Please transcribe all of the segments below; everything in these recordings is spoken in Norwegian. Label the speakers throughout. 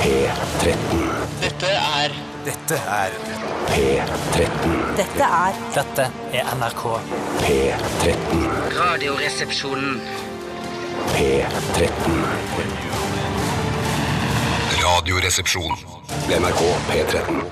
Speaker 1: P13.
Speaker 2: Dette er
Speaker 3: Dette er
Speaker 1: P13.
Speaker 4: Dette er
Speaker 5: Dette er NRK.
Speaker 1: P13.
Speaker 2: Radioresepsjonen.
Speaker 1: P13.
Speaker 6: Radioresepsjon.
Speaker 1: NRK P13.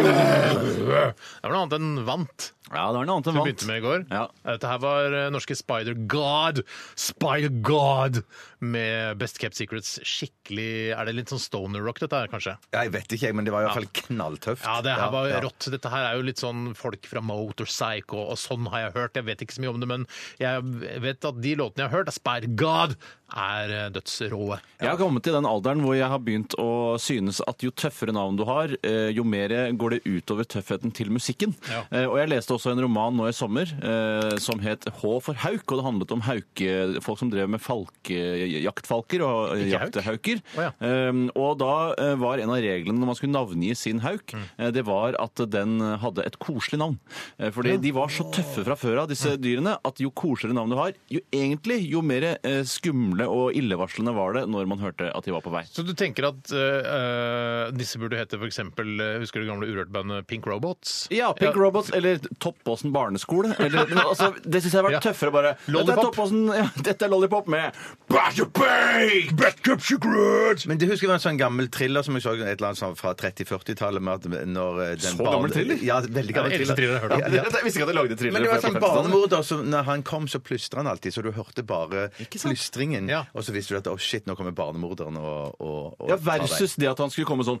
Speaker 7: Det var noe annet enn vant.
Speaker 8: Ja, det var noe annet
Speaker 7: Som
Speaker 8: enn
Speaker 7: vi
Speaker 8: vant.
Speaker 7: begynte med i går.
Speaker 8: Ja.
Speaker 7: Dette her var eh, norske Spider God. Spider God med Best Kept Secrets. Skikkelig Er det litt sånn stoner rock, dette her, kanskje?
Speaker 3: Ja, Jeg vet ikke, jeg, men det var i hvert fall knalltøft.
Speaker 7: Ja, det her var
Speaker 3: ja.
Speaker 7: rått. Dette her er jo litt sånn folk fra Motorpsycho, og sånn har jeg hørt. Jeg vet ikke så mye om det, men jeg vet at de låtene jeg har hørt, av Spider God, er eh, dødsråe.
Speaker 8: Jeg har kommet til den alderen hvor jeg har begynt å synes at jo tøffere navn du har, eh, jo mer går det utover tøffheten til musikken.
Speaker 7: Ja.
Speaker 8: Eh, Og jeg leste også en roman nå i sommer eh, som het H for hauk, og det handlet om hauke, folk som drev med falke, jaktfalker og eh,
Speaker 7: Ikke hauk?
Speaker 8: jaktehauker.
Speaker 7: Å
Speaker 8: Eh, Og da eh, var en av reglene når man skulle navngi sin hauk, eh, det var at den hadde et koselig navn. Eh, Fordi de var så tøffe fra før av, disse dyrene, at jo koseligere navn du har, jo egentlig jo mer eh, skumle og illevarslende var det når man hørte at de var på vei.
Speaker 7: Så du tenker at eh, disse burde hete for eksempel eh, Husker du det gamle Urørt-bandet Pink Robots?
Speaker 8: Ja, Pink Robots eller Toppåsen barneskole. Eller, men altså, det syns jeg har vært
Speaker 7: Ja.
Speaker 8: tøffere, bare. Dette er
Speaker 7: Lollipop.
Speaker 8: Toppåsen, ja, dette er Lollipop med Bash and Bake! Backup Secret!
Speaker 3: Men det husker jeg var en sånn gammel thriller som jeg så et eller annet sånn fra 30-40-tallet. med at når eh, den
Speaker 8: Så gammel thriller?
Speaker 3: Ja, veldig
Speaker 7: Ja,
Speaker 3: gammel
Speaker 7: det er eldste thriller jeg har hørt om.
Speaker 3: Ja, ja.
Speaker 8: Jeg visste ikke at jeg lagde thrillere.
Speaker 3: Men det var
Speaker 8: før jeg
Speaker 3: sånn
Speaker 8: ble 15.
Speaker 3: barnemorder som når han kom, så plystra han alltid, så du hørte bare plystringen.
Speaker 7: Ja.
Speaker 3: Og så visste du at å shit, nå kommer barnemorderen og, og, og
Speaker 8: Ja,
Speaker 3: tar deg.
Speaker 8: versus det at han skulle komme sånn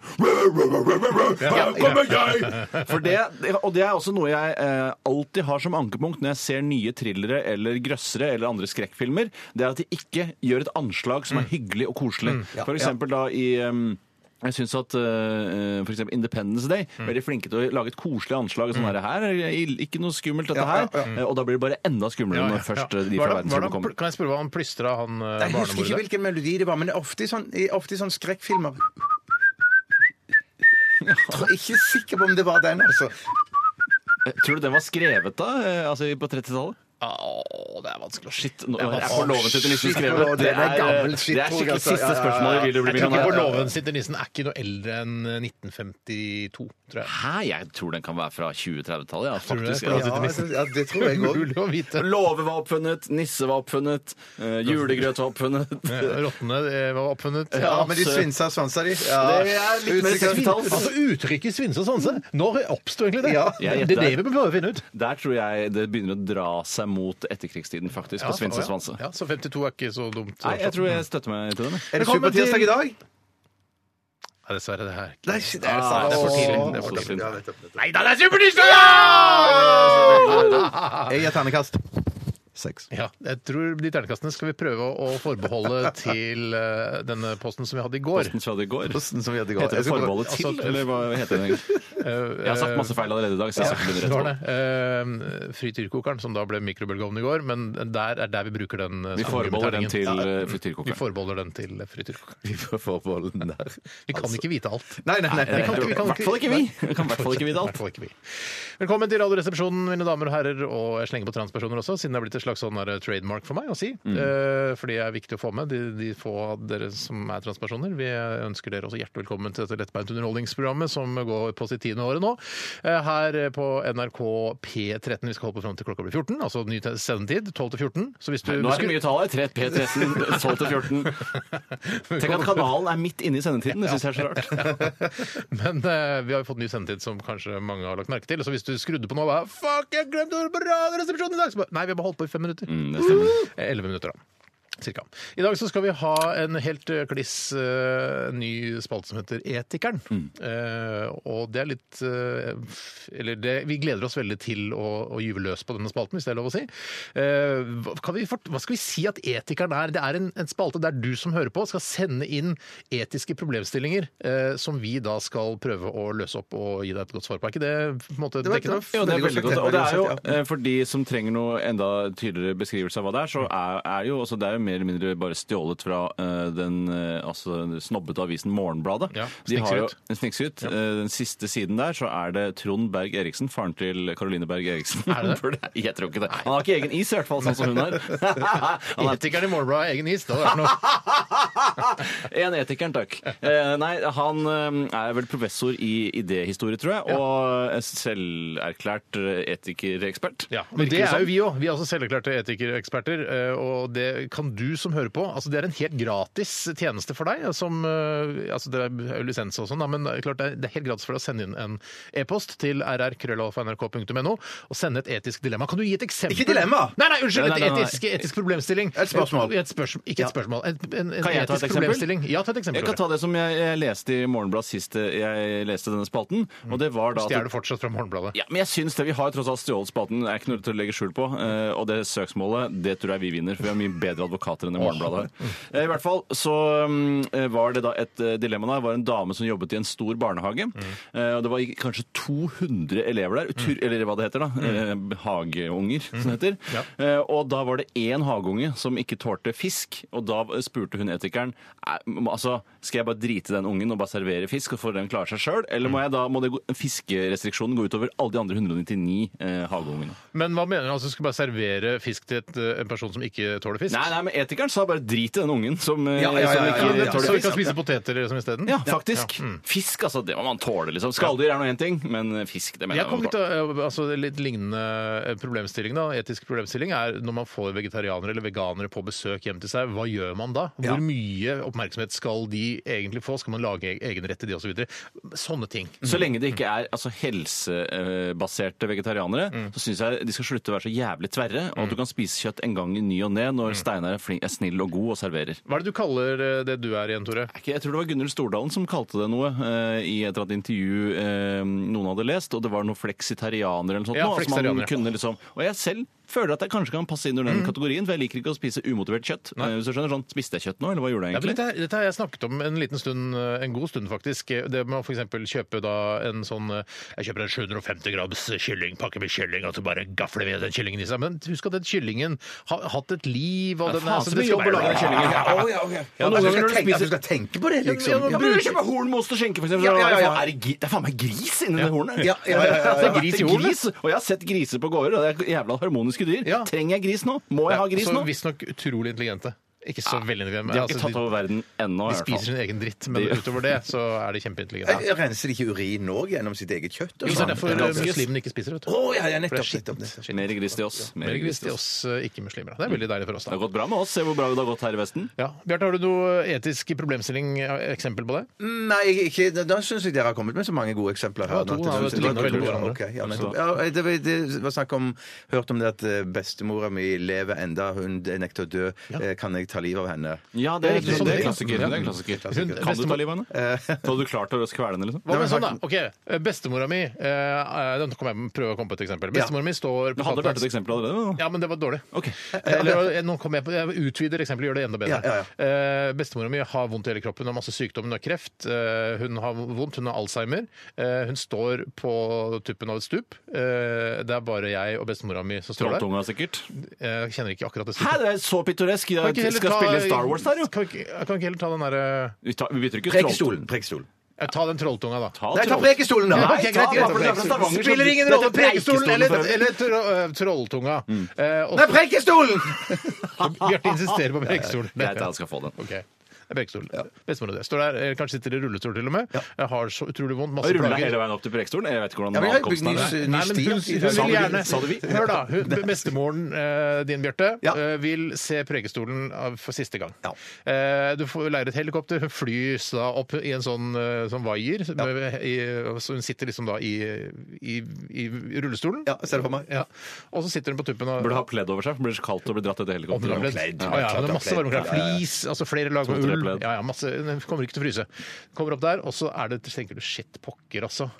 Speaker 8: Her kommer jeg! For det, og det er også noe jeg eh, alltid har som ankepunkt når jeg ser nye thrillere eller grøssere eller andre skrekkfilmer, det er at de ikke gjør et anslag som er
Speaker 7: Mm.
Speaker 8: hyggelig og koselig. For eksempel da i em, jeg syns at eh, for eksempel Independence Day
Speaker 7: Mm.
Speaker 8: er veldig flinke til å lage et koselig anslag. Sånn her, her er det ikke noe skummelt, dette her. Eh, Og da blir det bare enda skumlere når først eh, de
Speaker 7: Var det- var det
Speaker 8: fra verdensrommet
Speaker 7: han
Speaker 8: kommer.
Speaker 7: pl- Kan jeg spørre hva han plystra, han eh,
Speaker 3: Jeg husker ikke
Speaker 7: barnemordet?
Speaker 3: hvilken melodi det var, men ofte i sånn, i- ofte i sånn skrekkfilmer Tror jeg Ikke sikker på om det var den, altså.
Speaker 8: Eh, Tror du den var skrevet da? eh, Altså på 30-tallet?
Speaker 7: Å, det er vanskelig å skje.
Speaker 8: Shit, nå er jeg på låven til nissen
Speaker 3: Shit,
Speaker 8: skrevet.
Speaker 3: nå, det er gammel shit,
Speaker 8: det er
Speaker 3: tror jeg,
Speaker 8: skikkelig
Speaker 3: altså.
Speaker 8: siste
Speaker 3: Ja, ja, ja.
Speaker 8: spørsmål. Vil du bli
Speaker 7: Jeg tror ikke på
Speaker 8: millionær?
Speaker 7: låven sitter nissen er ikke noe eldre enn 1952, tror jeg.
Speaker 8: Hæ, jeg tror den kan være fra 2030-tallet, ja,
Speaker 7: du det?
Speaker 8: faktisk.
Speaker 7: Ja.
Speaker 8: altså.
Speaker 3: Ja, det, ja, det tror jeg òg.
Speaker 7: Umulig å vite.
Speaker 8: Låve var oppfunnet, nisse var oppfunnet, eh, julegrøt var oppfunnet.
Speaker 7: Rottene eh, var oppfunnet.
Speaker 3: Ja, men de svinsa og svansa, de. Ja.
Speaker 8: Det er litt mer
Speaker 3: Usikker.
Speaker 8: 60-talls.
Speaker 7: Altså Uttrykket svinse og sanse, når oppsto egentlig det?
Speaker 3: Ja.
Speaker 8: Jeg
Speaker 7: det
Speaker 8: gjetter.
Speaker 7: er det vi bør prøve å finne ut.
Speaker 8: Der tror jeg det begynner å dra seg mot etterkrigstiden, faktisk, på Svinse og Svanse.
Speaker 7: Ja, så 52 er ikke så dumt.
Speaker 8: Nei, jeg tror jeg støtter meg til den. jeg.
Speaker 3: Er det
Speaker 7: Velkommen til-
Speaker 3: supertirsdag i dag?
Speaker 7: Nei, dessverre, det her.
Speaker 3: Nei, shit, det er
Speaker 8: Nei,
Speaker 3: sant.
Speaker 8: Ah, det er for tidlig.
Speaker 3: Åh.
Speaker 8: Det er for tidlig.
Speaker 3: Ja, nettopp, nettopp.
Speaker 7: Nei da, det er supertirsdag! Ja!
Speaker 3: Jeg gir ternekast. Seks.
Speaker 7: Ja, jeg tror de ternekastene skal vi prøve å å forbeholde til eh, denne posten som vi hadde i går.
Speaker 8: Posten fra det i går.
Speaker 3: Posten som vi hadde i går.
Speaker 8: Heter det
Speaker 3: Jeg skal prøve-
Speaker 8: forbeholdet til,
Speaker 7: altså- Eh,
Speaker 8: eller hva heter det? egentlig? Jeg har sagt masse feil allerede i dag, så jeg skal ikke
Speaker 7: Det
Speaker 8: begynne
Speaker 7: var
Speaker 8: rett på.
Speaker 7: det. Eh, Frityrkokeren, som da ble mikrobølgeovn i går, men der er der vi bruker den. eh,
Speaker 8: Vi forbeholder den til
Speaker 7: sammenhengen.
Speaker 8: eh,
Speaker 7: Vi
Speaker 8: frityrkokeren.
Speaker 7: forbeholder den til frityrkokeren.
Speaker 3: Vi får forbeholde den der.
Speaker 7: Vi
Speaker 8: Altså,
Speaker 7: kan ikke vite alt.
Speaker 3: Nei, nei, nei.
Speaker 7: Vi kan ikke- vi kan
Speaker 8: I hvert fall ikke vi.
Speaker 7: Nei.
Speaker 8: Vi kan i hvert fall ikke vite alt.
Speaker 7: I hvert fall ikke vi. Velkommen til Radioresepsjonen, mine damer og herrer, og jeg slenger på transpersoner også, siden det er blitt et slags sånn der trademark for meg å si.
Speaker 8: Mm.
Speaker 7: Eh, fordi det er viktig å få med de, de få av dere som er transpersoner. Vi ønsker dere også hjertelig velkommen til dette lettbeint underholdningsprogrammet som går på sitt tiende året nå. Eh, her på NRK P13. Vi skal holde på fram til klokka blir 14, altså ny te- sendetid, 12 til 14. Så hvis du
Speaker 8: Nå er det mye tall her. 3, P13, 12 til 14. Tenk at kanalen er midt inne i sendetiden. Det syns jeg er så rart.
Speaker 7: Men eh, vi har jo fått ny sendetid som kanskje mange har lagt merke til. Så hvis du skrudde på nå og bare Fuck, jeg glemte å høre på Radioresepsjonen i dag! Så bare, Nei, vi har bare holdt på i fem minutter.
Speaker 8: Mm, det stemmer.
Speaker 7: Elleve minutter, da. Cirka. I dag så skal vi ha en helt eh, kliss eh, ny spalte som heter Etikeren. Eh, og det er litt eh, f- Eller det, vi gleder oss veldig til å, å gyve løs på denne spalten, hvis det er lov å si. Eh, hva, kan vi fort, hva skal vi si at Etikeren er? Det er en, en spalte der du som hører på, skal sende inn etiske problemstillinger eh, som vi da skal prøve å løse opp og gi deg et godt svar på. Er ikke det på en måte
Speaker 3: Det var- det
Speaker 7: dekkende?
Speaker 3: var-
Speaker 8: Jo, det er veldig
Speaker 3: Veldig godt
Speaker 8: godt.
Speaker 3: sagt,
Speaker 8: Og det
Speaker 3: veldig
Speaker 8: er jo,
Speaker 3: godt sagt,
Speaker 8: eh, for de som trenger noe enda tydeligere beskrivelse av hva det er, så er, er jo også, det er jo mer eller mindre bare stjålet fra eh, den eh, altså, den snobbete avisen Morgenbladet.
Speaker 7: Ja,
Speaker 8: De har jo-
Speaker 7: Snikskryt.
Speaker 8: en Snikskryt. Eh, Den siste siden der så er det Trond Berg Eriksen, faren til Caroline Berg Eriksen.
Speaker 7: Er det det?
Speaker 8: For Jeg tror ikke det. Han har ikke egen is, i hvert fall, sånn som hun har. Han er
Speaker 7: Etikeren i Morgenbladet har egen is. Det hadde vært noe.
Speaker 8: En etikeren, takk. Eh, nei, han eh, er vel professor i idéhistorie, tror jeg, og eh, selverklært eh, etikerekspert.
Speaker 7: Ja, men Det er jo vi òg. Vi er også selverklærte etikereksperter. eh, Og det kan du som hører på. altså Det er en helt gratis tjeneste for deg. som, eh, altså Det er jo lisens og sånn, da, men det er klart det er- det er helt gratis for deg å sende inn en e-post til rrkrøllalfa.nrk.no og sende et etisk dilemma. Kan du gi et eksempel?
Speaker 3: Ikke dilemma!
Speaker 7: Nei, nei, unnskyld!
Speaker 8: Nei, nei,
Speaker 7: Et
Speaker 8: nei,
Speaker 7: etisk, etisk problemstilling.
Speaker 3: Et spørsmål.
Speaker 7: Et spørsm- ikke et spørsmål. Et, en, en
Speaker 8: Kan jeg ta et
Speaker 7: etisk
Speaker 8: eksempel?
Speaker 7: problemstilling. Ja, ta et eksempel.
Speaker 8: Jeg kan ta det som jeg, jeg leste i Morgenbladet sist eh, jeg leste denne spalten.
Speaker 7: Mm.
Speaker 8: og det var da... at-
Speaker 7: Stjeler du fortsatt fra Morgenbladet?
Speaker 8: Ja, men jeg syns det. Vi har tross alt stjålet spalten. Det er ikke noe til å legge skjul på. Eh, Og det søksmålet, det tror jeg vi vinner, for vi har mye bedre advokater enn det Morgenbladet har. Eh, I hvert fall så mm, eh, var det da et eh, dilemma der. Det var en dame som jobbet i en stor barnehage. Eh, Og det var i- kanskje 200 elever der. Tur, eller hva det heter, da. Eh, Hageunger, som det heter.
Speaker 7: Ja.
Speaker 8: Eh, Og da var det én hageunge som ikke tålte fisk, og da spurte hun etikeren "Nei, m- altså, skal jeg bare drite i den ungen og bare servere fisk, og få den klare seg sjøl, eller må, jeg da, må det gå, fiskerestriksjonen gå utover alle de andre 199 eh, hageungene?
Speaker 7: Men hva mener du? altså Du skal bare servere fisk til et, eh, en person som ikke tåler fisk?
Speaker 8: Nei, nei, men etikeren sa bare drit i den ungen som, eh,
Speaker 3: Ja, ja, ja,
Speaker 8: som
Speaker 3: ja,
Speaker 8: ikke
Speaker 3: ja, ja, ja.
Speaker 8: tåler
Speaker 7: Så vi kan
Speaker 8: fisk.
Speaker 7: spise poteter liksom isteden?
Speaker 8: Ja, faktisk. Fisk, altså, det må man tåle, liksom. Skalldyr er nå én ting, men fisk, det
Speaker 7: Jeg
Speaker 8: mener jeg
Speaker 7: kom
Speaker 8: man
Speaker 7: litt,
Speaker 8: tåler.
Speaker 7: eh, altså, litt lignende eh, problemstilling da, etisk problemstilling er når man får vegetarianere eller veganere på besøk hjem til seg, hva gjør man da? Hvor
Speaker 3: Ja.
Speaker 7: mye oppmerksomhet skal de egentlig få? Skal man lage e- egen rett til de og så videre? Sånne ting.
Speaker 8: Så lenge det ikke er altså, helsebaserte vegetarianere, så syns jeg de skal slutte å være så jævlig tverre, og at du kan spise kjøtt en gang i ny og ne når Steinar er, flink, er snill og god og serverer.
Speaker 7: Hva er det du kaller eh, det du er igjen, Tore?
Speaker 8: Er ikke- Jeg tror det var Gunnhild Stordalen som kalte det noe eh, i et eller annet intervju eh, noen hadde lest, og det var noen fleksitarianere Mhm. eller noe sånt.
Speaker 7: Ja,
Speaker 8: nå, altså, man
Speaker 7: fleksitarianere.
Speaker 8: kunne liksom, og jeg selv føler at jeg kanskje kan passe inn under den kategorien, for jeg liker ikke å spise umotivert kjøtt. Eh, Hvis du skjønner sånn, Spiste jeg kjøtt nå, eller hva gjorde jeg
Speaker 7: Ja, men
Speaker 8: egentlig?
Speaker 7: dette, dette har jeg snakket om en liten stund, en god stund faktisk. Det med å for eksempel kjøpe da en sånn Jeg kjøper en 750 grams kylling, pakke med kylling, og så bare gafler vi den kyllingen i seg. Men husk at den kyllingen har hatt et liv, og
Speaker 8: Ja,
Speaker 7: den
Speaker 8: faen,
Speaker 7: er
Speaker 8: så mye jobb å lage den kyllingen.
Speaker 3: Ja, å, ja, ok.
Speaker 7: Ja,
Speaker 3: At du
Speaker 7: noen
Speaker 3: skal
Speaker 7: ganger når du
Speaker 3: tenke- at
Speaker 7: spiser-
Speaker 3: du skal tenke på det, liksom.
Speaker 7: ja,
Speaker 8: Ja, men du kjøper hornmost og skjenke, for eksempel.
Speaker 3: Ja, ja, ja, ja.
Speaker 8: Er det, gi- det er faen meg gris inni det hornet.
Speaker 3: Ja, ja, ja, ja, ja.
Speaker 8: Det er gris i
Speaker 7: hornet.
Speaker 8: Gris, og jeg har sett griser på gårder, og det er jævla harmoniske dyr.
Speaker 7: Ja.
Speaker 8: Trenger jeg gris nå? Må jeg ha gris
Speaker 7: så
Speaker 8: nå?
Speaker 7: visstnok utrolig intelligente. Ikke så veldig intelligente.
Speaker 8: De
Speaker 7: men
Speaker 8: har ikke
Speaker 7: altså,
Speaker 8: tatt over verden ennå, i
Speaker 7: de
Speaker 8: hvert
Speaker 7: spiser
Speaker 8: fall.
Speaker 7: sin egen dritt, men
Speaker 8: De-
Speaker 7: utover det så er de kjempeintelligente.
Speaker 3: Jeg renser ikke urin nå gjennom sitt eget kjøtt? og
Speaker 7: Jo, så det
Speaker 3: sånn?
Speaker 7: er derfor
Speaker 3: Eller-
Speaker 7: eh, muslimene ikke spiser, vet
Speaker 3: Å
Speaker 7: du.
Speaker 3: ja, ja,
Speaker 7: For
Speaker 3: nettopp.
Speaker 7: det er
Speaker 3: nettopp, nettopp.
Speaker 8: Mer gris til oss.
Speaker 7: Mer gris til oss eh, ikke-muslimer. da. Det er veldig deilig for oss,
Speaker 8: Det har
Speaker 7: da.
Speaker 8: gått bra med oss. Se hvor bra det har gått her i Vesten.
Speaker 7: Ja. Bjarte, har du noe etisk problemstilling, eh, eksempel på det?
Speaker 3: Nei, ikke, da- da syns jeg dere har kommet med så mange gode eksempler her.
Speaker 7: Ja, to
Speaker 3: nå at jeg
Speaker 7: av
Speaker 3: synes
Speaker 7: det ligner veldig på hverandre.
Speaker 3: Ok, ja, nettopp. Ja, eh, det, var- det var snakk om Hørt om det at eh, bestemora mi lever enda, hun nekter å dø. Eh, Kan jeg ta livet av henne?
Speaker 8: Ja, det er,
Speaker 7: riktig,
Speaker 3: liksom
Speaker 7: sånn
Speaker 8: det
Speaker 7: det er.
Speaker 8: er klassiker.
Speaker 7: Ja.
Speaker 8: Det er klassiker.
Speaker 7: Hun-
Speaker 8: Kan du ta livet av henne?
Speaker 3: Eh.
Speaker 8: Så hadde du klart å kvele henne, liksom?
Speaker 7: Hva med
Speaker 3: Nei,
Speaker 7: sånn, da? Ok, Bestemora mi eh, eh, Den kommer jeg prøve å komme på et eksempel. Bestemora mi står
Speaker 8: Du
Speaker 7: på
Speaker 8: hadde vært et
Speaker 7: Saltvanns-
Speaker 8: eksempel allerede? da.
Speaker 7: Ja, men det var dårlig.
Speaker 8: Ok.
Speaker 7: Eller, eh, nå kommer jeg, på, jeg utvider eksempelet og gjør det enda bedre.
Speaker 3: Ja, ja,
Speaker 7: Eh, bestemora mi har vondt i hele kroppen. Hun har masse sykdom, hun har kreft, eh, hun har vondt, hun har alzheimer. Eh, hun står på tuppen av et stup. Eh, det er bare jeg og bestemora mi som står der. Eh,
Speaker 8: Trolltunga, sikkert.
Speaker 7: Jeg kjenner ikke akkurat det
Speaker 8: Hæ,
Speaker 7: stupet.
Speaker 8: det er så pittoresk!
Speaker 7: Kan
Speaker 8: Jeg
Speaker 7: ikke heller
Speaker 8: skal
Speaker 7: ta-
Speaker 8: spille Star Wars der, jo!
Speaker 7: Kan ikke, kan ikke heller ta den derre
Speaker 8: Vi tar- vi bytter ikke ut
Speaker 3: Prekestolen. Prekestolen.
Speaker 7: eh, Ta den trolltunga, da.
Speaker 8: Ta
Speaker 3: Nei, ta
Speaker 8: troll-
Speaker 3: prekestolen, da!
Speaker 7: Nei,
Speaker 3: Nei,
Speaker 7: greit,
Speaker 3: ta
Speaker 7: greit,
Speaker 3: den.
Speaker 8: greit, greit.
Speaker 3: Det Spiller ingen
Speaker 7: Dette
Speaker 3: rolle!
Speaker 7: er prekestolen eller,
Speaker 8: for-
Speaker 7: eller tro, eh, trolltunga. Eh, og
Speaker 3: Nei, prekestolen!
Speaker 7: Bjarte insisterer på prekestolen.
Speaker 8: Greit, altså. han skal få den.
Speaker 7: Ok. Det er Preikestolen. Bestemora di står der, eh, kanskje sitter i rullestol til og med. Jeg Har så utrolig vondt, masse
Speaker 8: Rulla
Speaker 7: plager.
Speaker 8: hele veien opp til prekestolen? Jeg vet ikke hvordan
Speaker 3: Ja, men jeg har jo bygd
Speaker 8: ankomsten
Speaker 3: ny,
Speaker 8: er.
Speaker 7: Nei,
Speaker 3: ny
Speaker 7: men
Speaker 3: sti.
Speaker 7: hun, hun
Speaker 8: Sa
Speaker 7: vil
Speaker 8: du-
Speaker 7: gjerne
Speaker 8: sa du vi?
Speaker 7: Hør, da. Hun, bestemoren eh, din, Bjarte,
Speaker 3: Ja.
Speaker 7: eh, vil se Preikestolen av- for siste gang.
Speaker 3: Ja.
Speaker 7: Eh, du får leier et helikopter, hun flys da opp i en sånn, eh, sånn vaier. med- i- Så hun sitter liksom da i, i, i rullestolen.
Speaker 3: Ja, ser du for meg?
Speaker 7: Ja. Og så sitter hun på tuppen av
Speaker 8: Burde ha pledd over seg, for det blir så kaldt å bli dratt etter
Speaker 7: Om det har blitt-
Speaker 8: helikopteret.
Speaker 7: Ja, ja, det er masse varmeklær.
Speaker 3: Ja, ja, ja.
Speaker 7: Flis, altså flere lag med
Speaker 8: To-tre
Speaker 7: ull.
Speaker 8: pledd.
Speaker 7: Ja, ja, masse, den kommer ikke til å fryse. Kommer opp der, og så er det, tenker du shit, pokker, altså.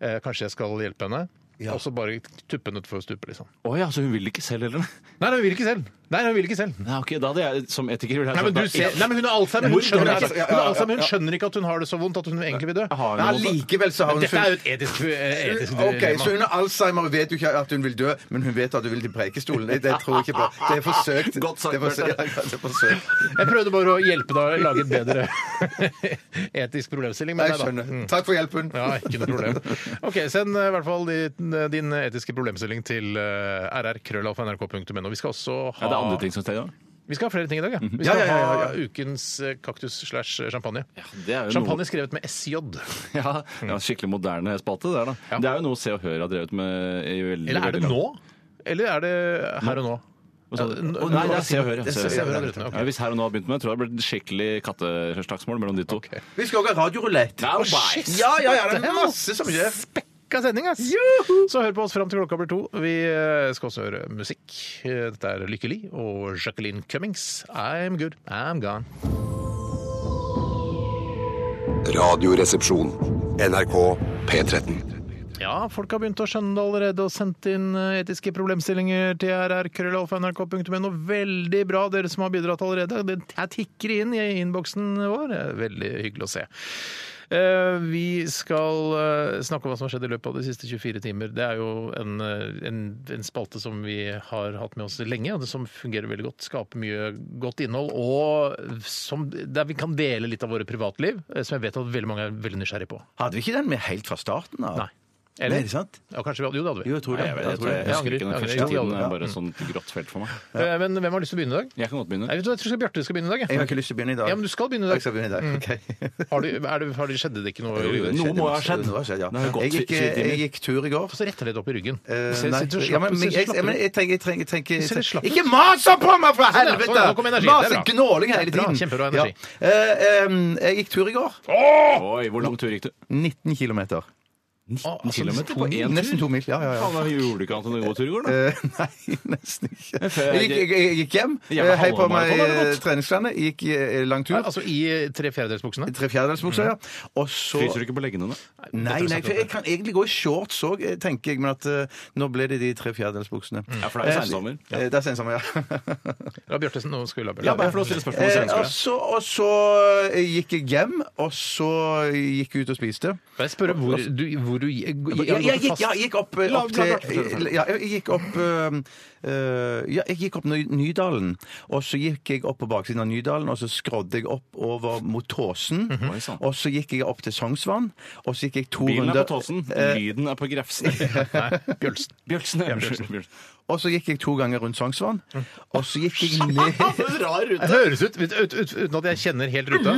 Speaker 7: Eh, kanskje jeg skal hjelpe henne? Og så bare tuppe henne utfor stupet, liksom.
Speaker 8: Å ja, så hun vil ikke selv heller? Nei,
Speaker 7: Nei, nei, hun vil ikke selv. Nei, hun vil ikke selv.
Speaker 8: ok, da hadde jeg som etiker ville jeg
Speaker 7: Nei, men,
Speaker 8: sagt
Speaker 7: du
Speaker 8: da,
Speaker 7: ser, nei, men hun har alzheimer. Hun skjønner,
Speaker 3: Ja, ja, ja,
Speaker 7: ikke, hun, har alzheimer. hun skjønner ikke at hun har det så vondt at hun egentlig vil dø.
Speaker 8: jeg har jo
Speaker 3: Ja,
Speaker 8: noe-
Speaker 3: likevel så har hun
Speaker 7: Dette er jo
Speaker 3: funnet
Speaker 7: et etisk, eh, etisk
Speaker 3: Ok,
Speaker 7: dilemma.
Speaker 3: Så hun har alzheimer og vet jo ikke at hun vil dø, men hun vet at hun vil til Preikestolen. Det, det tror jeg ikke på. Det er forsøkt.
Speaker 8: Godt sagt,
Speaker 3: det er forsøkt.
Speaker 8: Bjarte.
Speaker 3: Ja, det er forsøkt.
Speaker 7: Jeg prøvde bare å hjelpe deg å lage et bedre etisk problemstilling. men
Speaker 3: Jeg
Speaker 7: nei da. Mm.
Speaker 3: skjønner. Takk for hjelpen.
Speaker 7: Ja, ikke noe problem. Ok, Send eh, i hvert fall din, din etiske problemstilling til eh, rrkrøllalfa.nrk.no. Vi skal også ha
Speaker 8: Er det andre ting som steller?
Speaker 7: Vi skal ha flere ting i dag, ja. Vi
Speaker 3: Ja,
Speaker 7: skal
Speaker 3: Mhm. ja, ja, ja,
Speaker 7: ha ukens eh, kaktus slash champagne.
Speaker 8: det er jo
Speaker 7: champagne skrevet med SJ.
Speaker 8: Ja, ja, Skikkelig moderne spalte, det der, da.
Speaker 7: Ja.
Speaker 8: Det er jo noe Se og Hør har drevet med i veldig
Speaker 7: Eller er det
Speaker 8: veldig lang-
Speaker 7: nå? Eller er det her og nå?
Speaker 8: Hva sa du?
Speaker 7: Ja, n-
Speaker 8: Å, Nei, det er Se og Hør.
Speaker 7: Det er
Speaker 8: Se og
Speaker 7: Se og
Speaker 8: Hør.
Speaker 7: Hør, det er det. Ok.
Speaker 8: Ja, hvis her og nå hadde begynt med det, tror jeg det hadde blitt skikkelig katteslagsmål mellom de to.
Speaker 3: Vi skal også ha radiorulett.
Speaker 8: Now, bye.
Speaker 3: Ja, ja, ja, det er masse som skjer.
Speaker 7: Spekka sending, ass! Så hør på oss fram til klokka blir to. Vi eh, skal også høre musikk. Eh, Dette er Lykke Li og Jacqueline Cummings. I'm good, I'm gone.
Speaker 6: Radioresepsjon.
Speaker 1: NRK P13.
Speaker 7: Ja, folk har begynt å skjønne det allerede og sendt inn eh, etiske problemstillinger til rrkrøllalfa.nrk.no. Veldig bra, dere som har bidratt allerede. Det jeg tikker inn i innboksen vår. Det er Veldig hyggelig å se. Eh, Vi skal eh, snakke om hva som har skjedd i løpet av de siste 24 timer. Det er jo en, eh, en, en spalte som vi har hatt med oss lenge, og det som fungerer veldig godt. Skaper mye godt innhold, og som, der vi kan dele litt av våre privatliv, eh, som jeg vet at veldig mange er veldig nysgjerrig på.
Speaker 3: Hadde vi ikke den med helt fra starten av?
Speaker 7: Nei. Eller?
Speaker 3: Nei, er det sant?
Speaker 7: Ja, kanskje vi hadde, jo, det hadde vi.
Speaker 3: Jo, jeg tror det.
Speaker 7: Nei,
Speaker 8: Jeg, vet,
Speaker 7: jeg,
Speaker 8: jeg, tror jeg,
Speaker 7: jeg
Speaker 8: husker
Speaker 7: angrer.
Speaker 8: ikke den
Speaker 7: Jeg
Speaker 8: første
Speaker 7: angrer. Jeg
Speaker 8: tiden. Det
Speaker 7: angrer.
Speaker 8: er bare sånn grått felt for meg.
Speaker 7: Eh, Men hvem har lyst til å begynne i dag?
Speaker 8: Jeg kan godt begynne.
Speaker 7: Nei, vet du, hva, jeg tror Bjarte skal begynne i dag.
Speaker 3: Jeg
Speaker 7: jeg.
Speaker 3: har ikke lyst til å begynne i dag.
Speaker 7: Ja, men du skal begynne i dag.
Speaker 3: Jeg
Speaker 7: Mm.
Speaker 3: skal begynne i dag, ok.
Speaker 7: Har du, er det, har det, skjedde det ikke noe?
Speaker 8: jo. Noe må ha skjedd.
Speaker 3: Noe har skjedd, ja.
Speaker 8: Det har jo gått
Speaker 3: Jeg gikk,
Speaker 8: fire timer.
Speaker 3: jeg gikk tur i går.
Speaker 7: Og så retter det litt opp i ryggen.
Speaker 3: Eh,
Speaker 7: Se-
Speaker 3: nei.
Speaker 7: sitter du slapp
Speaker 3: Ja, men-
Speaker 7: ut,
Speaker 3: men
Speaker 7: sitter du
Speaker 3: jeg-
Speaker 7: slapp
Speaker 3: jeg- men
Speaker 7: ut?
Speaker 3: jeg trenger- jeg trenger- jeg trenger-
Speaker 7: Ser du slapp ut?
Speaker 3: Ikke mas sånn på meg, for
Speaker 7: ja,
Speaker 3: helvete!
Speaker 7: sånn, ja, nå kom energi, det er
Speaker 3: Mas
Speaker 7: bra.
Speaker 3: gnåling hele
Speaker 7: Det er bra,
Speaker 3: tiden.
Speaker 7: kjempebra energi.
Speaker 3: Ja. Eh, em, jeg gikk tur i går.
Speaker 8: Oi, hvor lang tur gikk du?
Speaker 3: 19 kilometer.
Speaker 7: Å, altså,
Speaker 8: kilometer
Speaker 7: to-
Speaker 8: Ah, på én
Speaker 3: Nesten to mil. Ja, ja, ja.
Speaker 8: Faen, da gjorde du ikke annet enn en god tur i går, da.
Speaker 3: Eh, nei, nesten ikke.
Speaker 8: før
Speaker 3: Jeg
Speaker 8: jeg-
Speaker 3: gikk, jeg, jeg gikk hjem,
Speaker 8: Hjemme
Speaker 3: eh, hei på
Speaker 8: halvmaraton
Speaker 3: meg
Speaker 8: har du
Speaker 3: eh,
Speaker 8: gått.
Speaker 3: treningsklærne, gikk eh, lang tur.
Speaker 7: Altså Mhm. i tre fjerdedelsbuksene?
Speaker 3: Tre fjerdedelsbukser, ja. Og så
Speaker 8: Fryser du ikke på leggene nå?
Speaker 3: Nei, nei, for jeg kan egentlig gå i shorts òg, tenker jeg, men at eh, nå ble det de tre fjerdedelsbuksene.
Speaker 7: Mm.
Speaker 8: Ja, for det er jo
Speaker 3: Eh,
Speaker 8: seinsommer.
Speaker 3: eh, Det er sensommer, ja.
Speaker 7: Ja, Bjarte, nå skal vi la Bjarte.
Speaker 8: Ja, bare få lov til å stille spørsmål. så jeg
Speaker 3: Eh,
Speaker 8: ønsker
Speaker 3: og
Speaker 8: det.
Speaker 3: så- og så gikk jeg hjem, og så gikk jeg ut og spiste.
Speaker 7: Kan jeg spørre hvor du, hvor du jeg,
Speaker 3: Jeg, jeg, gikk- ja, jeg gikk opp, eh,
Speaker 8: La-
Speaker 3: opp
Speaker 8: la Bjarte fortelle
Speaker 3: til ja, Jeg gikk opp eh, eh, Ja, jeg gikk opp Ny- Nydalen. Og så gikk jeg opp på baksiden av Nydalen, og så skrådde jeg opp over mot Tåsen.
Speaker 8: Oi, sann.
Speaker 3: Og så gikk jeg opp til Sognsvann, og så gikk jeg to
Speaker 8: Mhm. Bilen er
Speaker 3: runder
Speaker 8: på Tåsen,
Speaker 3: eh,
Speaker 8: lyden er på Grefsen.
Speaker 7: Bjølsen.
Speaker 8: Bjølsen er Bjølsen.
Speaker 3: Og så gikk jeg to ganger rundt Sognsvann,
Speaker 8: Mm.
Speaker 3: og så gikk jeg ned
Speaker 7: Det høres ut, ut, ut, uten at jeg kjenner helt ruta,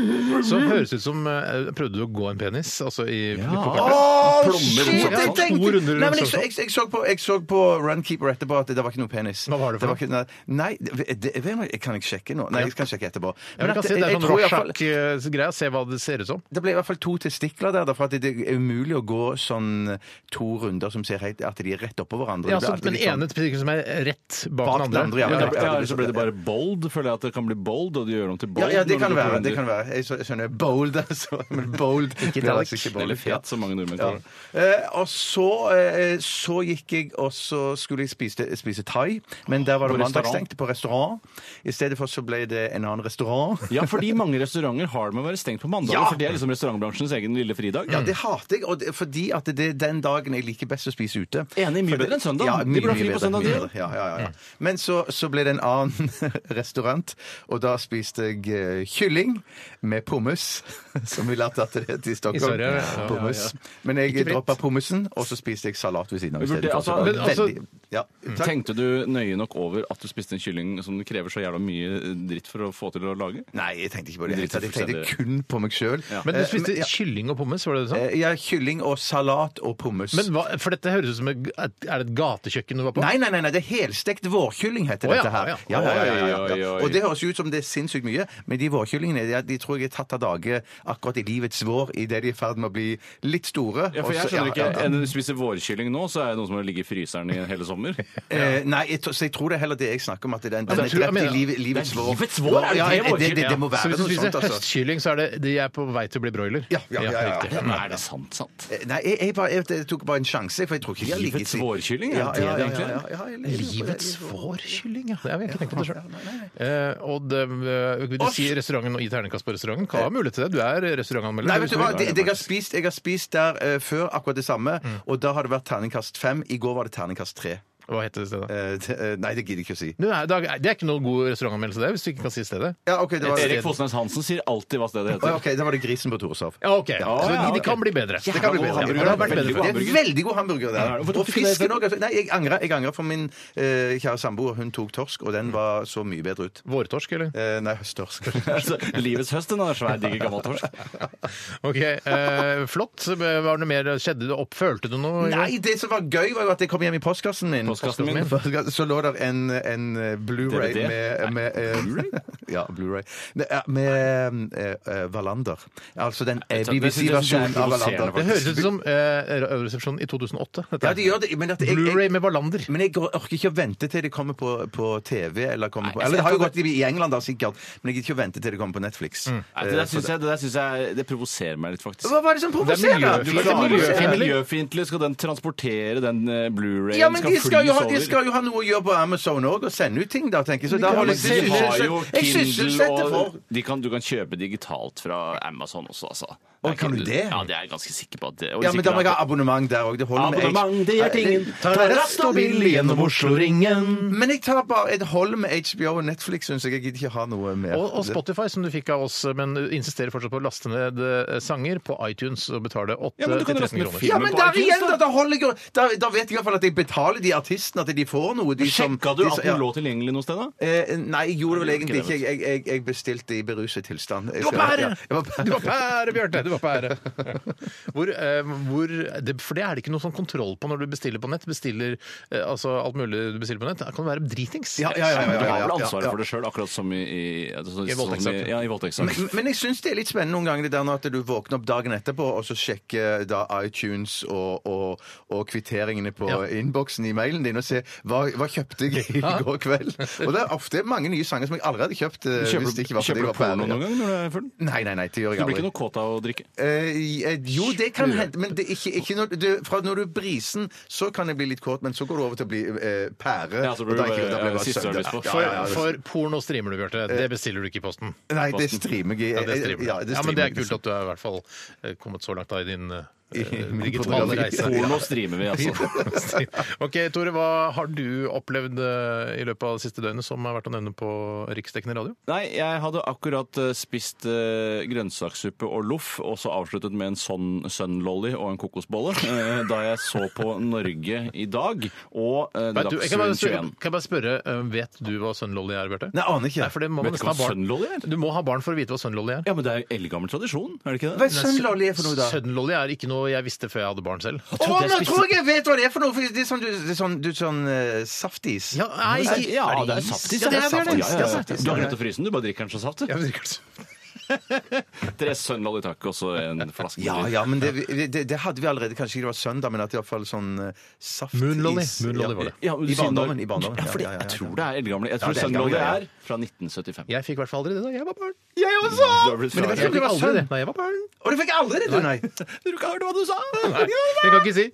Speaker 7: så høres det ut som eh, Prøvde du å gå en penis? Altså i på kartet?
Speaker 3: Åh,
Speaker 8: Plommer
Speaker 3: shit!
Speaker 8: rundt
Speaker 3: Jeg
Speaker 8: Sognsvann.
Speaker 3: tenkte
Speaker 7: To runder rundt
Speaker 3: Nei, men jeg, så-
Speaker 7: Sognsvann.
Speaker 3: jeg, jeg, så på, jeg så på Runkeeper etterpå at det, var ikke noe penis.
Speaker 7: Hva var det for
Speaker 3: ikke, nei, nei, det, det, vet du hva, jeg kan ikke sjekke nå. Nei, jeg kan sjekke etterpå.
Speaker 7: Ja, men jeg
Speaker 3: at
Speaker 7: kan si
Speaker 3: jeg-
Speaker 7: Det er
Speaker 3: jeg
Speaker 7: sånn
Speaker 3: tror i hvert fall-
Speaker 7: Rorschach-greia. Se hva det ser ut som.
Speaker 3: Det ble i hvert fall to testikler der, da, for at det det er umulig å gå sånn to runder som ser helt, at de er rett oppå hverandre.
Speaker 7: Ja, altså, så,
Speaker 3: Det blir alltid
Speaker 7: men
Speaker 3: litt sånn-
Speaker 7: ene prikken som er rett bak,
Speaker 3: Bak
Speaker 7: den andre.
Speaker 3: ja,
Speaker 8: Ja,
Speaker 3: men det-
Speaker 8: eller så ble det bare bold. Føler jeg at det kan bli bold, og de gjør om til bold.
Speaker 3: ja, ja, det
Speaker 8: når
Speaker 3: kan
Speaker 8: du går på
Speaker 3: være. det
Speaker 8: runder.
Speaker 3: kan være. Jeg skjø- skjønner bold, altså. Men bold blir det altså ikke bold.
Speaker 8: Eller fet, som mange nordmenn
Speaker 3: Ja.
Speaker 8: kaller det.
Speaker 3: Eh, og så, eh, så gikk jeg, og så skulle jeg spise, spise thai, men der var det
Speaker 8: På restaurant?
Speaker 3: mandagsstengt på restaurant. I stedet for så ble det en annen restaurant.
Speaker 8: Ja, fordi mange restauranter har det med å være stengt på mandager.
Speaker 3: Ja!
Speaker 8: For det er liksom restaurantbransjens egen lille fridag.
Speaker 3: Ja,
Speaker 7: Mm.
Speaker 3: det hater jeg, og det, fordi at det er den dagen jeg liker best å spise ute.
Speaker 8: Enig, mye
Speaker 3: For det-
Speaker 8: bedre enn søndag.
Speaker 3: Ja,
Speaker 8: De
Speaker 3: mye,
Speaker 8: burde ha
Speaker 3: mye
Speaker 8: fri på
Speaker 3: bedre,
Speaker 8: søndag,
Speaker 3: mye
Speaker 8: de.
Speaker 3: bedre. Ja, ja, ja.
Speaker 7: Mm.
Speaker 3: Men så, så ble det en annen restaurant, og da spiste jeg eh, kylling med pommes, som vi lærte at det heter i Stockholm.
Speaker 7: I Sverige, ja, ja, ja.
Speaker 3: Pommes. Men jeg
Speaker 7: fritt.
Speaker 3: droppa pommesen, og så spiste jeg salat ved siden av. i
Speaker 8: Vurder-
Speaker 3: stedet for.
Speaker 8: altså,
Speaker 3: Så det
Speaker 7: men
Speaker 3: var
Speaker 7: altså-
Speaker 3: veldig- ja, takk.
Speaker 8: Mm. Tenkte du nøye nok over at du spiste en kylling som det krever så jævla mye dritt for å få til å lage?
Speaker 3: Nei, jeg tenkte ikke på det. Jeg
Speaker 8: Dritt i
Speaker 3: tenkte, jeg tenkte kun på meg Eh, sjøl.
Speaker 7: Eh, Men du spiste kylling og pommes, var det det du sa?
Speaker 3: Eh, Ja, kylling og salat og pommes.
Speaker 7: Men hva, for dette høres ut som et, er det et gatekjøkken du var på?
Speaker 3: Nei, nei, nei, nei, det er helstekt vårkylling heter
Speaker 7: Å, ja,
Speaker 3: dette her.
Speaker 7: ja.
Speaker 8: Oi, oi, oi.
Speaker 3: Og det høres jo ut som det er sinnssykt mye, men de vårkyllingene de, de tror jeg er tatt av dage akkurat i livets vår idet de er i ferd med å bli litt store.
Speaker 8: Ja, for
Speaker 3: Og
Speaker 8: jeg
Speaker 3: så-
Speaker 8: skjønner ikke.
Speaker 3: ja, ja, ja.
Speaker 8: En- Når du spiser vårkylling nå, så er det noe som har ligget i fryseren i hele sommer.
Speaker 3: Eh, nei, jeg, tror- så jeg tror det er heller det jeg snakker om, at den, den
Speaker 7: jeg
Speaker 3: er
Speaker 7: tror- jeg
Speaker 3: drept i
Speaker 7: mener-
Speaker 3: liv, livets
Speaker 8: Det er
Speaker 3: vår.
Speaker 8: livets vår, er det
Speaker 3: ja,
Speaker 8: det
Speaker 3: det, det, det,
Speaker 8: vårkylling?
Speaker 3: må
Speaker 7: Så hvis
Speaker 3: være
Speaker 7: du
Speaker 3: noe
Speaker 7: spiser
Speaker 3: sånt, altså.
Speaker 7: høstkylling, så er det de er på vei til å bli broiler?
Speaker 3: Ja, ja, ja, ja.
Speaker 7: riktig.
Speaker 8: Men er det sant, sant?
Speaker 3: Eh, Nei, jeg, jeg, bare, jeg, tok bare en sjanse, for jeg tror ikke de har ligget
Speaker 8: Livets vårkylling, er
Speaker 3: Ja,
Speaker 8: det det
Speaker 3: ja, ja,
Speaker 8: egentlig?
Speaker 3: ja, ja, jeg lurer på det.
Speaker 7: Livets vårkylling, ja. Jeg har ikke tenkt på det sjøl. Eh, og det, eh, vil du si restauranten og gi terningkast på restauranten? Kan ha mulighet til det. Du er restaurantanmelder.
Speaker 3: Nei, vet du hva?
Speaker 7: som-
Speaker 3: Det, det jeg, har Mm. spist, jeg har spist der eh, før akkurat det samme, og da har det vært terningkast fem. I går var det terningkast tre.
Speaker 7: Hva heter det stedet?
Speaker 3: Eh, t- eh, nei, det gidder jeg ikke å si.
Speaker 7: Nei, det er det er ikke noe god restaurantanmeldelse, det, hvis du ikke kan si stedet.
Speaker 3: Ja, OK, det var,
Speaker 8: Erik Fosnes eh, Hansen sier alltid hva stedet
Speaker 3: Å,
Speaker 8: heter.
Speaker 3: ja, ok, da var det grisen på Torshov.
Speaker 7: Ja, OK. så
Speaker 8: ja,
Speaker 7: de kan bli bedre.
Speaker 3: Det kan bli
Speaker 8: god
Speaker 3: bedre.
Speaker 8: hamburger.
Speaker 3: Ja, det har
Speaker 8: Veldig
Speaker 3: vært
Speaker 8: god
Speaker 3: bedre. Det er
Speaker 8: hamburger.
Speaker 3: veldig god hamburger der.
Speaker 8: Hvorfor tok
Speaker 3: Og
Speaker 8: du ikke det
Speaker 3: fisken òg. Nei, jeg angrer. Jeg angrer, for min eh, kjære samboer hun tok torsk, og den var så mye bedre ut.
Speaker 7: Vårtorsk, eller?
Speaker 3: Eh, nei, høsttorsk.
Speaker 8: Altså, livets høst, den er svær, diger gammel torsk.
Speaker 7: OK, eh, flott. Var det mer, skjedde det opp? Følte du noe?
Speaker 3: Nei, det som var gøy, var jo at jeg kom hjem i postkassen min.
Speaker 8: Postkassen min.
Speaker 3: Postkassen- Så lå der en, en eh, Blu-ray
Speaker 8: DVD?
Speaker 3: med, med eh, Ja, Blu-ray. Ne- ja, Med eh, eh, Wallander. Altså den eh,
Speaker 8: Det- det- det- det-
Speaker 3: BBC-versjonen
Speaker 8: det-
Speaker 3: av
Speaker 8: det-
Speaker 7: Det
Speaker 3: Wallander.
Speaker 7: høres ut som eh, Radioresepsjonen i 2008. dette
Speaker 3: Ja,
Speaker 7: her.
Speaker 3: det gjør det, men at jeg,
Speaker 7: Blu-ray
Speaker 3: jeg,
Speaker 7: med Wallander.
Speaker 3: men jeg orker ikke å vente til det kommer på, på TV. Eller, kommer på,
Speaker 8: Nei,
Speaker 3: eller det har jo
Speaker 8: jeg-
Speaker 3: gått i i England, da, sikkert. Men jeg gidder ikke å vente til det kommer på Netflix.
Speaker 8: Nei, det der syns jeg, det der synes jeg det provoserer meg litt, faktisk.
Speaker 3: Hva var det som
Speaker 7: Det er
Speaker 3: provoserer?
Speaker 7: miljø-
Speaker 8: Du
Speaker 7: Hva
Speaker 8: vet, det er
Speaker 7: faen?
Speaker 8: miljø-
Speaker 7: Miljøfiendtlig.
Speaker 8: Miljøfiendtlig skal den transportere den eh, Blu-rayen.
Speaker 3: Ja, men
Speaker 8: skal
Speaker 3: de skal, jo ha, de
Speaker 8: flys
Speaker 3: skal
Speaker 8: over.
Speaker 3: jo ha noe å gjøre på Amazon òg, og sende ut ting, da, tenker jeg. Så da
Speaker 8: Ja,
Speaker 3: holder
Speaker 8: men
Speaker 3: jeg
Speaker 8: de har
Speaker 3: sysselsett-
Speaker 8: jo
Speaker 3: Jeg
Speaker 8: Kindle
Speaker 3: sysselsetter
Speaker 8: og
Speaker 3: for
Speaker 8: de kan, Du kan kjøpe digitalt fra Amazon også, altså.
Speaker 3: Å,
Speaker 8: Der
Speaker 3: kan du det?
Speaker 8: Ja, det er jeg ganske sikker på. At det, og
Speaker 3: Ja,
Speaker 8: hvis
Speaker 3: men
Speaker 8: ikke
Speaker 3: da
Speaker 8: det
Speaker 3: må jeg
Speaker 8: er-
Speaker 3: ha abonnement der òg. Det holder med
Speaker 8: Abonnement, det gjør tingen.
Speaker 3: Ta rast og bil gjennom
Speaker 7: Oslo-ringen.
Speaker 3: Men jeg tar bare et hold med HBO og Netflix, syns jeg. Jeg gidder ikke ha noe mer.
Speaker 7: Og, og Spotify, som du fikk av oss, men insisterer fortsatt på å laste ned eh, sanger på iTunes og betale
Speaker 8: Ja, men du kan
Speaker 7: 8-13
Speaker 8: laste ned
Speaker 7: kroner.
Speaker 8: film.
Speaker 3: ja,
Speaker 8: Men
Speaker 3: men
Speaker 8: på
Speaker 3: der
Speaker 8: iTunes,
Speaker 3: igjen,
Speaker 8: da?
Speaker 3: da! Da, holder jeg, da, da vet jeg iallfall at jeg betaler de artistene, at de får noe. De som,
Speaker 8: Sjekka du
Speaker 3: de
Speaker 8: at
Speaker 3: som-
Speaker 8: den
Speaker 3: ja.
Speaker 8: lå tilgjengelig noe sted, da?
Speaker 3: Eh, nei, jeg gjorde det vel egentlig
Speaker 8: ikke
Speaker 3: ikke. Jeg, jeg, jeg bestilte i beruset tilstand. Jeg
Speaker 7: Du var
Speaker 3: skal-
Speaker 7: pære!
Speaker 3: ja, jeg var
Speaker 7: Du
Speaker 3: pære.
Speaker 7: var pære, Bjarte! Du var pære. Hvor, eh, hvor det, for det er det ikke noe sånn kontroll på når du bestiller på nett. Bestiller eh, altså alt mulig du bestiller på nett. Det kan være dritings.
Speaker 3: Ja, ja, ja, ja,
Speaker 8: Du
Speaker 3: ja, ja,
Speaker 8: har vel
Speaker 3: ja, ja.
Speaker 8: ansvaret for det sjøl, akkurat som i, i, altså,
Speaker 7: I
Speaker 8: som
Speaker 7: voldtektssaken.
Speaker 8: ja, i voldtektssaken.
Speaker 3: Men, men jeg syns det er litt spennende noen ganger det der nå at du våkner opp dagen etterpå og så sjekker da iTunes og, og, og kvitteringene på
Speaker 7: Ja.
Speaker 3: innboksen i mailen din og ser hva, hva kjøpte jeg i går kveld. Og det er ofte mange nye sanger som jeg aldri hadde kjøpt. eh, hvis det ikke
Speaker 8: Kjøper,
Speaker 3: var fordi
Speaker 8: kjøper
Speaker 3: jeg
Speaker 8: du
Speaker 3: var
Speaker 8: porno
Speaker 3: ferdig.
Speaker 8: noen gang når du er full?
Speaker 3: Nei, nei, nei, det gjør
Speaker 8: Du
Speaker 3: jeg
Speaker 8: blir ikke
Speaker 3: aldri.
Speaker 8: noe kåt av å drikke?
Speaker 3: Eh, eh, jo, det kan hende, men det er ikke, ikke når, du, fra når du er brisen, så kan jeg bli litt kåt, men så går du over til å bli eh, pære.
Speaker 8: Ja, så blir
Speaker 3: og da
Speaker 8: du
Speaker 3: er ikke-
Speaker 8: bare-
Speaker 3: da blir jeg bare
Speaker 8: siste du har lyst på.
Speaker 3: søvnig. Ja,
Speaker 7: For,
Speaker 3: ja, Eh. ja, det-
Speaker 7: for porno streamer du, Bjarte. Det bestiller du ikke i posten.
Speaker 3: Nei, det streamer jeg.
Speaker 7: Ja, det streamer. du.
Speaker 3: Ja,
Speaker 7: ja, men det er
Speaker 3: streamer jeg.
Speaker 7: kult at du er i hvert fall eh, kommet så langt da i din eh,
Speaker 3: min
Speaker 7: digitale
Speaker 3: porno-
Speaker 7: reise.
Speaker 8: Porno streamer vi, altså.
Speaker 7: ok, Tore, hva har du opplevd eh, i løpet av det siste døgnet som er verdt å nevne på riksdekkende radio?
Speaker 8: Nei, jeg hadde akkurat eh, spist eh, grønnsakssuppe og loff, og så avsluttet med en sånn sunlolly og en kokosbolle, eh, da jeg så på Norge i dag og eh,
Speaker 7: Vet du, jeg kan, bare
Speaker 8: Dagsrevyen
Speaker 7: spørre,
Speaker 8: 21.
Speaker 7: kan jeg bare spørre, eh, vet du hva Sunlolly er, Bjarte?
Speaker 3: Nei, aner ikke.
Speaker 7: Nei, for det må
Speaker 8: Vet
Speaker 7: man
Speaker 8: du
Speaker 7: nesten
Speaker 8: hva
Speaker 7: ha barn.
Speaker 8: Sunlolly er?
Speaker 7: Du må ha barn for å vite hva Sunlolly er.
Speaker 8: Ja, men det er eldgammel tradisjon, er det ikke
Speaker 3: Hva
Speaker 8: det?
Speaker 3: er sønnlolje for noe, da?
Speaker 7: Sunlolly er ikke noe jeg visste før jeg hadde barn selv.
Speaker 3: Å,
Speaker 8: trodde jeg
Speaker 3: nå
Speaker 8: spiste-
Speaker 3: tror jeg jeg vet hva det er for noe! For det er sånn, du, det er sånn, du, sånn eh, saftis.
Speaker 7: Ja, nei,
Speaker 8: Ja,
Speaker 7: ikke- er
Speaker 8: det er
Speaker 7: is?
Speaker 8: saftis.
Speaker 7: Ja, det er
Speaker 8: saftis.
Speaker 7: det.
Speaker 8: Ja, ja,
Speaker 7: Ja,
Speaker 8: ja. Du har glemt å fryse den, du bare drikker den som saft. du.
Speaker 7: Jeg vet ikke hva det er.
Speaker 8: Tre sunlolly takk, og så en flaske.
Speaker 3: Ja, ja, men det, det, det hadde vi allerede. Kanskje ikke det var søndag, men at det i hvert fall sånn eh, saftis
Speaker 7: Moonlolly. Moonlolly var det.
Speaker 8: Ja, men du
Speaker 3: I
Speaker 8: sier
Speaker 3: barndommen.
Speaker 8: når-
Speaker 3: I barndommen.
Speaker 8: Ja, for det, jeg tror det er eldgamle. Jeg
Speaker 3: Ja,
Speaker 8: tror
Speaker 3: det er
Speaker 8: sunlolly
Speaker 3: eldgamle, ja.
Speaker 8: er fra 1975.
Speaker 7: Jeg fikk i hvert fall aldri det da jeg var barn.
Speaker 8: Jeg også!
Speaker 3: Men det
Speaker 8: sånn-
Speaker 7: Jeg
Speaker 3: det
Speaker 7: fikk
Speaker 3: var
Speaker 7: aldri
Speaker 3: sønn.
Speaker 7: det da jeg var barn.
Speaker 3: Og du fikk aldri det, du, nei?
Speaker 8: Du ikke hørte hva du sa!
Speaker 7: Nei, jeg kan ikke si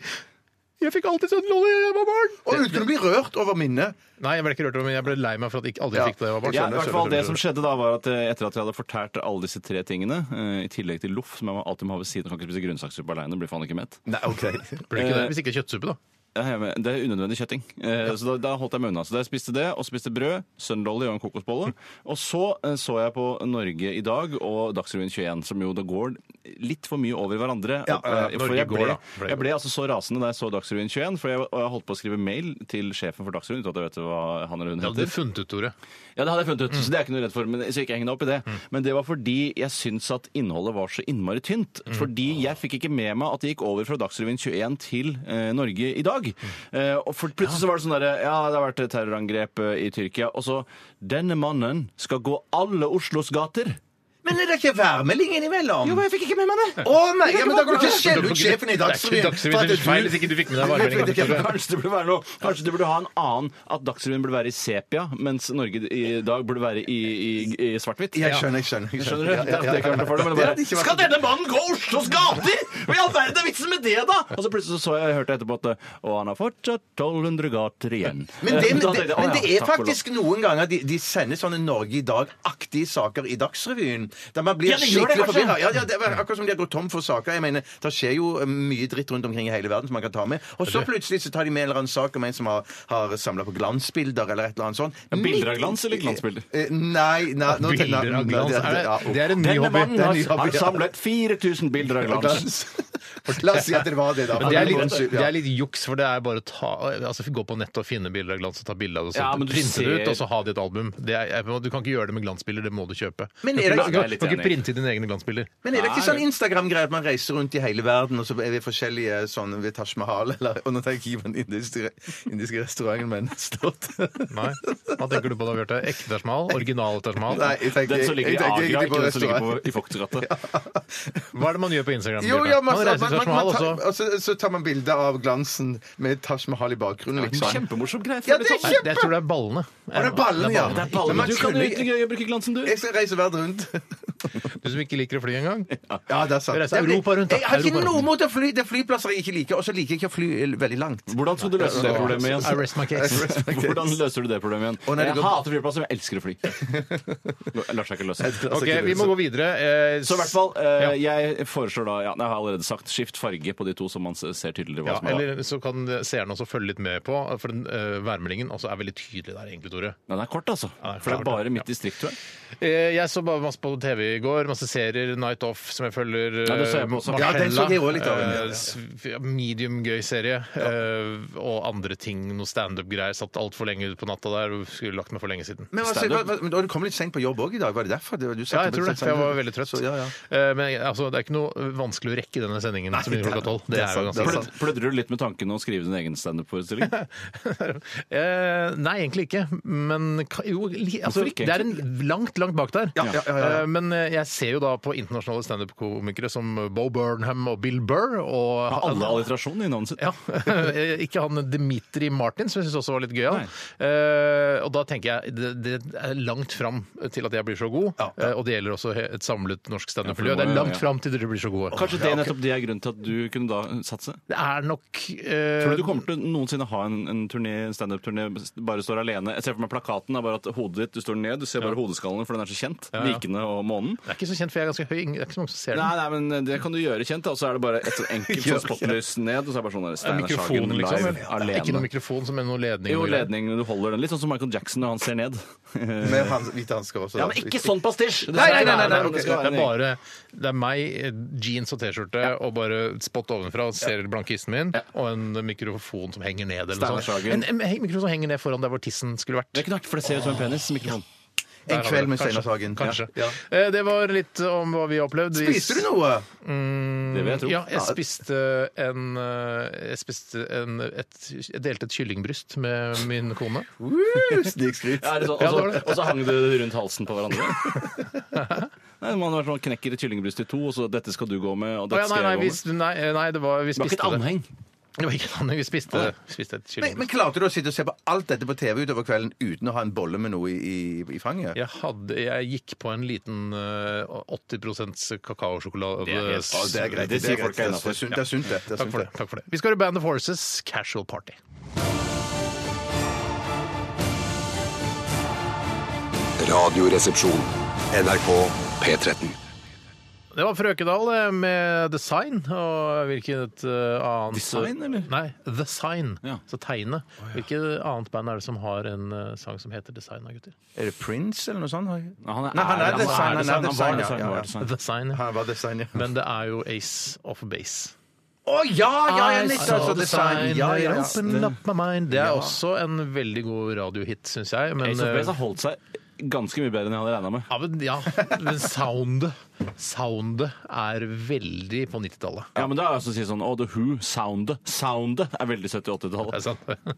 Speaker 7: jeg fikk alltid sånn lolly da jeg var barn.
Speaker 3: Og uten å bli rørt over minnet.
Speaker 7: Nei, jeg ble ikke rørt over, men jeg ble lei meg for at jeg ikke- aldri
Speaker 3: Ja.
Speaker 7: fikk det da jeg var barn.
Speaker 8: Ja, i
Speaker 7: Skjønner,
Speaker 8: hvert
Speaker 7: skjønner,
Speaker 8: fall Det som
Speaker 7: skjønner.
Speaker 8: skjedde da, var at eh, etter at jeg hadde fortært alle disse tre tingene, eh, i tillegg til loff, som jeg må alltid må ha ved siden kan ikke spise grønnsakssuppe aleine, blir faen ikke mett.
Speaker 3: Nei, OK.
Speaker 7: Blir det ikke det? Hvis ikke kjøttsuppe, da.
Speaker 8: Jeg er med- Det er unødvendig kjøtting. Eh, Så da, da holdt jeg meg unna. Så da jeg spiste det, og spiste brød, søndolly og en kokosbolle. Og så eh, så jeg på Norge i dag og Dagsrevyen 21, som jo da går litt for mye over hverandre.
Speaker 3: Ja, ja,
Speaker 8: Eh,
Speaker 7: ja,
Speaker 8: for
Speaker 7: Norge
Speaker 8: jeg
Speaker 7: går,
Speaker 8: ble,
Speaker 7: da. Ble
Speaker 8: jeg
Speaker 7: går.
Speaker 8: ble altså så rasende da jeg så Dagsrevyen 21, for jeg, og jeg holdt på å skrive mail til sjefen for Dagsrevyen uten at jeg vet hva han eller hun
Speaker 7: Det hadde du
Speaker 8: heter.
Speaker 7: funnet ut, Tore.
Speaker 8: Ja, det hadde jeg funnet ut, så det er jeg ikke noe redd for. Men, så ikke heng deg opp i det.
Speaker 3: Mm.
Speaker 8: Men det var fordi jeg syns at innholdet var så innmari tynt.
Speaker 3: Mm.
Speaker 8: Fordi jeg fikk ikke med meg at det gikk over fra Dagsrevyen 21 til eh, Norge i dag.
Speaker 3: Mm.
Speaker 8: Eh, og for plutselig så var det sånn derre Ja, det har vært et terrorangrep eh, i Tyrkia. Og så Denne mannen skal gå alle Oslos gater.
Speaker 3: Men er det ikke værmelding innimellom?
Speaker 8: jeg fikk ikke med meg det!
Speaker 3: Å nei, ja, men da kan du ikke skjelle ut sjefen i
Speaker 7: Det er ikke
Speaker 3: Dagsrevyen!
Speaker 7: Dagsrevyen sin feil hvis ikke du fikk med deg værmeldingen.
Speaker 3: Det er ikke-
Speaker 8: Kanskje det burde være noe Kanskje det burde ha en annen At Dagsrevyen burde være i sepia, mens Norge i dag burde være i, i, i svart-hvitt.
Speaker 3: Jeg skjønner, jeg skjønner. jeg
Speaker 8: Skjønner
Speaker 3: skjønner.
Speaker 8: du? Det er ikke vært noe for det, men det er
Speaker 3: Det hadde
Speaker 8: bare,
Speaker 3: ikke vært-
Speaker 8: Skal denne mannen gå Oslos gater?! Hva i all verden er vitsen med det, da?! Og så plutselig så, så jeg, hørte jeg etterpå at Og han har fortsatt 1200 gater igjen.
Speaker 3: Men det,
Speaker 8: Eh,
Speaker 3: men
Speaker 8: da tenkte
Speaker 3: det,
Speaker 8: jeg, «Å
Speaker 3: men
Speaker 8: ja,
Speaker 3: det er
Speaker 8: takk for lov».
Speaker 3: faktisk noen ganger de, de sender sånne Norge i dag-aktige saker i Dagsrevyen. Da man blir
Speaker 8: Ja, det gjør det,
Speaker 3: skikkelig
Speaker 8: kanskje.
Speaker 3: forvirra. Ja, ja, det er akkurat som de har gått tom for saker. Jeg mener, Det skjer jo eh, mye dritt rundt omkring i hele verden som man kan ta med. Og så plutselig så tar de med en eller annen sak om en som har, har samla på glansbilder eller et eller annet sånt.
Speaker 8: bilder av glans eller glansbilder?
Speaker 3: Eh, Nei, nei nå-
Speaker 7: Bilder av
Speaker 3: nei,
Speaker 7: glans.
Speaker 3: det-
Speaker 7: Er
Speaker 3: ja.
Speaker 7: det, det er en ny
Speaker 8: Denne
Speaker 7: hobby.
Speaker 8: mannen
Speaker 3: det er
Speaker 8: har,
Speaker 3: en ny hobby,
Speaker 8: har
Speaker 3: ja.
Speaker 8: samlet 4000 bilder av glans.
Speaker 3: La oss si at det var det, da.
Speaker 7: Men det er, litt,
Speaker 3: Unnskyld,
Speaker 7: det
Speaker 3: ja.
Speaker 7: er litt juks, for det er bare å ta, altså, gå på nettet og finne bilder av glans og ta bilde av det. og så
Speaker 8: Ja, men du
Speaker 7: printe det ut,
Speaker 8: ser-
Speaker 7: og så ha det i et album. Det er, jeg- du kan ikke gjøre det med glansbilder, det må du kjøpe.
Speaker 3: Men
Speaker 7: du
Speaker 3: er
Speaker 7: kan,
Speaker 8: Jeg er
Speaker 3: det-
Speaker 7: ikke- du
Speaker 8: litt
Speaker 7: kan ikke
Speaker 8: enig.
Speaker 7: printe dine egne glansbilder.
Speaker 3: Men er det ikke
Speaker 8: Nei.
Speaker 3: sånn Instagram-greie at man reiser rundt i hele verden, og så er vi forskjellige sånn ved Taj Mahal eller Og nå tenker jeg ikke på den indiske, indiske restauranten, men slått.
Speaker 7: Nei. Hva tenker du på da, Bjarte? Ekte Tajmal? Original Tajmal?
Speaker 3: Nei, jeg tenker,
Speaker 8: Den som ligger i
Speaker 3: jeg tenker
Speaker 8: Agra,
Speaker 3: egentlig
Speaker 8: ikke den som ligger på,
Speaker 3: restaurant.
Speaker 8: i Voktgata.
Speaker 7: Hva er det man gjør på Instagram?
Speaker 3: Jo,
Speaker 7: Bjarte?
Speaker 3: ja, man,
Speaker 7: man
Speaker 3: man,
Speaker 7: reiser
Speaker 3: man,
Speaker 7: til Taj
Speaker 3: man,
Speaker 7: Mahal, og
Speaker 3: tar,
Speaker 7: så
Speaker 3: og så, så tar man bilde av glansen med Taj Mahal i bakgrunnen, liksom.
Speaker 8: Kjempemorsomt greie.
Speaker 3: Ja, det er
Speaker 7: Nei,
Speaker 3: kjempe-
Speaker 7: Jeg tror det er ballene.
Speaker 3: det er ballene, ja.
Speaker 8: Det er
Speaker 3: Men
Speaker 8: ballen.
Speaker 3: man
Speaker 8: Du kan jo
Speaker 3: kunne-
Speaker 8: ikke bruke glansen, du.
Speaker 3: Jeg skal reise verden rundt.
Speaker 7: Du som ikke liker å fly engang.
Speaker 3: Ja, det er sant.
Speaker 7: Vi reiser Europa rundt, da.
Speaker 3: Jeg har ikke
Speaker 7: Europa rundt.
Speaker 3: noe mot å fly. Det er flyplasser jeg ikke liker, og så liker jeg ikke å fly eh, veldig langt.
Speaker 8: Hvordan skal du løse det problemet
Speaker 7: I
Speaker 8: igjen?
Speaker 7: rest my case.
Speaker 8: Hvordan løser du det problemet igjen?
Speaker 3: Å, nei,
Speaker 8: jeg
Speaker 3: det går-
Speaker 8: hater flyplasser, men jeg elsker å fly. Det lar seg altså ikke løse.
Speaker 7: Ok, vi må gå videre. Eh,
Speaker 8: Så i hvert fall, eh, jeg foreslår da ja, nei, Jeg har allerede sagt skift farge på de to, så man s- ser tydeligere hva
Speaker 7: Ja,
Speaker 8: som er
Speaker 7: eller så kan seerne også følge litt med på, for den eh, værmeldingen også er veldig tydelig der, egentlig, Tore.
Speaker 8: Den er kort, altså.
Speaker 7: Ja, den er
Speaker 8: For det er
Speaker 7: kort, ja.
Speaker 8: bare mitt distrikt, tror jeg.
Speaker 7: Eh, jeg så bare masse på TV i går, masse serier, Night Off, som jeg følger. eh,
Speaker 8: Ja, det så jeg på også.
Speaker 7: Marcella,
Speaker 3: Ja, den så jeg også litt av, ja, ja, ja.
Speaker 7: eh, s- ja, medium gøy serie. eh, og andre ting, noe standup-greier. Satt altfor lenge ut på natta der og skulle lagt meg for lenge siden.
Speaker 3: Men altså, hva,
Speaker 8: Standup.
Speaker 3: hva, men du kom litt sent på jobb òg i dag, var det derfor? Det var- Du
Speaker 7: Ja,
Speaker 3: satt
Speaker 7: jeg tror
Speaker 3: opp-
Speaker 7: det, for jeg var veldig trøtt.
Speaker 3: Så, ja, ja.
Speaker 7: Eh, Men jeg- altså, det er ikke noe vanskelig å rekke denne sendingen som begynner klokka tolv. Det
Speaker 3: det
Speaker 7: er
Speaker 3: er
Speaker 7: jo
Speaker 3: sant, det er
Speaker 7: ganske
Speaker 3: sant.
Speaker 8: Plød- Plødrer du litt med tanken å skrive din egen standup-forestilling?
Speaker 7: Eh, nei, egentlig ikke. Men ka- jo, li- altså,
Speaker 8: Hvorfor ikke,
Speaker 7: det er en langt, langt bak der.
Speaker 3: Ja, ja, ja, ja.
Speaker 7: Eh, men eh, jeg ser jo da på internasjonale standup-komikere som Bo Burnham og Bill Burr. Og
Speaker 8: Alle alliterasjoner i navnet sitt.
Speaker 7: ja, eh, Ikke han Dimitri Martin, som jeg syns også var litt gøyal. Eh, og da tenker jeg det, det er langt fram til at jeg blir så god. Eh, og det gjelder også he- et samlet norsk standup-miljø.
Speaker 8: Ja, for
Speaker 7: det
Speaker 8: det må
Speaker 7: er
Speaker 8: jo-
Speaker 7: langt
Speaker 8: ja.
Speaker 7: fram til dere blir så gode.
Speaker 8: Kanskje det er nettopp det er grunnen til at du kunne da satse?
Speaker 7: Det er nok eh,
Speaker 8: Tror du du kommer til å noensinne ha en, en turné, standup-turné bare står alene? Jeg ser for meg plakaten er bare at hodet ditt, du står ned, du ser bare hodeskallen for den er så kjent.
Speaker 7: ja.
Speaker 8: Vikene og månen.
Speaker 7: Det er ikke så kjent, for jeg er ganske høy. Det er ikke så mange som ser den.
Speaker 8: Nei, nei, men eh, det kan du gjøre kjent, da, og så er det bare et sånn enkelt sånn spotlys ned, og så er det bare sånn der
Speaker 7: Det er
Speaker 8: Steinar Sagen
Speaker 7: mikrofonen, liksom?
Speaker 8: live
Speaker 7: eller? Det er Ikke noe
Speaker 8: alene.
Speaker 7: mikrofon som er noe ledning?
Speaker 8: Jo,
Speaker 7: og greier.
Speaker 8: ledning, du holder den litt sånn som Michael Jackson når han ser ned.
Speaker 3: Med hans, hvite hansker også.
Speaker 8: Ja,
Speaker 3: da.
Speaker 8: men ikke sånn pastisj! Det
Speaker 3: Nei,
Speaker 8: skal
Speaker 3: nei, nei,
Speaker 8: være-
Speaker 3: nei, nei,
Speaker 8: men
Speaker 3: ok.
Speaker 8: det skal
Speaker 7: Det
Speaker 8: være
Speaker 7: er
Speaker 8: en-
Speaker 7: bare det er meg, eh, jeans og T-skjorte, og bare spot ovenfra, og ser blankisten min, og en mikrofon som henger ned. Eller noe
Speaker 8: Steinar
Speaker 7: sånt. En,
Speaker 8: Sagen.
Speaker 7: en he- mikrofon som henger ned foran der hvor tissen skulle vært.
Speaker 8: Det er ikke noe artig, for det ser ut som en penis. Mikrofon.
Speaker 3: En
Speaker 7: Der har
Speaker 3: kveld
Speaker 7: vi
Speaker 3: med
Speaker 7: det. Kanskje.
Speaker 3: Steinar Sagen.
Speaker 7: Kanskje.
Speaker 3: Ja.
Speaker 7: Eh, Det var litt om hva vi har opplevd. Vi-
Speaker 3: Spiste du noe?
Speaker 8: Det vil jeg tro.
Speaker 7: Ja, jeg spiste en, eh, jeg spiste en et, Jeg delte et kyllingbryst med min kone.
Speaker 3: Uh, Snikskryt.
Speaker 8: Ja, er det sånn?
Speaker 7: Ja, det var
Speaker 8: Og så-
Speaker 7: det.
Speaker 8: og så hang det rundt halsen på hverandre. Nei, Man har sånn knekker et kyllingbryst i to, og så 'dette skal du gå med', og
Speaker 7: Å
Speaker 8: 'dette
Speaker 7: ja, nei,
Speaker 8: skal
Speaker 7: nei,
Speaker 8: jeg gå
Speaker 7: vi,
Speaker 8: med'.
Speaker 7: s- nei, eh, nei, det var, vi
Speaker 8: Det var
Speaker 7: spiste
Speaker 8: ikke et anheng.
Speaker 7: Det var ikke et anheng. Vi spiste, det. Vi spiste et
Speaker 3: Men,
Speaker 7: kyllingbryst.
Speaker 3: men klarte du å sitte og se på alt dette på TV utover kvelden uten å ha en bolle med noe i, i, i fanget?
Speaker 7: Jeg, hadde, jeg gikk på en liten eh, 80 kakaosjokolade.
Speaker 8: Det er helt-
Speaker 3: Ja, det er greit.
Speaker 8: Det sier
Speaker 3: er greit.
Speaker 8: folk er
Speaker 3: Det er sunt, det. er sunt, det. det, er
Speaker 7: Takk
Speaker 3: sunt,
Speaker 7: for det. takk for det. Vi skal høre Band of Horses Casual Party.
Speaker 6: Radioresepsjon.
Speaker 1: NRK P13.
Speaker 7: Det var Frøkedal eh, med The Sign. Og hvilket eh, annet
Speaker 8: The Sign, eller?
Speaker 7: Nei, The Sign.
Speaker 8: Ja.
Speaker 7: Så Tegnet. Hvilket annet band er det som har en eh, sang som heter The Sign, da, gutter?
Speaker 3: Er det Prince eller noe sånt?
Speaker 8: Nei, han er-
Speaker 3: Nei, han er
Speaker 8: han er
Speaker 3: design, han er
Speaker 8: design,
Speaker 3: design,
Speaker 8: var
Speaker 3: ja,
Speaker 8: design,
Speaker 3: ja,
Speaker 8: var
Speaker 3: ja.
Speaker 8: design.
Speaker 7: The Sign, ja.
Speaker 3: Han var design, ja.
Speaker 7: Men det er jo Ace of Base.
Speaker 3: Å ja, ja! Jeg
Speaker 7: I
Speaker 3: likte altså
Speaker 7: saw the sign,
Speaker 3: design. Ja, ja,
Speaker 7: I
Speaker 3: ja.
Speaker 7: opened up my mind. Det er også en veldig god radiohit, syns jeg. Men,
Speaker 8: Ace of Base har holdt seg ganske mye bedre enn jeg hadde regna med.
Speaker 7: Ja, men, ja, men soundet Soundet er veldig på 90-tallet.
Speaker 8: Ja, men det er altså å si sånn, å, The Who, soundet, soundet er veldig 70-80-tallet.
Speaker 7: Det er sant.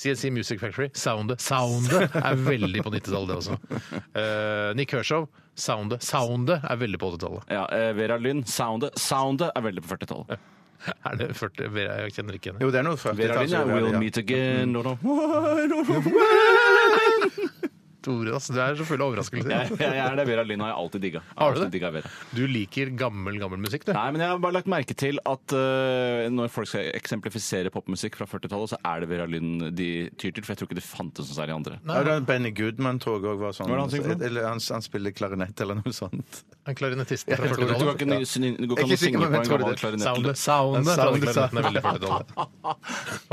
Speaker 7: CNC Music Factory, soundet. Soundet er veldig på 90-tallet, det også. Eh, Nick Hershow, soundet. Soundet er veldig på 80-tallet.
Speaker 8: Ja, eh, Vera Lynn, soundet, soundet er veldig på 40-tallet.
Speaker 7: Er det 40? Jeg kjenner ikke henne.
Speaker 3: Jo, det er noe
Speaker 8: Vera Lynn eh, er 'We'll
Speaker 3: førtitall.
Speaker 8: Meet Again' og da
Speaker 7: Mm.
Speaker 8: Why don't we-
Speaker 7: Tore, ass, du er så full av overraskelser.
Speaker 8: Jeg jeg er det. Vera Lynn har jeg alltid digga.
Speaker 7: Har du det?
Speaker 8: det?
Speaker 7: Du liker gammel, gammel musikk, du.
Speaker 8: Nei, men jeg har bare lagt merke til at eh, når folk skal eksemplifisere popmusikk fra 40-tallet, så er det Vera Lynn de tyr til, for jeg tror ikke det fantes noen særlig andre.
Speaker 3: Ja, da Benny Goodman tror jeg òg var sånn.
Speaker 8: Hva er det han synger for noe?
Speaker 3: eller han, han spiller klarinett eller noe sånt.
Speaker 7: En klarinettist fra
Speaker 8: Du kan ikke,
Speaker 7: Førdedalen.
Speaker 8: ny- syn- du kan
Speaker 3: Ikke
Speaker 8: ikke
Speaker 3: sikker,
Speaker 8: synge på
Speaker 3: men jeg
Speaker 8: en
Speaker 3: tror
Speaker 8: gammel
Speaker 3: det.
Speaker 8: klarinett.
Speaker 7: Soundet. Soundet fra
Speaker 3: Soundet,
Speaker 7: Klarinetten
Speaker 3: soundet.
Speaker 7: er veldig Førdedalen.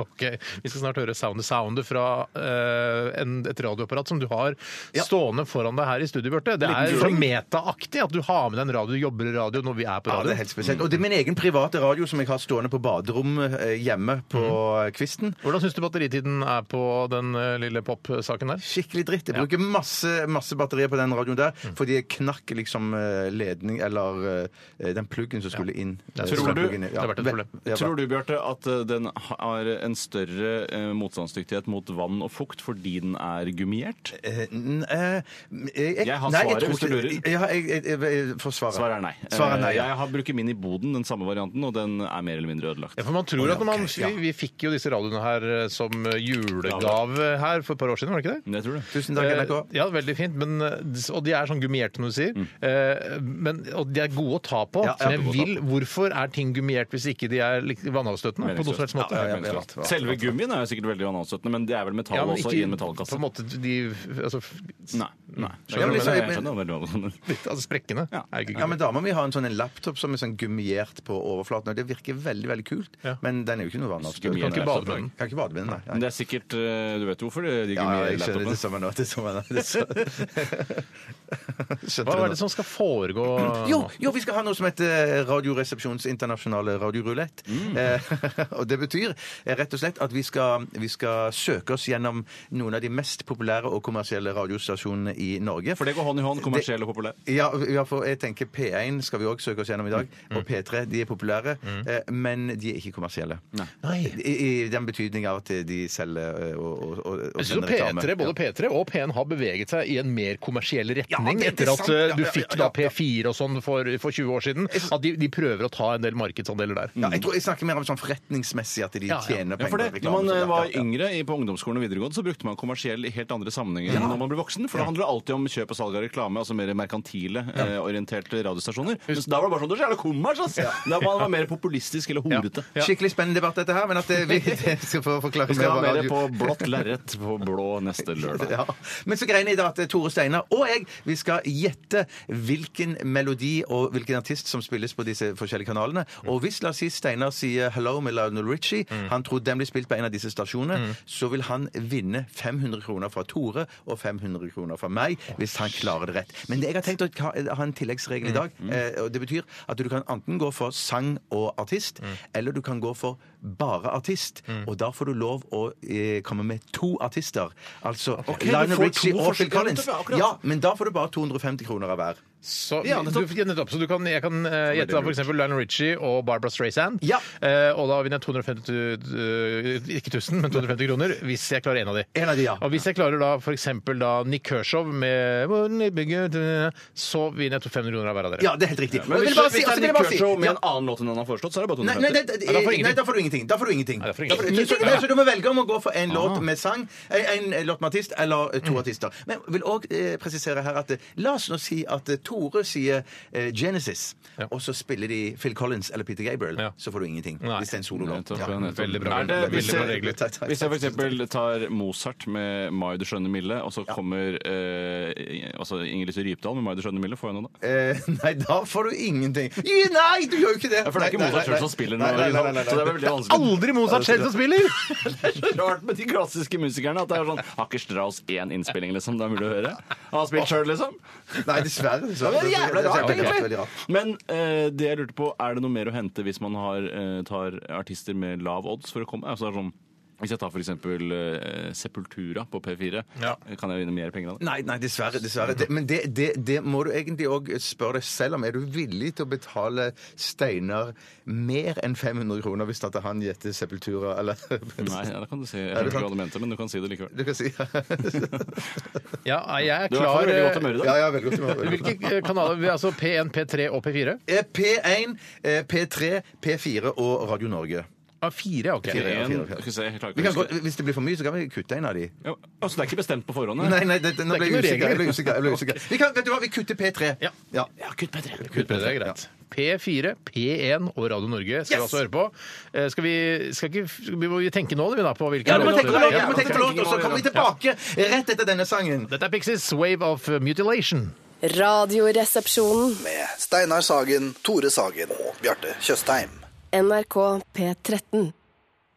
Speaker 7: Ok, Vi skal snart høre Soundet Soundet fra eh, en, et radioapparat som du har stående foran deg her i studio, Bjarte. Det er så metaaktig at du har med deg en radio, du jobber i radio når vi er på
Speaker 3: Ja, det er
Speaker 7: radio.
Speaker 3: helt spesielt. Og det er min egen private radio som jeg har stående på baderommet eh, hjemme på eh, kvisten.
Speaker 7: Hvordan syns du batteritiden er på den eh, lille pop-saken der?
Speaker 3: Skikkelig dritt. Jeg bruker masse, masse batterier på den radioen der, fordi jeg knakk liksom eh, ledning Eller eh, den pluggen som skulle inn.
Speaker 7: Det er
Speaker 3: Eh,
Speaker 7: tror
Speaker 3: som
Speaker 8: du-
Speaker 3: pluggen, ja.
Speaker 7: det har vært et problem.
Speaker 3: Ja,
Speaker 8: Tror du, Bjarte, at eh, den har en større eh, motstandsdyktighet mot vann og fukt fordi den er gummiert?
Speaker 3: eh, n- eh, jeg,
Speaker 8: Jeg har
Speaker 3: nei,
Speaker 8: svaret,
Speaker 3: tror
Speaker 8: hvis du
Speaker 3: ikke-
Speaker 8: lurer.
Speaker 3: Ja, jeg, jeg, jeg, jeg får svaret.
Speaker 8: Svaret er nei. Eh,
Speaker 3: Svaret er nei, ja.
Speaker 8: Jeg har bruker min i boden, den samme varianten, og den er mer eller mindre ødelagt.
Speaker 7: Ja, for man tror at når man, vi, vi fikk jo disse radioene her eh, som julegave her for et par år siden, var det ikke det?
Speaker 8: Men Jeg tror det.
Speaker 3: Tusen takk, NRK.
Speaker 7: Eh, Ja, veldig fint. Men, eh, og de er sånn gummierte, som du sier.
Speaker 8: Mm.
Speaker 7: Eh, Men, og de er gode å ta på.
Speaker 3: Ja, ja,
Speaker 7: men jeg
Speaker 3: gode å ta
Speaker 7: vil, hvorfor er ting gummiert hvis ikke de er lik- vannavstøtende? På noen som helst måte.
Speaker 3: Ja, ja, ja,
Speaker 8: Meningsløst.
Speaker 3: ja.
Speaker 8: Selve gummien er jo sikkert veldig vannavstøtende, men det er vel metall
Speaker 7: Ja, men
Speaker 8: også, i en metallkasse.
Speaker 7: på en måte de altså, f-
Speaker 8: Nei. nei.
Speaker 3: Ja,
Speaker 8: Skjønner
Speaker 3: men
Speaker 8: du?
Speaker 3: liksom-
Speaker 8: Jeg skjønner veldig hva du mener.
Speaker 7: altså sprekkene.
Speaker 8: Ja.
Speaker 7: Er ikke
Speaker 3: Ja, men
Speaker 7: gummi.
Speaker 3: Dama mi har en sånn en laptop som er sånn gummiert på overflaten. og Det virker veldig veldig kult,
Speaker 7: Ja.
Speaker 3: men den er jo ikke noe vannavstøt.
Speaker 8: Gummiert
Speaker 3: Kan ikke
Speaker 7: laptop,
Speaker 3: bade med den. Kan ikke bade med den, nei.
Speaker 8: Men det er sikkert eh, Du vet jo hvorfor de de
Speaker 3: Ja, ja, jeg skjønner
Speaker 8: gummilaptopene
Speaker 3: det samme nå. Det samme nå. Det samme. Skjønte
Speaker 7: Hva
Speaker 3: du
Speaker 7: er det
Speaker 3: nå?
Speaker 7: som skal foregå
Speaker 3: Jo, jo, vi skal ha noe som heter Radioresepsjons internasjonale radiorulett.
Speaker 7: Mm.
Speaker 3: Eh, og det betyr eh, rett og slett at vi skal, vi skal søke oss gjennom noen av de mest populære og kommersielle radiostasjonene i Norge.
Speaker 8: For det går hånd i hånd, kommersiell og populær.
Speaker 3: Ja, ja, for jeg tenker P1 skal vi òg søke oss gjennom i dag. Og P3. De er populære, eh, men de er ikke kommersielle.
Speaker 7: Nei.
Speaker 3: I, I den betydning av at de selger eh, og, og, og, og
Speaker 7: Jeg synes jo
Speaker 3: sender reklame.
Speaker 7: P3, Både P3 og P1 har beveget seg i en mer kommersiell
Speaker 3: Ja,
Speaker 7: retning
Speaker 3: det er
Speaker 7: etter at
Speaker 3: sant.
Speaker 7: eh, du
Speaker 3: Ja, ja,
Speaker 7: fikk
Speaker 3: ja,
Speaker 7: da P4 og sånn for, for 20 år siden. At de, de prøver å ta en del markedsandeler der.
Speaker 3: Ja, jeg tror jeg snakker mer om sånn forretningsmessig at de
Speaker 7: Ja, ja.
Speaker 3: tjener
Speaker 8: Ja,
Speaker 3: penger.
Speaker 8: for
Speaker 3: på
Speaker 8: det, når
Speaker 3: reklame,
Speaker 8: man
Speaker 3: så
Speaker 8: eh,
Speaker 3: det-
Speaker 8: var
Speaker 3: ja, ja.
Speaker 8: yngre i- på ungdomsskolen og videregående, så brukte man kommersiell i helt andre sammenhenger enn når man ble voksen. For da handler det alltid om kjøp og salg av reklame, altså mer merkantile eh, orienterte radiostasjoner. Mens da var det bare sånn Det er så jævla kommers, ass! Da var man var mer populistisk eller horete.
Speaker 7: Ja.
Speaker 3: Skikkelig spennende debatt, dette her, men at eh, vi det skal få forklare
Speaker 8: Vi skal ha
Speaker 3: mer
Speaker 8: mer
Speaker 3: radio.
Speaker 8: på blått lerret på blå neste lørdag.
Speaker 3: Ja. Men så greiene er det at eh, Tore Steinar og jeg vi skal gjette hvilken melodi og hvilken artist som spilles på disse forskjellige kanalene. Og hvis la oss si Steinar sier 'Hello' med Lionel Richie, han tror den blir spilt på en av disse stasjonene, så vil han vinne 500 kroner fra Tore og 500 kroner fra meg hvis han klarer det rett. Men det jeg har tenkt å ka- ha en
Speaker 8: Mm.
Speaker 3: tilleggsregel i dag, eh, og det betyr at du kan enten gå for sang og artist,
Speaker 8: Mm.
Speaker 3: eller du kan gå for bare artist. Og da får du lov å eh, komme med to artister. Altså
Speaker 8: Ok, du
Speaker 3: Lionel
Speaker 8: får
Speaker 3: Richie
Speaker 8: to
Speaker 3: og Phil
Speaker 8: forskjellige
Speaker 3: Collins.
Speaker 8: minutter, akkurat.
Speaker 3: Ja, men da får du bare 250 kroner av hver.
Speaker 7: Så,
Speaker 8: Ja,
Speaker 7: du,
Speaker 8: nettopp.
Speaker 7: ja, nettopp. Så du kan, jeg kan eh, gjette da for eksempel Lionel Richie og Barbara Streisand.
Speaker 3: Ja.
Speaker 7: Eh, og da vinner jeg 250 eh, Ikke 1000, men 250 kroner hvis jeg klarer en av de.
Speaker 3: En av de, ja.
Speaker 7: Og hvis jeg klarer da for eksempel da Nick Kershaw med Wouldn't it be good, eh, Så vinner jeg 500 kroner av hver av dere.
Speaker 3: Ja, det er helt riktig.
Speaker 8: Men
Speaker 3: Og jeg
Speaker 8: hvis,
Speaker 3: vil bare
Speaker 8: hvis
Speaker 3: si-
Speaker 8: det
Speaker 3: altså,
Speaker 8: er
Speaker 3: jeg vil
Speaker 8: Nick
Speaker 3: bare si-
Speaker 8: Kershaw med
Speaker 3: ja.
Speaker 8: en annen låt enn han har foreslått, så er det bare
Speaker 3: Nei, nei,
Speaker 8: 250.
Speaker 3: det,
Speaker 7: Ja, da får du ingenting.
Speaker 3: nei, da får du ingenting. Da får du ingenting.
Speaker 7: da får du
Speaker 3: Da får du-
Speaker 7: ingenting.
Speaker 3: så, så, så du må velge om å gå for
Speaker 8: Ah.
Speaker 3: en låt med sang, eh, en låt med artist eller eh,
Speaker 8: Mm.
Speaker 3: to artister. Men jeg vil òg eh, presisere her at eh, la oss nå si at eh, Tore sier eh, Genesis,
Speaker 7: Ja.
Speaker 3: og så spiller de Phil Collins eller Peter Gabriel,
Speaker 7: Ja.
Speaker 3: så får du ingenting.
Speaker 7: Nei.
Speaker 3: Hvis det er en sololåt.
Speaker 8: Nettopp,
Speaker 3: Ja.
Speaker 8: nettopp.
Speaker 7: Veldig bra.
Speaker 8: Er det,
Speaker 7: Veldig
Speaker 8: hvis,
Speaker 7: bra
Speaker 8: jeg,
Speaker 7: regler.
Speaker 3: Takk, takk,
Speaker 8: hvis jeg
Speaker 3: takk.
Speaker 8: for eksempel tar Mozart med Mai du skjønne milde, og så kommer eh, altså Inger-Lise Rypdal med Mai du skjønne milde, får jeg noe da?
Speaker 3: Eh, nei, da får du ingenting. Jo, Nei, du gjør jo ikke det!
Speaker 8: Ja, for det er ikke
Speaker 3: Nei, nei,
Speaker 8: Mozart
Speaker 3: nei,
Speaker 8: selv som
Speaker 3: nei.
Speaker 8: spiller den.
Speaker 3: Nei, nei, nei, nei, nei.
Speaker 8: Så det er veldig vanskelig.
Speaker 7: Aldri Mozart selv som spiller!
Speaker 8: Det er rart med de klassiske musikerne at det er sånn Har ikke Strauss én innspilling, liksom? Det er mulig å høre. Han har spilt sjøl, liksom.
Speaker 3: Nei, dessverre. dessverre.
Speaker 8: Det er jævla rart,
Speaker 3: veldig
Speaker 8: egentlig.
Speaker 3: veldig rart.
Speaker 8: Men eh, det jeg lurte på, er det noe mer å hente hvis man har, eh, tar artister med lav odds for å komme? Altså, det er sånn, hvis jeg tar f.eks. Uh, Sepultura på P4,
Speaker 7: Ja.
Speaker 8: kan jeg vinne mer penger av det?
Speaker 3: Nei, nei, dessverre. dessverre. Det, men det, det, det må du egentlig òg spørre deg selv om. Er du villig til å betale Steinar mer enn 500 kroner hvis at han gjetter Sepultura, eller
Speaker 8: Nei, ja, det kan du si. Jeg
Speaker 3: Er
Speaker 8: skjønner
Speaker 3: det
Speaker 8: ikke
Speaker 3: sant?
Speaker 8: hva du mente, men du kan si det likevel.
Speaker 3: Du kan si
Speaker 7: Ja, jeg er
Speaker 8: Du er i hvert fall
Speaker 7: klar. eh,
Speaker 8: i veldig godt humør i
Speaker 3: Ja,
Speaker 8: dag.
Speaker 3: ja, veldig godt. humør, veldig godt.
Speaker 7: Hvilke eh, kanaler? vi- Altså P1, P3 og P4?
Speaker 3: Eh, P1, eh, P3, P4 og Radio Norge.
Speaker 7: Ah, fire, ok.
Speaker 3: Fire, ja.
Speaker 8: En, skal vi se, jeg klarer
Speaker 3: Vi kan
Speaker 8: ikke å
Speaker 3: gå,
Speaker 8: huske.
Speaker 3: hvis det blir for mye, så kan vi kutte en av de.
Speaker 8: Ja, altså, det er ikke bestemt på forhånd?
Speaker 3: Nei, nei, det,
Speaker 7: Det er
Speaker 3: nå ble
Speaker 7: ikke noe
Speaker 3: jeg usikker. Jeg ble
Speaker 7: regler.
Speaker 3: usikker. Jeg ble usikker. Vi kan, vet du hva, vi kutter P3.
Speaker 7: Ja.
Speaker 3: ja.
Speaker 8: Ja, kutt P3.
Speaker 7: Kutt på det, det er greit. P4, P1 og Radio Norge skal vi
Speaker 3: Yes!
Speaker 7: altså høre på. Eh, Skal vi, skal ikke, vi må tenke nå, vi da, på hvilke
Speaker 3: Ja, du må
Speaker 7: låter
Speaker 3: tenke på låt,
Speaker 7: det er.
Speaker 3: du må tenke på låt, og så kommer vi tilbake rett etter denne sangen.
Speaker 7: Dette er Pixies' Wave of Mutilation.
Speaker 4: Radioresepsjonen.
Speaker 5: med Steinar Sagen, Tore Sagen og Bjarte Tjøstheim.
Speaker 4: NRK P13.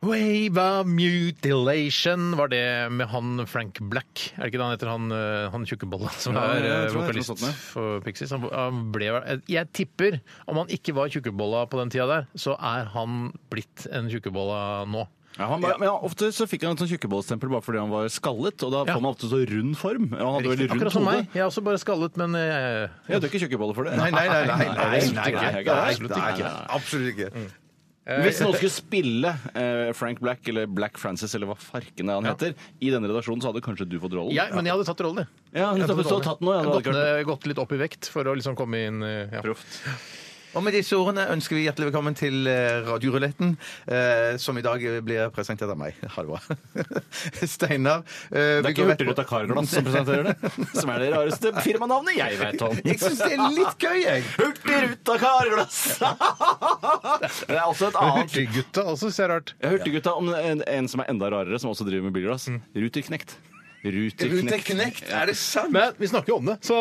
Speaker 7: Wave of mutilation var det med han Frank Black. Er det ikke det han heter, han, eh, han tjukkebolla som
Speaker 8: Ja,
Speaker 7: er
Speaker 8: jeg
Speaker 7: eh,
Speaker 8: tror det er noe sånt,
Speaker 7: vokalist
Speaker 8: ja.
Speaker 7: for Pixies? Han, han ble, vel- jeg tipper, om han ikke var tjukkebolla på den tida der, så er han blitt en tjukkebolla nå.
Speaker 8: Ja, han bare, men ja, ofte så fikk han et sånt tjukkebollstempel bare fordi han var skallet, og da
Speaker 7: Ja.
Speaker 8: får man ofte så rund form. Ja, han hadde veldig rundt
Speaker 7: Akkurat som
Speaker 8: hode.
Speaker 7: meg. Jeg er også bare skallet, men eh, jeg,
Speaker 8: Jeg døde ikke tjukkeboller for det.
Speaker 3: Nei, nei, nei. nei, nei,
Speaker 8: Absolutt
Speaker 3: nei,
Speaker 8: ikke.
Speaker 3: nei,
Speaker 8: Det er absolutt
Speaker 3: nei,
Speaker 8: ikke.
Speaker 3: nei, Absolutt ikke. Mm.
Speaker 8: Hvis noen skulle spille eh, Frank Black eller Black Francis eller hva farken er han heter, i denne redaksjonen, så hadde kanskje du fått rollen.
Speaker 7: jeg, men jeg hadde tatt rollen, jeg.
Speaker 8: Ja,
Speaker 7: Jeg
Speaker 8: nettopp.
Speaker 7: hadde
Speaker 8: Hvis du hadde tatt den nå, ja,
Speaker 7: rollen. gått,
Speaker 8: det hadde ikke vært
Speaker 7: ned- gått litt opp i vekt for å liksom komme inn eh, ja.
Speaker 8: proft.
Speaker 3: Og med disse ordene ønsker vi hjertelig velkommen til eh, Radioruletten, eh, som i dag blir presentert av meg. Ha det bra. Steinar. eh,
Speaker 8: Det
Speaker 3: vi
Speaker 8: er ikke
Speaker 3: går rett på-
Speaker 8: Hurtigruta Karglass som presenterer det, som er det rareste firmanavnet jeg vet om.
Speaker 3: Jeg syns det er litt gøy, jeg.
Speaker 8: Hurtigruta Karglass! Det er også et annet
Speaker 7: Hurtiggutta
Speaker 8: altså,
Speaker 7: også, ser jeg rart.
Speaker 8: Jeg hørte gutta om en, en som er enda rarere, som også driver med bilglass. Ruterknekt.
Speaker 3: Ruter Knekt, er det sant?
Speaker 7: Men vi snakker jo om det, så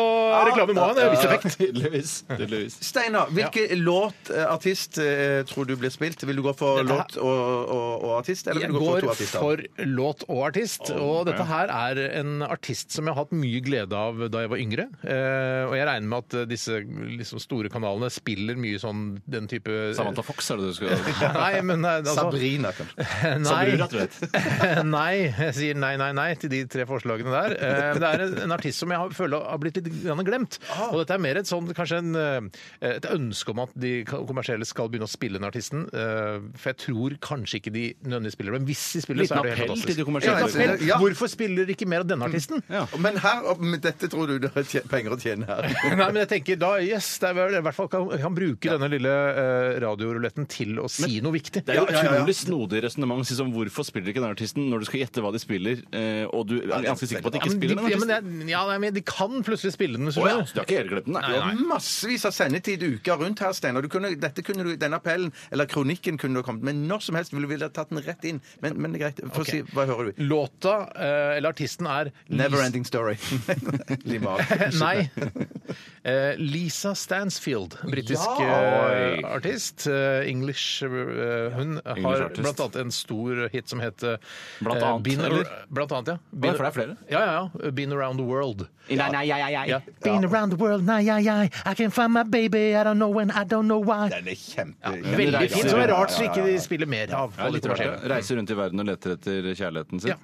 Speaker 7: reklame må ha en viss effekt.
Speaker 8: Tydeligvis. tydeligvis.
Speaker 3: Steinar, hvilken låt, eh, artist, eh, tror du blir spilt? Vil du gå for
Speaker 7: Dette her-
Speaker 3: låt og, og, og artist, eller
Speaker 7: Jeg
Speaker 3: vil du gå for
Speaker 7: går
Speaker 3: to artister?
Speaker 7: for låt og artist. Og dette her er en artist som jeg har hatt mye glede av da jeg var yngre. Eh, og jeg regner med at eh, disse liksom, store kanalene spiller mye sånn den type
Speaker 8: Samantha Fox er det du skulle
Speaker 7: Nei, men eh, altså,
Speaker 3: Sabrina, kanskje.
Speaker 8: Sabrina, tror
Speaker 7: Nei.
Speaker 8: jeg.
Speaker 7: nei. Jeg sier nei, nei, nei til de tre forslagene der. Eh, Men det er en- en artist som jeg har, føler har blitt litt grann glemt.
Speaker 8: Ah.
Speaker 7: Og dette er mer et sånn, kanskje en, eh, et ønske om at de ka- kommersielle skal begynne å spille den artisten. Eh, For jeg tror kanskje ikke de nødvendigvis spiller, men hvis de spiller, så er
Speaker 8: Liten
Speaker 7: det helt
Speaker 8: appell til
Speaker 7: fantastisk.
Speaker 8: de kommersielle.
Speaker 3: Ja, jeg ser det.
Speaker 7: Appell? Hvorfor spiller ikke mer av denne artisten?
Speaker 8: Ja.
Speaker 3: Men her, og med dette tror du det er tje- penger å tjene her.
Speaker 7: Nei, men jeg tenker da, yes, det er vel, i hvert fall kan, kan bruke denne lille eh, radioruletten til å si noe viktig.
Speaker 8: Det er jo
Speaker 3: Ja, ja, ja.
Speaker 8: utrolig snodig resonnement. Si som, hvorfor spiller ikke den artisten når du skal gjette hva de spiller, eh, og du er ganske sikker på at de
Speaker 7: Ja,
Speaker 8: ikke
Speaker 7: men de,
Speaker 8: spiller den
Speaker 7: ja, men
Speaker 8: artisten?
Speaker 7: jeg- ja, nei, men de kan plutselig spille den. hvis du
Speaker 8: Å ja,
Speaker 7: skjønner.
Speaker 8: så du har ikke helt glemt den?
Speaker 3: Du
Speaker 8: Nei,
Speaker 3: har massevis av sendetid uka rundt her, Steinar. Du kunne- Dette kunne du- Denne appellen eller kronikken kunne du ha kommet med når som helst. Ville du ville ha tatt den rett inn. Men, men det er greit. Få
Speaker 7: Ok.
Speaker 3: si, hva hører du?
Speaker 7: Låta, eh, eller artisten, er Lis-
Speaker 3: Neverending Story. Lima av.
Speaker 7: Nei. Eh, Lisa Stansfield, britisk
Speaker 8: Ja.
Speaker 7: eh, artist. eh, English eh, Hun har
Speaker 8: English artist.
Speaker 7: blant annet en stor hit som heter
Speaker 8: Blant
Speaker 7: eh,
Speaker 8: annet,
Speaker 7: Been Ar-
Speaker 8: eller?
Speaker 7: Blant annet, ja. Been-
Speaker 8: for det er flere.
Speaker 7: Ja, ja, ja. Been Around the World.
Speaker 8: Nei, nei, nei, nei,
Speaker 7: Ja. Been around the world, nei, nei, nei. I can find my baby, I don't know when, I don't know why.
Speaker 3: Den er kjempe...
Speaker 7: Veldig fint. Så det er rart så ikke de spiller mer av.
Speaker 8: Ja, litt rart, ja. Reiser rundt i verden og leter etter kjærligheten sin.
Speaker 7: Ja.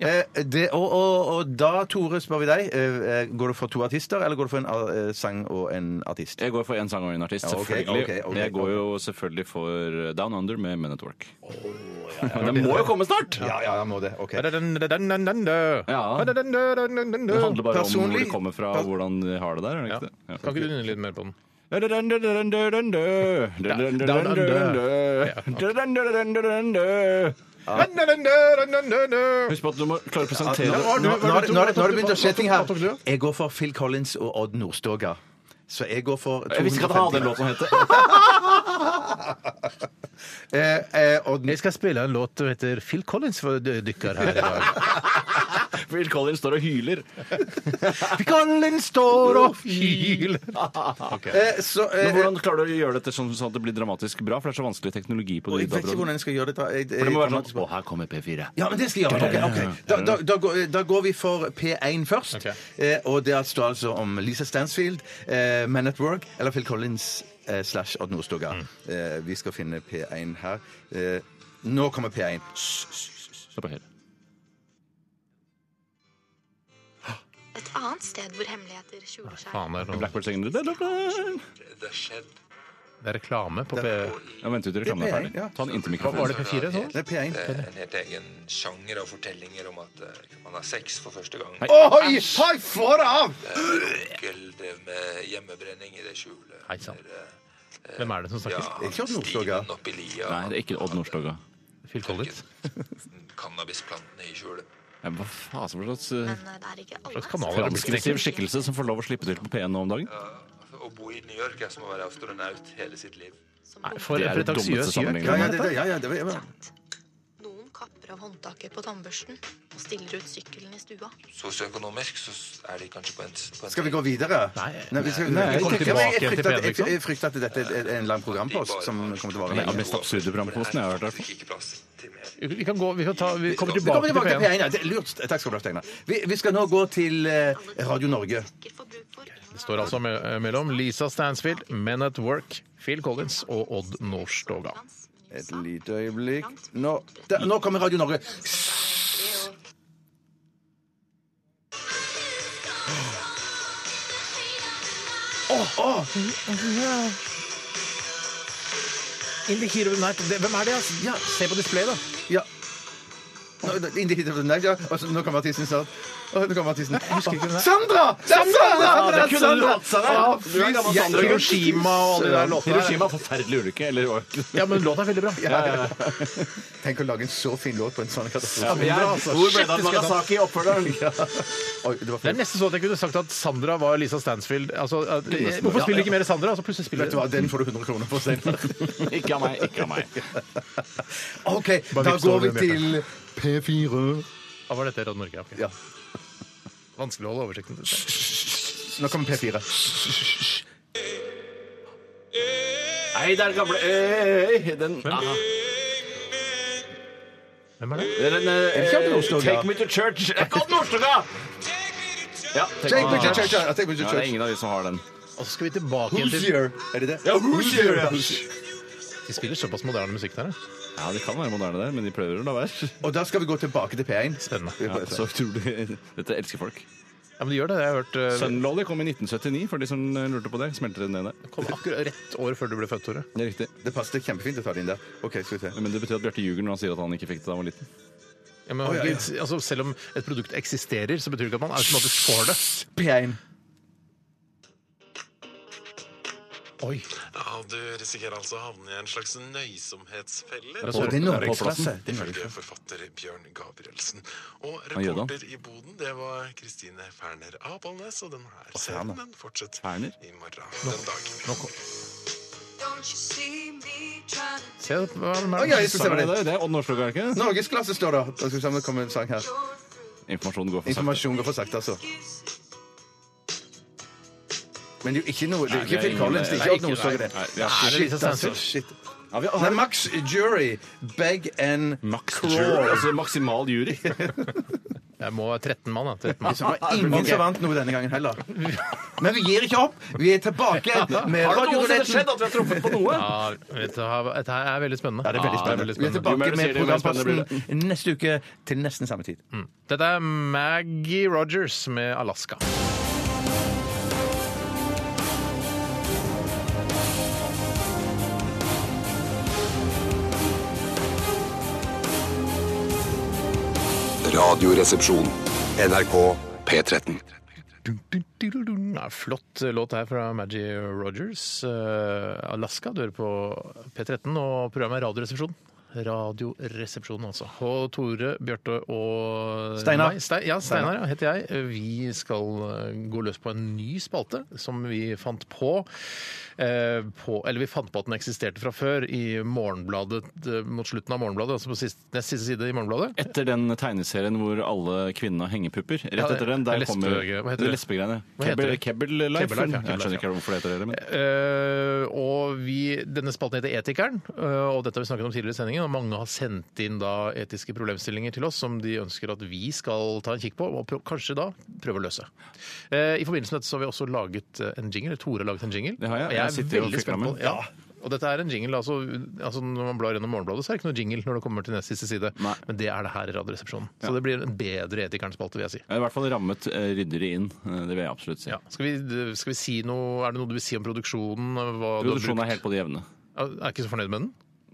Speaker 3: Eh, det, og, og, og da, Tore, spør vi deg. eh, Går du for to artister, eller går du for en eh, sang og en artist?
Speaker 8: Jeg går for én sang og én artist,
Speaker 3: Ja, ok,
Speaker 8: selvfølgelig.
Speaker 3: ok, ok,
Speaker 8: Men jeg går
Speaker 3: ok.
Speaker 8: jo selvfølgelig for Down Under med Men at Work. Men det må jo komme snart!
Speaker 3: Ja, ja, jeg må det. ok.
Speaker 8: Ja. Det handler bare om hvor
Speaker 3: Personlig-
Speaker 8: det kommer fra, og hvordan de har det der. er det ikke det?
Speaker 7: Kan ikke du nynne litt mer på den?
Speaker 8: Husk på at du må klare å presentere
Speaker 3: Nå
Speaker 8: det.
Speaker 3: nå- nå- nå har det nå har det begynt å skje ting
Speaker 7: Hva tok
Speaker 3: her.
Speaker 7: du?
Speaker 3: Jeg går for Phil Collins og Odd Nordstoga. Så jeg går for
Speaker 8: Jeg visste ikke at han hadde en låt
Speaker 3: 250.
Speaker 8: som het
Speaker 3: Eh, eh, Odd
Speaker 7: Jeg skal spille en låt som heter Phil Collins for dykker her i dag.
Speaker 8: Phil Collins står og hyler.
Speaker 3: Eh,
Speaker 7: Phil Collins står og hyler.
Speaker 3: Eh, så, eh,
Speaker 8: Men hvordan klarer du å gjøre dette sånn sånn at det blir dramatisk bra? For det er så vanskelig teknologi på
Speaker 3: Og
Speaker 8: de
Speaker 3: Jeg vet ikke
Speaker 8: dataene.
Speaker 3: hvordan jeg skal gjøre det. da. Jeg- jeg-
Speaker 8: For det må være
Speaker 3: jeg-
Speaker 8: sånn Å, her kommer P4.
Speaker 3: Ja, men det skal jeg gjøre. Ok, ok. Da, da, da, går, da går vi for P1 først.
Speaker 7: Ok.
Speaker 3: Eh, og det står altså om Lisa Stansfield, eh, Man at Work eller Phil Collins eh, slash Odd Nordstoga. Eh, vi skal finne P1 her. Eh, nå kommer P1.
Speaker 8: Se på høyre.
Speaker 9: Et annet sted hvor hemmeligheter skjuler seg.
Speaker 7: Faen, det er sånn- noe-
Speaker 8: Blackbird synger det.
Speaker 7: det er reklame på P...
Speaker 8: Ja, Vent ut til reklamen er
Speaker 3: Det er- ja.
Speaker 8: ferdig. Ta den inntil
Speaker 7: Hva var det
Speaker 8: mikrofonen.
Speaker 7: P4? Sånn?
Speaker 3: Det er P1.
Speaker 10: en helt egen sjanger av fortellinger om at eh, man har sex for første gang.
Speaker 3: Oi, hei, få det av!
Speaker 10: Onkel drev med hjemmebrenning i det skjulet.
Speaker 7: Hei, sant.
Speaker 10: Eller, eh,
Speaker 7: Hvem er det som snakker?
Speaker 3: er ikke Odd Nordstoga.
Speaker 10: stigen opp i lia.
Speaker 8: Nei, det er ikke Odd Nordstoga.
Speaker 7: Phil Collins?
Speaker 10: Cannabisplantene i skjulet.
Speaker 8: Ja, Hva faen for slags eh,
Speaker 9: Men det er ikke alle
Speaker 7: slags kanal er det?
Speaker 8: transgressiv skikkelse som får lov å slippe til på P1 nå om dagen?
Speaker 10: Å bo i New York er som å være astronaut hele sitt liv.
Speaker 9: som bomber.
Speaker 7: For
Speaker 8: Det
Speaker 7: en
Speaker 8: er det dummeste
Speaker 7: pretensiøs gjøk.
Speaker 3: Ja,
Speaker 8: sammenligningen.
Speaker 3: ja, det, ja, ja, det, ja, ja.
Speaker 9: Noen kapper river av håndtaket på tannbørsten og stiller ut sykkelen i stua.
Speaker 10: Sosioøkonomisk så s- er de kanskje på en, på en
Speaker 3: Skal vi gå videre?
Speaker 7: Nei.
Speaker 3: vi skal,
Speaker 7: Nei,
Speaker 3: jeg,
Speaker 7: vi kommer
Speaker 3: tenker- jeg,
Speaker 7: tilbake
Speaker 3: frykter
Speaker 7: til
Speaker 3: at, jeg,
Speaker 7: P1, liksom.
Speaker 3: jeg frykter at dette er en lang programpost som kommer til å vare
Speaker 8: Det er
Speaker 3: lenge.
Speaker 8: mest absurde programposten jeg har hørt, i hvert fall.
Speaker 10: Fikk ikke plass til mer.
Speaker 7: Vi kan gå, vi kan ta, vi kommer
Speaker 3: Vi kommer
Speaker 7: tilbake til
Speaker 3: tilbake til
Speaker 7: P1.
Speaker 3: P1. Ja, det er lurt. Takk skal du ha, Steinar. Vi, vi skal nå gå til eh, Radio Norge.
Speaker 9: Sikker får bruk for en
Speaker 7: Det står altså me- mellom Lisa Stansfield, Men at Work, Phil Collins og Odd Nordstoga.
Speaker 3: Et lite øyeblikk Nå, der, nå kommer Radio Norge. Åh, åh!
Speaker 7: In the heat of the night. Det- Hvem er det? Altså? Ja, se på display, da.
Speaker 3: Ja. Nå, inn dit, nei, ja. og så- nå kommer artisten snart. Åh, Nå kommer artisten.
Speaker 7: husker ikke hvem det er.
Speaker 3: Sandra! Det er Sandra!
Speaker 8: Ja, det kunne du hatt, Sandra.
Speaker 3: Å,
Speaker 8: Du er gammel
Speaker 3: fy
Speaker 8: Sandra.
Speaker 3: jævla-
Speaker 7: Hiroshima og alle de der låtene. der.
Speaker 8: Hiroshima, forferdelig ulykke. Eller
Speaker 7: Ja, men låta er veldig bra.
Speaker 3: Ja, ja. Tenk å lage en så fin låt på en sånn katastrofe. altså.
Speaker 8: Hvor ble det av Nagasaki i Oppfordalen?
Speaker 3: Oi, det var
Speaker 7: Det er
Speaker 3: fint.
Speaker 7: nesten sånn at jeg kunne sagt at Sandra var Lisa Stansfield. Altså, at, hvorfor spiller ikke mer Sandra? Altså, plutselig spiller
Speaker 3: Vet du hva, Den får du 100 kroner for, Steinar.
Speaker 8: Ikke av meg. Ikke av meg.
Speaker 3: OK,
Speaker 7: Bare
Speaker 3: da
Speaker 7: vips
Speaker 3: går
Speaker 7: over
Speaker 3: vi
Speaker 7: det,
Speaker 3: til P4.
Speaker 7: Ah, var dette Radio Norge? Ja, ok.
Speaker 3: Ja.
Speaker 7: Vanskelig å holde oversikten.
Speaker 3: Nå kommer P4.
Speaker 8: Nei, det er den gamle Øy, Den, aha.
Speaker 7: Hvem er det?
Speaker 8: Det er den eh,
Speaker 3: ikke Odd Nordstoga?
Speaker 8: Take me to church. Det er ikke Odd Nordstoga! Ja,
Speaker 3: Take me to church, ja, take me to
Speaker 8: Ja, det er
Speaker 3: church.
Speaker 8: ingen av de som har den.
Speaker 7: Og så skal vi tilbake igjen
Speaker 3: Who's
Speaker 7: til
Speaker 3: here? Er det det?
Speaker 8: Ja, who's here, ja.
Speaker 7: De spiller såpass moderne musikk der. ja.
Speaker 8: Ja, Det kan være moderne, der, men de prøver å la være.
Speaker 3: Og da skal vi gå tilbake til P1.
Speaker 7: Spennende.
Speaker 3: Vi
Speaker 8: Ja,
Speaker 3: prøver.
Speaker 8: så utrolig. Dette elsker folk.
Speaker 7: Ja, men de gjør det. Jeg har hørt eh,
Speaker 8: Sunlolly kom i 1979, for de som lurte på det. Smelter den ned der.
Speaker 7: Kom akkurat rett år før du ble født, Tore.
Speaker 8: Det er riktig.
Speaker 3: Det passet kjempefint å ta det inn der. OK, skal vi se.
Speaker 8: Men det betyr at Bjarte ljuger når han sier at han ikke fikk det da han var liten.
Speaker 7: Ja, men,
Speaker 3: ja,
Speaker 7: ikke- Altså, selv om et produkt eksisterer, så betyr det ikke at man automatisk får det.
Speaker 3: P1.
Speaker 7: Oi.
Speaker 11: Ja, du risikerer altså å havne i en slags nøysomhetsfelle.
Speaker 3: Å, det er
Speaker 8: norgesklasse.
Speaker 3: norgesklasse. Det er
Speaker 11: Ifølge forfatter Bjørn Gabrielsen. Og
Speaker 8: gjør det.
Speaker 11: reporter i boden, det var Kristine Ferner Abalnes, og den her serien den fortsetter
Speaker 8: Ferner?
Speaker 11: i morgen den dagen.
Speaker 7: Se, hva er det med
Speaker 3: Oi, oi,
Speaker 7: den?
Speaker 3: jeg skal se hva det er.
Speaker 8: Det er Odd Nordstoga, er det ikke?
Speaker 3: Norgesklasse står det. Da skal vi se om det kommer en sang her.
Speaker 8: Informasjonen går for sakte.
Speaker 3: Informasjon går for sakte, altså. Men det er jo ikke noe Det er jo
Speaker 8: Nei, det
Speaker 3: ikke
Speaker 8: er
Speaker 3: Phil
Speaker 8: ingen-
Speaker 3: Collins. Det er
Speaker 8: nei,
Speaker 3: ikke Odd Nordstoga, det.
Speaker 8: nei, det er ikke-
Speaker 3: Shit,
Speaker 7: Lisa
Speaker 3: altså.
Speaker 7: Stansfield.
Speaker 3: Shit.
Speaker 8: Ja, vi
Speaker 3: Nei,
Speaker 8: har
Speaker 3: Max Jury, Beg and
Speaker 8: Max
Speaker 3: Crawl.
Speaker 8: jury, altså maksimal jury.
Speaker 7: Jeg må være 13 mann, da. 13 mann.
Speaker 3: Det var ingen som vant noe denne gangen heller. Men vi gir ikke opp. Vi er tilbake med radioruletten.
Speaker 8: at vi har truffet på noe?
Speaker 7: Ja, dette her- dette her er veldig spennende.
Speaker 3: Ja, det
Speaker 8: Ah,
Speaker 3: er veldig
Speaker 7: Ja,
Speaker 3: spennende. Vi
Speaker 8: Jo
Speaker 3: er
Speaker 8: mer
Speaker 3: tilbake
Speaker 8: du
Speaker 3: med
Speaker 8: sier det, jo mer spennende blir
Speaker 3: programposten neste uke til nesten samme tid.
Speaker 7: Dette er Maggie Rogers med 'Alaska'.
Speaker 6: Radioresepsjon. NRK P13.
Speaker 7: Ja, flott låt her fra Maggie Rogers. eh, 'Alaska'. Du hører på P13 og programmet er Radioresepsjonen. Radioresepsjonen, altså. Og Tore, Bjarte og
Speaker 3: Steinar.
Speaker 7: Nei, Ste ja, Steinar ja, heter jeg. Vi skal eh, gå løs på en ny spalte som vi fant på. eh, på eller vi fant på at den eksisterte fra før i Morgenbladet, eh, mot slutten av Morgenbladet, altså på sist, nest siste side i Morgenbladet.
Speaker 8: Etter den tegneserien hvor alle kvinnene har hengepupper. Rett
Speaker 7: Ja, det-
Speaker 8: etter den, der
Speaker 7: lesbe-
Speaker 8: kommer
Speaker 7: hva heter det?
Speaker 8: lesbegreiene.
Speaker 7: Hva heter
Speaker 8: Kebbel,
Speaker 7: det? Kebbel
Speaker 8: Kebbel Life?
Speaker 7: Life, ja, Kebbel
Speaker 8: eller? Jeg skjønner
Speaker 7: Life,
Speaker 8: ikke hvorfor det heter det. Men.
Speaker 7: Eh, og vi, denne spalten heter Etikeren, eh, og dette har vi snakket om tidligere i sendingen. Og mange har sendt inn da etiske problemstillinger til oss som de ønsker at vi skal ta en kikk på, og prø- kanskje da prøve å løse. Eh, I forbindelse med dette så har vi også laget eh, en jingle. Tore har laget en jingle.
Speaker 8: Det har jeg.
Speaker 7: og
Speaker 8: Jeg sitter jo og klikker
Speaker 7: spent på
Speaker 8: om
Speaker 7: den.
Speaker 8: den.
Speaker 7: Ja. Og dette er en jingle, altså, altså Når man blar gjennom Morgenbladet, så er det ikke noe jingle når det kommer til nest siste side.
Speaker 8: Nei.
Speaker 7: Men det er det her i Radioresepsjonen. Så det blir en bedre Etikeren-spalte, vil jeg si.
Speaker 8: Jeg har i hvert fall rammet eh, ryddere inn. eh, Det vil jeg absolutt si.
Speaker 7: Ja. Skal, vi, skal vi si noe Er det noe du vil si om produksjonen? Hva du har
Speaker 8: Produksjonen
Speaker 7: brukt?
Speaker 8: er helt på det jevne.
Speaker 7: Jeg er ikke så fornøyd med den.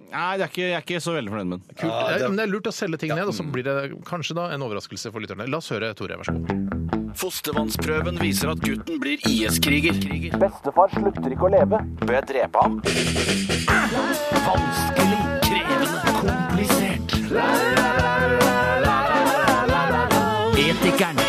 Speaker 8: Nei, det er ikke, jeg er ikke så veldig fornøyd med den.
Speaker 7: Kult. det... Er, men det er lurt å selge ting ned, og så blir det kanskje da en overraskelse for lytterne. La oss høre, Tore. Vær så god.
Speaker 8: Fostervannsprøven viser at gutten blir IS-kriger.
Speaker 6: Bestefar slutter ikke å leve. Bør jeg drepe ham?
Speaker 8: Vanskelig, krevende, komplisert. Etikeren.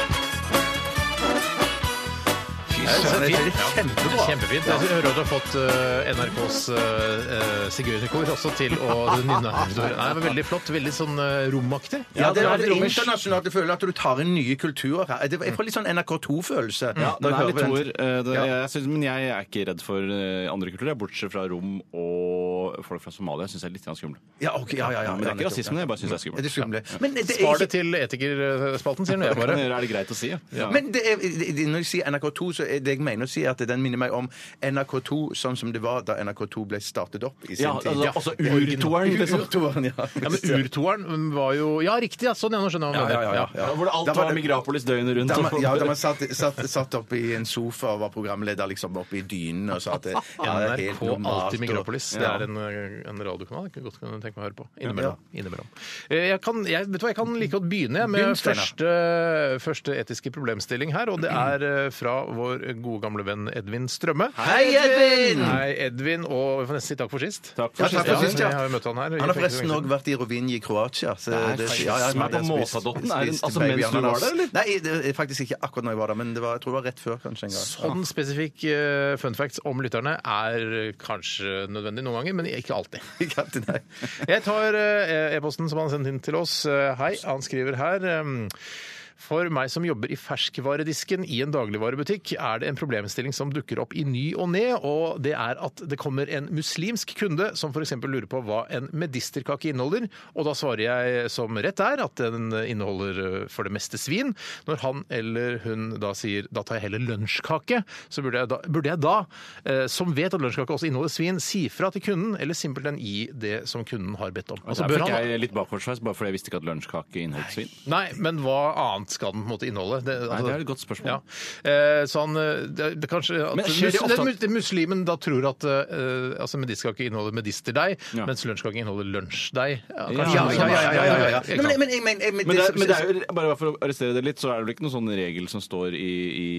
Speaker 7: Fy
Speaker 3: skjønner det.
Speaker 7: Kjempebra. Kjempefint. Jeg hører at du har fått eh, NRKs uh, sigøynerkor også til å nynne her. Nei, det var Veldig flott. Veldig sånn eh, romaktig.
Speaker 3: Ja, det er
Speaker 7: litt
Speaker 3: litt
Speaker 7: romersk.
Speaker 3: internasjonalt. Jeg føler at du tar inn nye kulturer her. Det- Jeg får litt sånn NRK2-følelse.
Speaker 8: Ja, den er litt toer. eh, det-
Speaker 3: Ja.
Speaker 8: jeg synes- Men jeg er ikke redd for eh, andre kulturer, bortsett fra rom og folk fra Somalia. Jeg syns jeg er litt grann skummel.
Speaker 3: Ja, ok, ja, ja, ja,
Speaker 8: men det
Speaker 3: ja,
Speaker 8: er ikke
Speaker 3: nettopp,
Speaker 8: rasisme,
Speaker 3: ja.
Speaker 8: jeg bare syns det er
Speaker 3: Er
Speaker 8: skummelt.
Speaker 3: det skumle? Men det er
Speaker 7: Spar
Speaker 3: ikke-
Speaker 7: det til etikerspalten, sier nå
Speaker 8: Det
Speaker 7: jeg
Speaker 8: kan
Speaker 7: bare.
Speaker 8: jeg gjøre, er det greit å si? Ja. Ja.
Speaker 3: Men det er, det- det- når jeg sier NRK2, så er det jeg mener å si at den minner meg om NRK2 sånn som det var da NRK2 ble startet opp i sin
Speaker 8: Ja,
Speaker 3: tid.
Speaker 8: altså, altså urtoeren, liksom.
Speaker 3: Urtoeren, ja.
Speaker 7: Ja, men Urtoeren var jo Ja, riktig! ja, Sånn, ja. Nå skjønner jeg hva du
Speaker 3: Ja, ja, ja,
Speaker 7: mener.
Speaker 3: ja.
Speaker 8: Ja, Hvor det
Speaker 3: Da
Speaker 8: alt
Speaker 3: var
Speaker 8: var
Speaker 3: det-
Speaker 8: Migrapolis døgnet rundt.
Speaker 3: Da man,
Speaker 8: og-
Speaker 3: ja, da man satt, satt, satt opp i en sofa og var programleder liksom oppe i dynen og sa at det, ja, det er helt
Speaker 7: NRK
Speaker 3: normalt.
Speaker 7: Alltid Migrapolis.
Speaker 3: og-
Speaker 7: Det
Speaker 3: Ja.
Speaker 7: er en, eh, en radiokanal jeg kunne godt kunne tenke meg å høre på. Innimellom. Innimellom. Eh, Jeg, kan, jeg, vet du hva, jeg kan like godt begynne jeg, med
Speaker 3: Begynn, Steinar.
Speaker 7: første, første etiske problemstilling her. Og det er eh, fra vår gode gamle venn Edvin Strømme.
Speaker 3: Hei, Edvin!
Speaker 7: Hei, Edvin. Og jeg får nesten si takk for sist.
Speaker 8: Takk for
Speaker 3: Ja, takk for
Speaker 7: Ja,
Speaker 3: sist, ja.
Speaker 7: Jeg har jo liksom møtt han her.
Speaker 3: Han har forresten òg vært i Rovinj i Kroatia. Så
Speaker 8: Det er faktisk- Men på Måsadotten, er det- altså, mens du var der, eller?
Speaker 3: Nei, det er faktisk ikke akkurat når jeg var der, men det var, jeg tror det var rett før, kanskje. en gang.
Speaker 7: Sånn spesifikk eh, fun facts om lytterne er eh, kanskje nødvendig noen ganger, men ikke alltid.
Speaker 3: Ikke alltid, nei.
Speaker 7: Jeg tar eh, e-posten som han sendte inn til oss. Eh, Hei, han skriver her. ehm, For meg som jobber i ferskvaredisken i en dagligvarebutikk, er det en problemstilling som dukker opp i ny og ne, og det er at det kommer en muslimsk kunde som f.eks. lurer på hva en medisterkake inneholder, og da svarer jeg som rett er at den inneholder eh, for det meste svin. Når han eller hun da sier 'da tar jeg heller lunsjkake', så burde jeg da, burde jeg da eh, som vet at lunsjkake også inneholder svin, si fra til kunden, eller simpelthen gi det som kunden har bedt om.
Speaker 8: Altså,
Speaker 7: Altså,
Speaker 8: Der
Speaker 7: bør
Speaker 8: fikk
Speaker 7: han...
Speaker 8: jeg litt bakoversveis bare fordi jeg visste ikke at lunsjkake inneholdt svin.
Speaker 7: Nei, men hva annet skal den på en måte inneholde? Det, altså-
Speaker 8: Nei, det er et godt spørsmål.
Speaker 7: Ja. Eh, så han eh, det, det kanskje at
Speaker 8: Men skjer det
Speaker 7: mus-
Speaker 8: ofte
Speaker 7: den
Speaker 8: at-
Speaker 7: mus- Muslimen da tror at eh, altså medisterkake inneholder medisterdeig,
Speaker 8: Ja.
Speaker 7: mens lunsjkake inneholder lunsjdeig. Ja,
Speaker 8: Ja,
Speaker 7: kanskje
Speaker 3: Ja,
Speaker 7: noe
Speaker 3: ja,
Speaker 7: sånt.
Speaker 3: ja. ja, ja, ja.
Speaker 7: Ikke
Speaker 3: Nei,
Speaker 7: sant?
Speaker 3: Men, men, jeg mener- jeg mener-
Speaker 8: Men det, er, men det er jo, bare for å arrestere det litt, så er det vel ikke noen sånn regel som står i, i,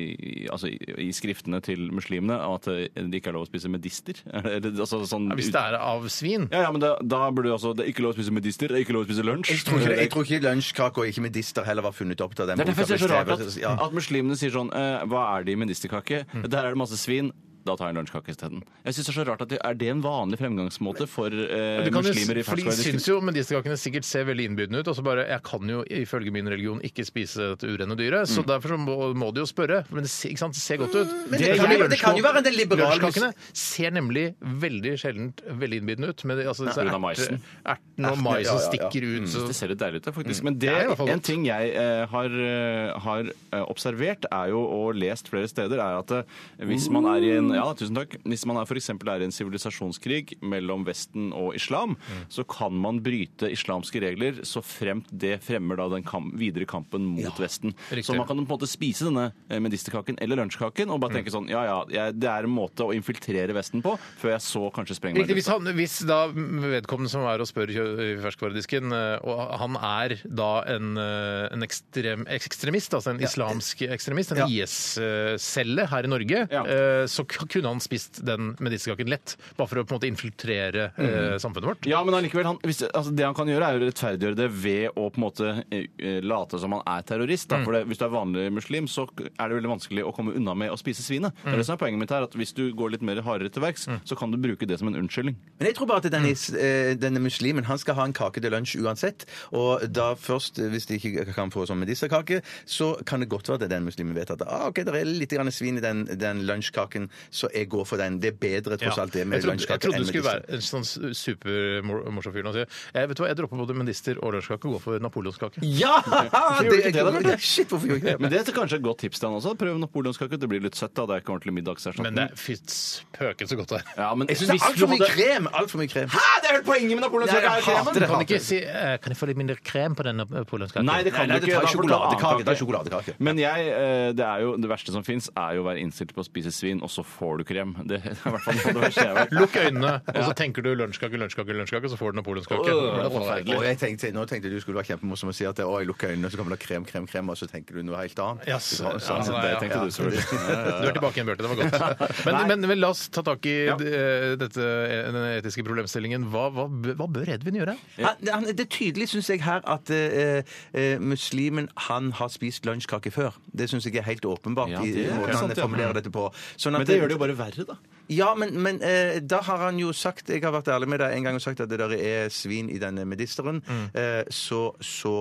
Speaker 8: i, altså i, i skriftene til muslimene om at eh, det ikke er lov å spise medister? Er det, er det- altså, sånn,
Speaker 7: Ja, Hvis det er av svin.
Speaker 8: ja, ja, men da, da burde du altså Det er ikke lov å spise medister, det er ikke lov å spise lunsj.
Speaker 3: Jeg tror ikke, det- jeg tror ikke lunsjkake og ikke medister heller var funnet opp av den
Speaker 8: Det er derfor jeg
Speaker 3: boka
Speaker 8: synes det er så rart
Speaker 3: ble
Speaker 8: at,
Speaker 3: skrevet. Ja.
Speaker 8: at muslimene sier sånn eh, Hva er det i medisterkake? Der er det masse svin. Da tar jeg en lunsjkake isteden. Jeg synes det Er så rart at det, er det en vanlig fremgangsmåte for eh,
Speaker 7: Du kan jo,
Speaker 8: muslimer i
Speaker 7: for de syns
Speaker 8: ferskvaredisken?
Speaker 7: jo medisterkakene sikkert ser veldig innbydende ut. og så bare, Jeg kan jo ifølge min religion ikke spise dette urene dyret,
Speaker 8: Mm.
Speaker 7: så derfor så må, må de jo spørre. Men det, ser- ikke sant, det ser godt ut.
Speaker 3: Mm,
Speaker 7: er
Speaker 3: men det kan
Speaker 7: fordi
Speaker 3: jo- det kan jo være en del
Speaker 7: lunsjkak-
Speaker 3: liberale-
Speaker 7: Lunsjkakene ser nemlig veldig sjelden veldig innbydende ut. Med det, altså, disse
Speaker 8: pga.
Speaker 7: erte-
Speaker 8: maisen. Mm.
Speaker 7: erten og
Speaker 3: ja, ja,
Speaker 7: maisen
Speaker 3: ja.
Speaker 7: stikker ut. Så, Mm.
Speaker 8: Det ser litt deilig ut, da, faktisk. Men
Speaker 7: Det
Speaker 8: det,
Speaker 7: er i hvert fall
Speaker 8: en
Speaker 7: godt.
Speaker 8: ting jeg eh, har, eh, har eh, observert er jo, og lest flere steder, er at eh, hvis man er i
Speaker 7: Mm.
Speaker 8: en ja, tusen takk, hvis man er, for eksempel er i en sivilisasjonskrig mellom Vesten og islam,
Speaker 7: Mm.
Speaker 8: så kan man bryte islamske regler så fremt det fremmer da den kam videre kampen mot Vesten.
Speaker 7: riktig.
Speaker 8: Så man kan på en måte spise denne eh, medisterkaken eller lunsjkaken og bare
Speaker 7: Mm.
Speaker 8: tenke sånn ja ja, jeg, det er en måte å infiltrere Vesten på før jeg så kanskje sprenger meg i
Speaker 7: Riktig, hvis,
Speaker 8: lufta.
Speaker 7: han, hvis da vedkommende som er og spør i ferskvaredisken, eh, og han er da en, eh, en ekstrem, ekstremist, altså en islamsk ekstremist, en IS-celle her i Norge,
Speaker 8: Ja.
Speaker 7: eh, så k- kunne han spist den medisterkaken lett, bare for å på en måte infiltrere eh, samfunnet vårt.
Speaker 8: Mhm. Ja, men allikevel, han, hvis, altså, det han kan gjøre, er å rettferdiggjøre det ved å på en måte eh, eh, late som han er terrorist.
Speaker 3: Mm.
Speaker 8: Da. For det, hvis du er vanlig muslim, så er det veldig vanskelig å komme unna med å spise svinet.
Speaker 3: Mm.
Speaker 8: Det er det som er poenget mitt her, at Hvis du går litt mer hardere til verks, så kan du bruke det som en unnskyldning.
Speaker 3: Men jeg tror bare
Speaker 7: Mm.
Speaker 3: at denne, eh, denne muslimen han skal ha en kake til lunsj uansett. Og da først, eh, hvis de ikke kan få sånn medisterkake, så kan det godt være at den muslimen vet at ah, ok, det er litt grann svin i den, den lunsjkaken, så jeg går for den. Det er bedre tross alt det med
Speaker 7: jeg trodde, jeg
Speaker 3: lunsjkake
Speaker 7: trodde
Speaker 3: enn
Speaker 7: du skulle
Speaker 3: medister.
Speaker 7: være en sånn supermorsom fyr. og si, Jeg vet du hva, jeg dropper både medister og lunsjkake og går for napoleonskake.
Speaker 3: Ja!
Speaker 8: gjorde
Speaker 3: Det,
Speaker 8: ikke det da, Bjarte?
Speaker 3: shit, hvorfor gjorde jeg ikke
Speaker 8: Men
Speaker 3: det?
Speaker 8: det er kanskje et godt tips til han også. Prøv napoleonskake. Det blir litt søtt, da. Det er ikke ordentlig
Speaker 7: Men det
Speaker 8: middagserstatning.
Speaker 7: er fyts pøken så godt det er.
Speaker 8: Ja, men
Speaker 3: Jeg syns det
Speaker 8: hvis
Speaker 3: er
Speaker 8: du
Speaker 3: altfor mye
Speaker 8: hadde-
Speaker 3: krem! Altfor mye krem.
Speaker 8: Hæ, det er vel poenget med napoleonskake!
Speaker 3: Nei, jeg
Speaker 8: er kremen!
Speaker 3: hater det.
Speaker 7: Kan ikke si eh, Kan jeg få litt mindre krem på den napoleonskaken?
Speaker 8: Nei, det kan
Speaker 3: Nei,
Speaker 8: du
Speaker 3: det
Speaker 8: ikke.
Speaker 3: tar
Speaker 8: Da får du ta annen
Speaker 3: sjokoladekake.
Speaker 8: kake.
Speaker 3: Det er sjokoladekake.
Speaker 8: Men jeg, eh, det, er jo, det verste som fins, er jo å være innstilt på å spise svin, og så får du ikke hjem. Det er i hvert fall noe av det verste jeg vet.
Speaker 7: Lukk øynene, og så tenker du lunsjkake, lunsjkake, lunsjkake, så får du napoleonskake. Det er forferdelig.
Speaker 3: Og jeg tenkte, nå tenkte jeg du skulle være kjempemorsom og si at å, jeg lukker øynene, så kommer det krem, krem, krem, og så tenker du noe helt annet.
Speaker 7: Ja, så-
Speaker 3: Sånn, sånn,
Speaker 7: ja,
Speaker 3: sånn,
Speaker 7: ja,
Speaker 3: det
Speaker 7: ja.
Speaker 3: tenkte du selvfølgelig.
Speaker 7: Du er tilbake igjen, Bjarte. Det var godt. Men, men, men la oss ta tak i eh, dette, den etiske problemstillingen. Hva, hva, b- hva bør Edvin gjøre?
Speaker 3: Han, han, det er tydelig, syns jeg, her at eh, eh, muslimen han har spist lunsjkake før. Det syns jeg er helt åpenbart.
Speaker 8: Ja,
Speaker 3: i
Speaker 8: det er
Speaker 3: måten
Speaker 8: sant,
Speaker 3: han
Speaker 8: ja.
Speaker 3: formulerer dette på. Sånn at
Speaker 8: Men det gjør det jo bare verre, da.
Speaker 3: Ja, men, men eh, da har han jo sagt Jeg har vært ærlig med deg en gang og sagt at det der er svin i denne medisteren.
Speaker 8: Mm.
Speaker 3: Eh, så, så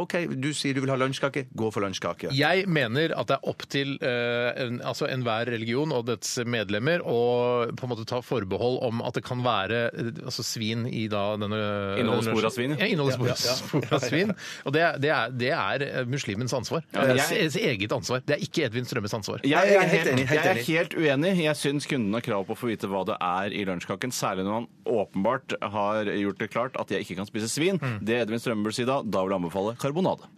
Speaker 3: OK, du sier du vil ha lunsjkake. Gå for lunsjkake.
Speaker 7: Jeg mener at det er opp til eh, en, altså enhver religion og dets medlemmer å på en måte ta forbehold om at det kan være eh, altså svin i da denne
Speaker 8: Inneholder spor av svin, ja.
Speaker 7: Ja, inneholder spor, spor av svin. Og det, er- det, er, det er eh, muslimens ansvar.
Speaker 8: Ja,
Speaker 7: det
Speaker 8: jeg-
Speaker 7: er sitt eget ansvar. Det er ikke Edvin Strømmes ansvar.
Speaker 8: Jeg,
Speaker 3: Jeg
Speaker 8: er
Speaker 3: er helt
Speaker 8: helt,
Speaker 3: enig, helt
Speaker 8: jeg er
Speaker 3: enig.
Speaker 8: helt uenig. Jeg syns kunden har krav på å få vite hva det er i lunsjkaken, særlig når han åpenbart har gjort det klart at jeg ikke kan spise svin. Det Edvin Strømme burde si da, da vil jeg anbefale karbonade.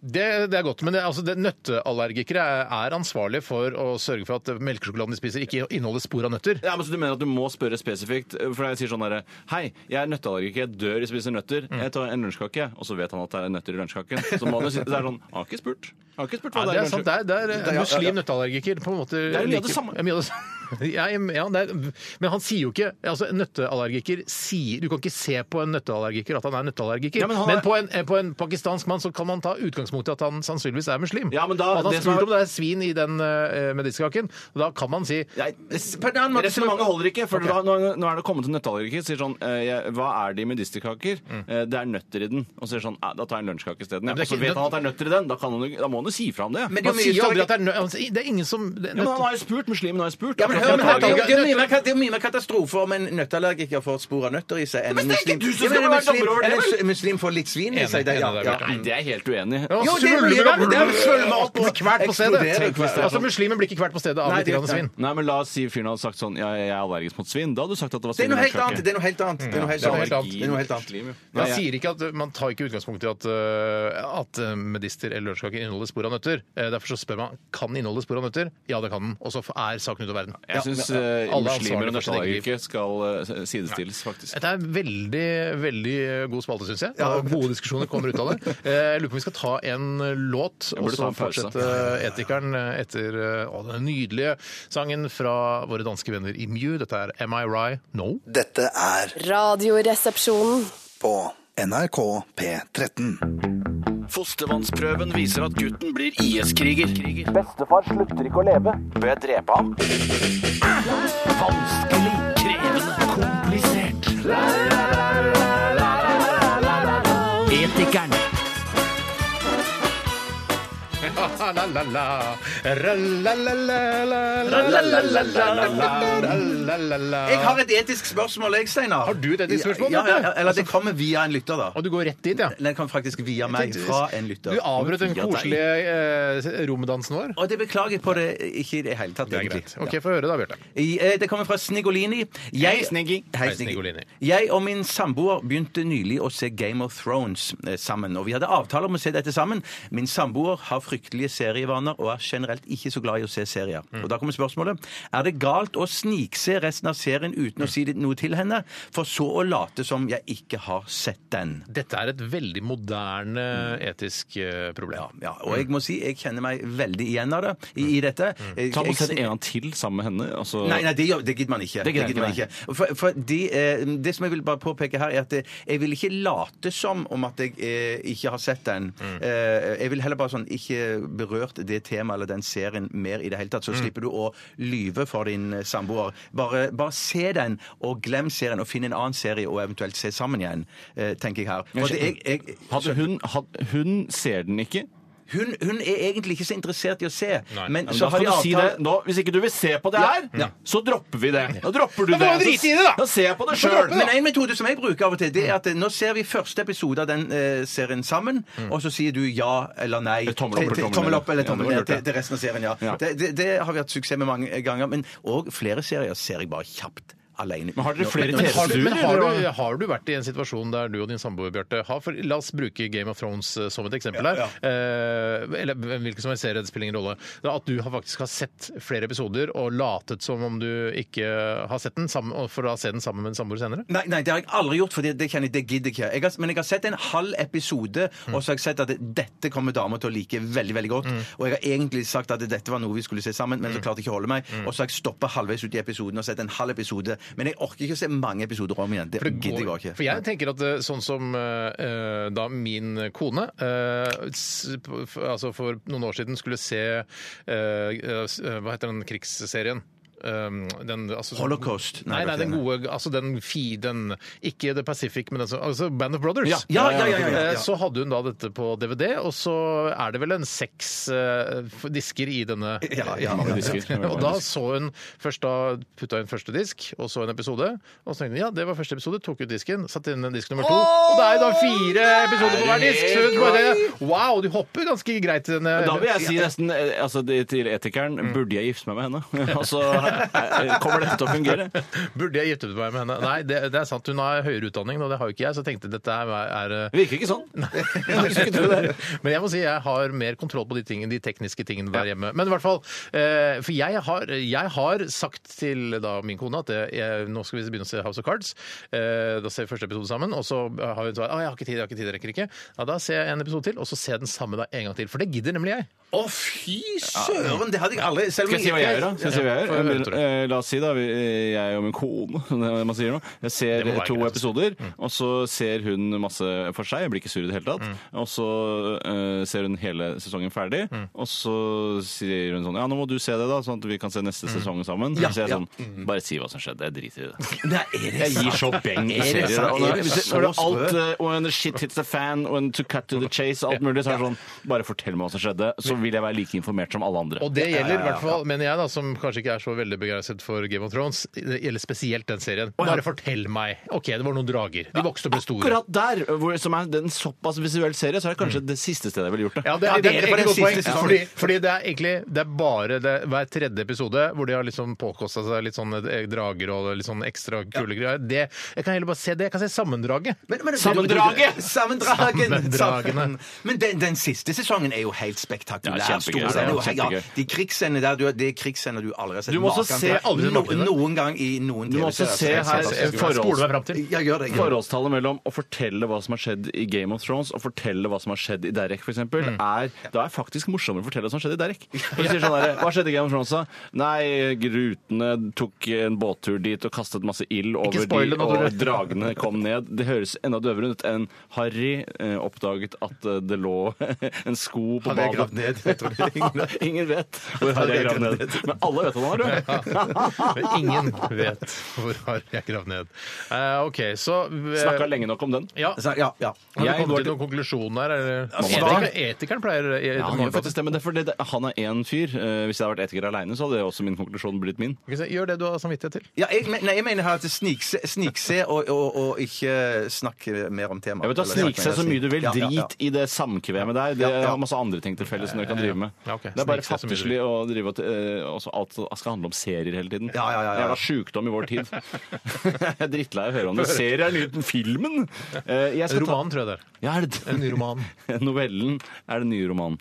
Speaker 7: Det, det er godt, men det, altså, det, nøtteallergikere er, er ansvarlige for å sørge for at melkesjokoladen de spiser, ikke inneholder spor av nøtter.
Speaker 8: Ja, men så Du mener at du må spørre spesifikt? For jeg sier sånn derre Hei, jeg er nøtteallergiker, jeg dør i å spise nøtter. Jeg tar en lunsjkake, og så vet han at det er nøtter i lunsjkaken. Så må han jo si det er sånn Jeg har ikke spurt. Jeg har ikke spurt hva
Speaker 7: Ja, det er
Speaker 8: det er. i
Speaker 7: sant. Det er,
Speaker 8: lunsjkaken».
Speaker 7: det er,
Speaker 8: ja, ja.
Speaker 7: muslim nøtteallergiker på en måte
Speaker 8: er jo mye av det
Speaker 7: liker-
Speaker 8: samme.
Speaker 7: Ja, mye av det samme. Ja, ja, det er, men han sier jo ikke altså en Nøtteallergiker sier Du kan ikke se på en nøtteallergiker at han er nøtteallergiker.
Speaker 8: Ja, men
Speaker 7: men
Speaker 8: han er-
Speaker 7: på, en, eh, på en pakistansk mann så kan man ta utgangspunkt i at han sannsynligvis er muslim.
Speaker 8: Ja, men da-
Speaker 7: og at han
Speaker 8: det som
Speaker 7: spurte
Speaker 8: er-
Speaker 7: om det er svin i den uh, medisterkaken. og Da kan man si
Speaker 8: Nei,
Speaker 3: På en annen måte-
Speaker 8: Resonnementet holder ikke. for da, nå, nå er det kommet en nøtteallergiker sier sånn eh, jeg, Hva er det i medisterkaker?
Speaker 3: Mm.
Speaker 8: Eh, det er nøtter i den. Og så sier sånn eh, Da tar jeg en lunsjkake isteden.
Speaker 7: Men
Speaker 8: Ja.
Speaker 7: det er
Speaker 8: Og så
Speaker 7: ikke-
Speaker 8: vet han at det er nøtter i den. Da, kan han, jo- da må han jo si fra om det.
Speaker 3: Men det er
Speaker 7: Man
Speaker 3: mye
Speaker 7: sier jo aldri
Speaker 3: større-
Speaker 7: at det er nø... altså, Det er ingen som det er
Speaker 8: Ja, men han
Speaker 7: nøtte-
Speaker 8: har jo spurt. Muslimen har jo spurt.
Speaker 3: Ja, men
Speaker 7: det er- det
Speaker 3: hør, men det,
Speaker 7: er-
Speaker 3: er mye mer, kat- det er mye mer katastrofe om en nøtteallergiker får spor av nøtter i seg enn
Speaker 8: Men
Speaker 3: en
Speaker 8: det er ikke
Speaker 3: muslim.
Speaker 8: du som skal
Speaker 3: Ja, men en
Speaker 8: være dommer
Speaker 3: muslim-
Speaker 8: over det,
Speaker 3: en
Speaker 8: vel?
Speaker 3: mus- muslim får litt svin i
Speaker 7: Enig,
Speaker 3: seg. Det,
Speaker 7: enig,
Speaker 3: ja,
Speaker 7: det er
Speaker 3: ja.
Speaker 7: Bjarte.
Speaker 8: Nei, det er jeg helt uenig. i. Altså,
Speaker 7: Ja,
Speaker 3: Jo, det
Speaker 7: svulmer
Speaker 3: blir
Speaker 7: du
Speaker 3: det.
Speaker 7: opp?
Speaker 3: Det er svulmer opp og
Speaker 7: Blir Kvert på stedet.
Speaker 3: eksploderer.
Speaker 7: Tenk hvis det er Altså, Muslimer blir ikke kvert på stedet av
Speaker 3: Nei,
Speaker 7: litt grann
Speaker 3: det-
Speaker 7: svin.
Speaker 8: Nei, men la oss si fyren hadde sagt sånn ja, Jeg er allergisk mot svin. Da hadde du sagt at det var
Speaker 3: det
Speaker 8: svin.
Speaker 3: er noe helt annet. Det er noe helt annet. Det er noe helt
Speaker 7: det er noe helt
Speaker 3: annet. Det er noe helt annet.
Speaker 7: Man sier ikke at, man tar ikke utgangspunkt i at, øh, at øh, medister eller lunsjkake inneholder spor av nøtter. Eh, Derfor så spør man kan den inneholde spor av nøtter. Ja, det kan den. Og så er saken ute av verden.
Speaker 8: Jeg syns
Speaker 7: Alle er ansvarlige
Speaker 8: muslimer og
Speaker 7: for sitt eget liv.
Speaker 8: nøtteallergikere skal eh, sidestilles, faktisk.
Speaker 7: Dette er veldig veldig god spalte, syns jeg. Og Gode diskusjoner kommer ut av det. Eh, Jeg lurer på om vi skal ta en låt,
Speaker 8: Jeg
Speaker 7: og
Speaker 8: burde
Speaker 7: så
Speaker 8: ta en pause.
Speaker 7: fortsette Etikeren etter eh, å, den nydelige sangen fra våre danske venner i Mew. Dette er Am I Right? No.
Speaker 5: Dette er
Speaker 4: Radioresepsjonen.
Speaker 5: på NRK P13.
Speaker 8: Fostervannsprøven viser at gutten blir IS-kriger.
Speaker 6: Bestefar slutter ikke å leve. Bør jeg drepe ham?
Speaker 8: Vanskelig, krevende, komplisert. Etikeren.
Speaker 3: Jeg har et etisk spørsmål, jeg, Steinar.
Speaker 7: Har du et etisk spørsmål,
Speaker 3: Ja, ja,
Speaker 7: Bjarte?
Speaker 3: ja, eller det kommer via en lytter, da.
Speaker 7: Og du går rett dit, ja?
Speaker 3: Den kom faktisk via meg, fra en lytter.
Speaker 7: Du avbrøt den
Speaker 8: Ja, deg.
Speaker 7: koselige eh, romdansen vår.
Speaker 3: Og det beklager jeg på det ikke i det hele tatt,
Speaker 7: Det er
Speaker 3: egentlig.
Speaker 7: greit. OK, få høre da, Bjarte.
Speaker 3: I, eh, Det kommer fra Snigolini. Jeg,
Speaker 8: Hei, Sniggi.
Speaker 3: Hei,
Speaker 7: Hei, Snigolini.
Speaker 3: Snigolini. Jeg og min samboer begynte nylig å se Game of Thrones eh, sammen, og vi hadde avtale om å se dette sammen. Min samboer har fryktelige serievaner og er generelt ikke så glad i å se serier. Og da kommer spørsmålet. Er det galt å snikse resten av serien uten å si det- noe til henne, for så å late som jeg ikke har sett den?
Speaker 7: Dette er et veldig moderne etisk eh,
Speaker 3: Ja,
Speaker 7: problem.
Speaker 3: ja, og jeg må si, jeg kjenner meg veldig igjen av det, i, i dette. Jeg-
Speaker 8: Ta og
Speaker 3: jeg-
Speaker 8: Sett en gang til sammen med henne. Altså,
Speaker 3: Nei, nei, det, gjør- det gidder man
Speaker 8: Det
Speaker 3: ikke. Det,
Speaker 8: gidder
Speaker 3: gidder man
Speaker 8: ikke,
Speaker 3: ikke. For, for de, eh, det som jeg vil bare påpeke her, er at eh, jeg vil ikke late som om at jeg eh, ikke har sett den.
Speaker 8: Mm.
Speaker 3: Eh, jeg vil heller bare sånn ikke berørt det temaet eller den serien mer i det hele tatt.
Speaker 8: Mm.
Speaker 3: Så slipper du å lyve for din eh, samboer. Bare, bare se den, og glem serien, og finn en annen serie, og eventuelt se sammen igjen, eh, tenker jeg her. For det, jeg, jeg,
Speaker 8: hadde hun, had, hun ser den ikke.
Speaker 3: hun, hun er egentlig ikke så interessert i å se,
Speaker 7: Nei.
Speaker 3: men
Speaker 8: Men
Speaker 3: så
Speaker 8: da
Speaker 3: har
Speaker 8: kan
Speaker 3: de
Speaker 8: du si det.
Speaker 3: avtale
Speaker 8: Nå, hvis ikke du vil se på det
Speaker 3: Ja.
Speaker 8: her,
Speaker 3: Ja.
Speaker 8: så dropper vi det. Da dropper du
Speaker 7: Da
Speaker 8: det.
Speaker 7: må vi drite i det, da.
Speaker 8: Da ser jeg på det
Speaker 3: Selv.
Speaker 8: sjøl.
Speaker 3: Men en metode som jeg bruker av og til, det er at eh, nå ser vi første episode av den eh, serien sammen, og så sier du ja eller nei.
Speaker 8: Mm. Tommel opp eller
Speaker 3: til- til-
Speaker 8: tommel
Speaker 3: tommel opp
Speaker 8: ned.
Speaker 3: eller
Speaker 8: Ja, det
Speaker 3: tommel
Speaker 8: var
Speaker 3: ned
Speaker 8: lurt, ja.
Speaker 3: til, til resten av serien, ja.
Speaker 8: Ja.
Speaker 3: Det, det, det har vi hatt suksess med mange ganger. Men òg flere serier ser jeg bare kjapt. alene.
Speaker 8: Men har dere flere
Speaker 7: Men har, du, men har, du,
Speaker 8: TV-stuer?
Speaker 7: har du vært i en situasjon der du og din samboer, Bjarte har for, La oss bruke Game of Thrones eh, som et eksempel her. Eh, eller hvilken som helst serie, det spiller ingen rolle. Det er At du har faktisk har sett flere episoder og latet som om du ikke har sett den, sammen, og for å se den sammen med en samboer senere?
Speaker 3: Nei, nei, det har jeg aldri gjort, for det, det, kjenner jeg, det gidder jeg ikke. Jeg har, men jeg har sett en halv episode, og så har jeg sett at dette kommer damer til å like veldig veldig godt. Og jeg har egentlig sagt at dette var noe vi skulle se sammen, men så klarte jeg ikke å holde meg. Og så har jeg stoppa halvveis ut i episoden og sett en halv episode. Men jeg orker ikke å se mange episoder om igjen. Det,
Speaker 7: For det
Speaker 3: gidder jeg
Speaker 7: går-
Speaker 3: bare ikke.
Speaker 7: For jeg tenker at eh, sånn som eh, da min kone eh, s- på- f- altså for noen år siden skulle se eh, eh, s- eh, Hva heter den krigsserien? Um, den, altså, som-
Speaker 3: Holocaust?
Speaker 7: Nei,
Speaker 3: Nei,
Speaker 7: nei, den
Speaker 3: nei.
Speaker 7: gode altså den fi, den, Ikke The Pacific, men den som altså Band of Brothers.
Speaker 3: Ja, ja, ja, ja, ja, ja.
Speaker 7: Eh, Så hadde hun da dette på DVD, og så er det vel en seks eh, f- disker i denne.
Speaker 3: Ja, ja,
Speaker 8: mange disker.
Speaker 7: Og da så hun først da putta inn første disk, og så en episode. Og så tenkte hun ja, det var første episode, tok ut disken, satte inn en disk nummer to. Og det er jo da fire episoder på hver disk! Så hun bare wow, du hopper ganske greit i denne
Speaker 8: Da vil jeg si nesten eh, altså, det- til etikeren
Speaker 7: Mm.
Speaker 8: Burde jeg gifte meg med henne? Altså, eh, kommer dette til å fungere?
Speaker 7: Burde jeg giftet meg med henne? Nei, det, det er sant. Hun har høyere utdanning, og det har jo ikke jeg, så jeg tenkte dette er, er eh,
Speaker 8: Det virker ikke sånn.
Speaker 7: Men jeg må si jeg har mer kontroll på de, tingene, de tekniske tingene der hjemme. Men i hvert fall, eh, for jeg har, jeg har sagt til da min kone at eh, jeg, nå skal vi begynne å se House of Cards. Eh, da ser vi første episode sammen, og så har hun sagt ah, jeg har ikke tid, jeg har ikke tid, jeg rekker ikke. Ja, da ser jeg en episode til, og så ser jeg den samme da en gang til. For det gidder nemlig jeg.
Speaker 3: Å, fy søren! Det hadde jeg aldri selv
Speaker 8: Skal
Speaker 3: om
Speaker 8: jeg si hva jeg gjør, da? Skal jeg si hva jeg
Speaker 7: Ja,
Speaker 8: gjør?
Speaker 7: få høre, Tore.
Speaker 8: Eh, La oss si, da, vi- eh, jeg og min kone som det man sier nå, jeg ser
Speaker 7: Det må være
Speaker 8: to
Speaker 7: greit. Mm.
Speaker 8: episoder, og så ser hun masse for seg, jeg blir ikke sur i det hele
Speaker 7: Mm.
Speaker 8: tatt, og så eh, ser hun hele sesongen ferdig,
Speaker 7: Mm.
Speaker 8: og så sier hun sånn, ja, nå må du se det da, sånn at vi kan se
Speaker 7: Mm.
Speaker 8: neste sesong sammen.
Speaker 3: Ja,
Speaker 8: Så sier jeg
Speaker 3: ja.
Speaker 8: sånn, bare si hva som skjedde, jeg driter i det.
Speaker 3: Nei, er det
Speaker 8: Jeg gir
Speaker 7: altså.
Speaker 8: så beng i
Speaker 3: Er det
Speaker 8: serier. da.
Speaker 3: sant?
Speaker 8: Og Når
Speaker 3: Er det
Speaker 8: hvis-
Speaker 3: så
Speaker 8: når det er alt
Speaker 3: sprø?
Speaker 8: eh, When the shit hits the fan, when to cut to the chase, alt mulig, så er det sånn Bare fortell meg hva som skjedde, så vil jeg være like informert som alle andre.
Speaker 7: Og det gjelder i hvert fall, mener jeg, da, som kanskje ikke er så veldig begeistret for Game of Thrones, det gjelder spesielt den serien. Bare fortell meg. OK, det var noen drager. De vokste og ble store. Mm.
Speaker 8: Akkurat der, hvor, som er en såpass visuell serie, så er det kanskje det siste stedet jeg ville gjort det.
Speaker 7: Ja, det,
Speaker 3: Ja,
Speaker 7: er- det er
Speaker 3: det er
Speaker 7: egentlig
Speaker 3: på
Speaker 7: godt
Speaker 3: den
Speaker 7: poeng.
Speaker 3: siste
Speaker 7: Fordi, fordi det er egentlig det er bare det, hver tredje episode hvor de har liksom påkosta seg litt sånn eh, drager og litt sånn ekstra kule greier. Det, jeg kan heller bare se det. Jeg kan se sammendraget.
Speaker 3: Men- men-
Speaker 8: Sammendraget!
Speaker 3: Sammendragen!
Speaker 7: Sammendragene.
Speaker 3: Men den, den siste sesongen er jo helt spektakulær.
Speaker 8: Ja, kjempegøy.
Speaker 3: Store scener,
Speaker 8: Ja,
Speaker 3: og- ja,
Speaker 8: kjempegøy.
Speaker 3: de krigsscenene der, du, det er krigsscener du aldri har sett
Speaker 8: Du må også
Speaker 3: maken
Speaker 8: se
Speaker 3: til.
Speaker 7: aldri
Speaker 3: no,
Speaker 7: maken til.
Speaker 3: noen gang i noen
Speaker 8: Du må også
Speaker 3: TV-serier.
Speaker 8: se
Speaker 3: Jeg
Speaker 8: her
Speaker 3: ser
Speaker 7: Jeg
Speaker 3: det.
Speaker 7: spoler meg fram til.
Speaker 3: Ja, gjør det. Gjør det.
Speaker 8: Forholdstallet mellom å fortelle hva som har skjedd i Game of Thrones og fortelle hva som har skjedd i Derek, f.eks.,
Speaker 3: Mm.
Speaker 8: eksempel er da er faktisk morsommere å fortelle hva som skjedde i Derek. For du sier sånn der, Hva skjedde i Game of Thrones, da? Nei, grutene tok en båttur dit og kastet masse ild over
Speaker 7: spoil
Speaker 8: de,
Speaker 7: det nå,
Speaker 8: og
Speaker 7: Tore.
Speaker 8: dragene kom ned. Det høres enda døvere ut enn Harry eh, oppdaget at eh, det lå en sko på
Speaker 3: Han er
Speaker 8: badet.
Speaker 3: gravd ned. Jeg tror det er ingen-
Speaker 8: Ingen vet hvor Harry er gravd ned. Men alle vet han har
Speaker 7: Ah. Men ingen vet hvor har jeg gravd ned. Eh, OK, så eh,
Speaker 8: Snakka lenge nok om den.
Speaker 7: Ja.
Speaker 3: Så, Ja, ja.
Speaker 7: Har du kommet
Speaker 8: Jeg går altså,
Speaker 7: til noen konklusjon der? eller?
Speaker 3: svar.
Speaker 7: Etikeren, etikeren pleier
Speaker 8: Ja, han, gjør faktisk det, men det er fordi det, han er én fyr. Eh, hvis jeg hadde vært etiker aleine, så hadde også min konklusjon blitt min.
Speaker 7: Gjør det du har samvittighet til.
Speaker 3: ja jeg, men- nei, jeg mener her at snikse, snikse og, og, og ikke snakke mer om temaet.
Speaker 8: Jeg vet da,
Speaker 3: Eller
Speaker 8: Snik seg
Speaker 3: snakke
Speaker 8: så
Speaker 3: mer,
Speaker 8: mye du vil.
Speaker 3: ja, ja, ja.
Speaker 8: Drit i det samkvemet der. Det har masse andre ting til felles som dere kan drive med.
Speaker 7: Ja, ok.
Speaker 8: Det er bare
Speaker 7: Snik seg så mye du
Speaker 8: fattigslig å drive og eh, også alt som- skal handle om serier hele tiden.
Speaker 3: Ja, ja, ja, ja.
Speaker 8: Jævla sjukdom i vår tid. jeg er drittlei av å høre om det. Serier er nyheten. Filmen! Eh, jeg skal ta-
Speaker 7: Roman, tror jeg det er.
Speaker 8: Ja, er det
Speaker 7: En ny roman.
Speaker 8: Novellen er den nye romanen.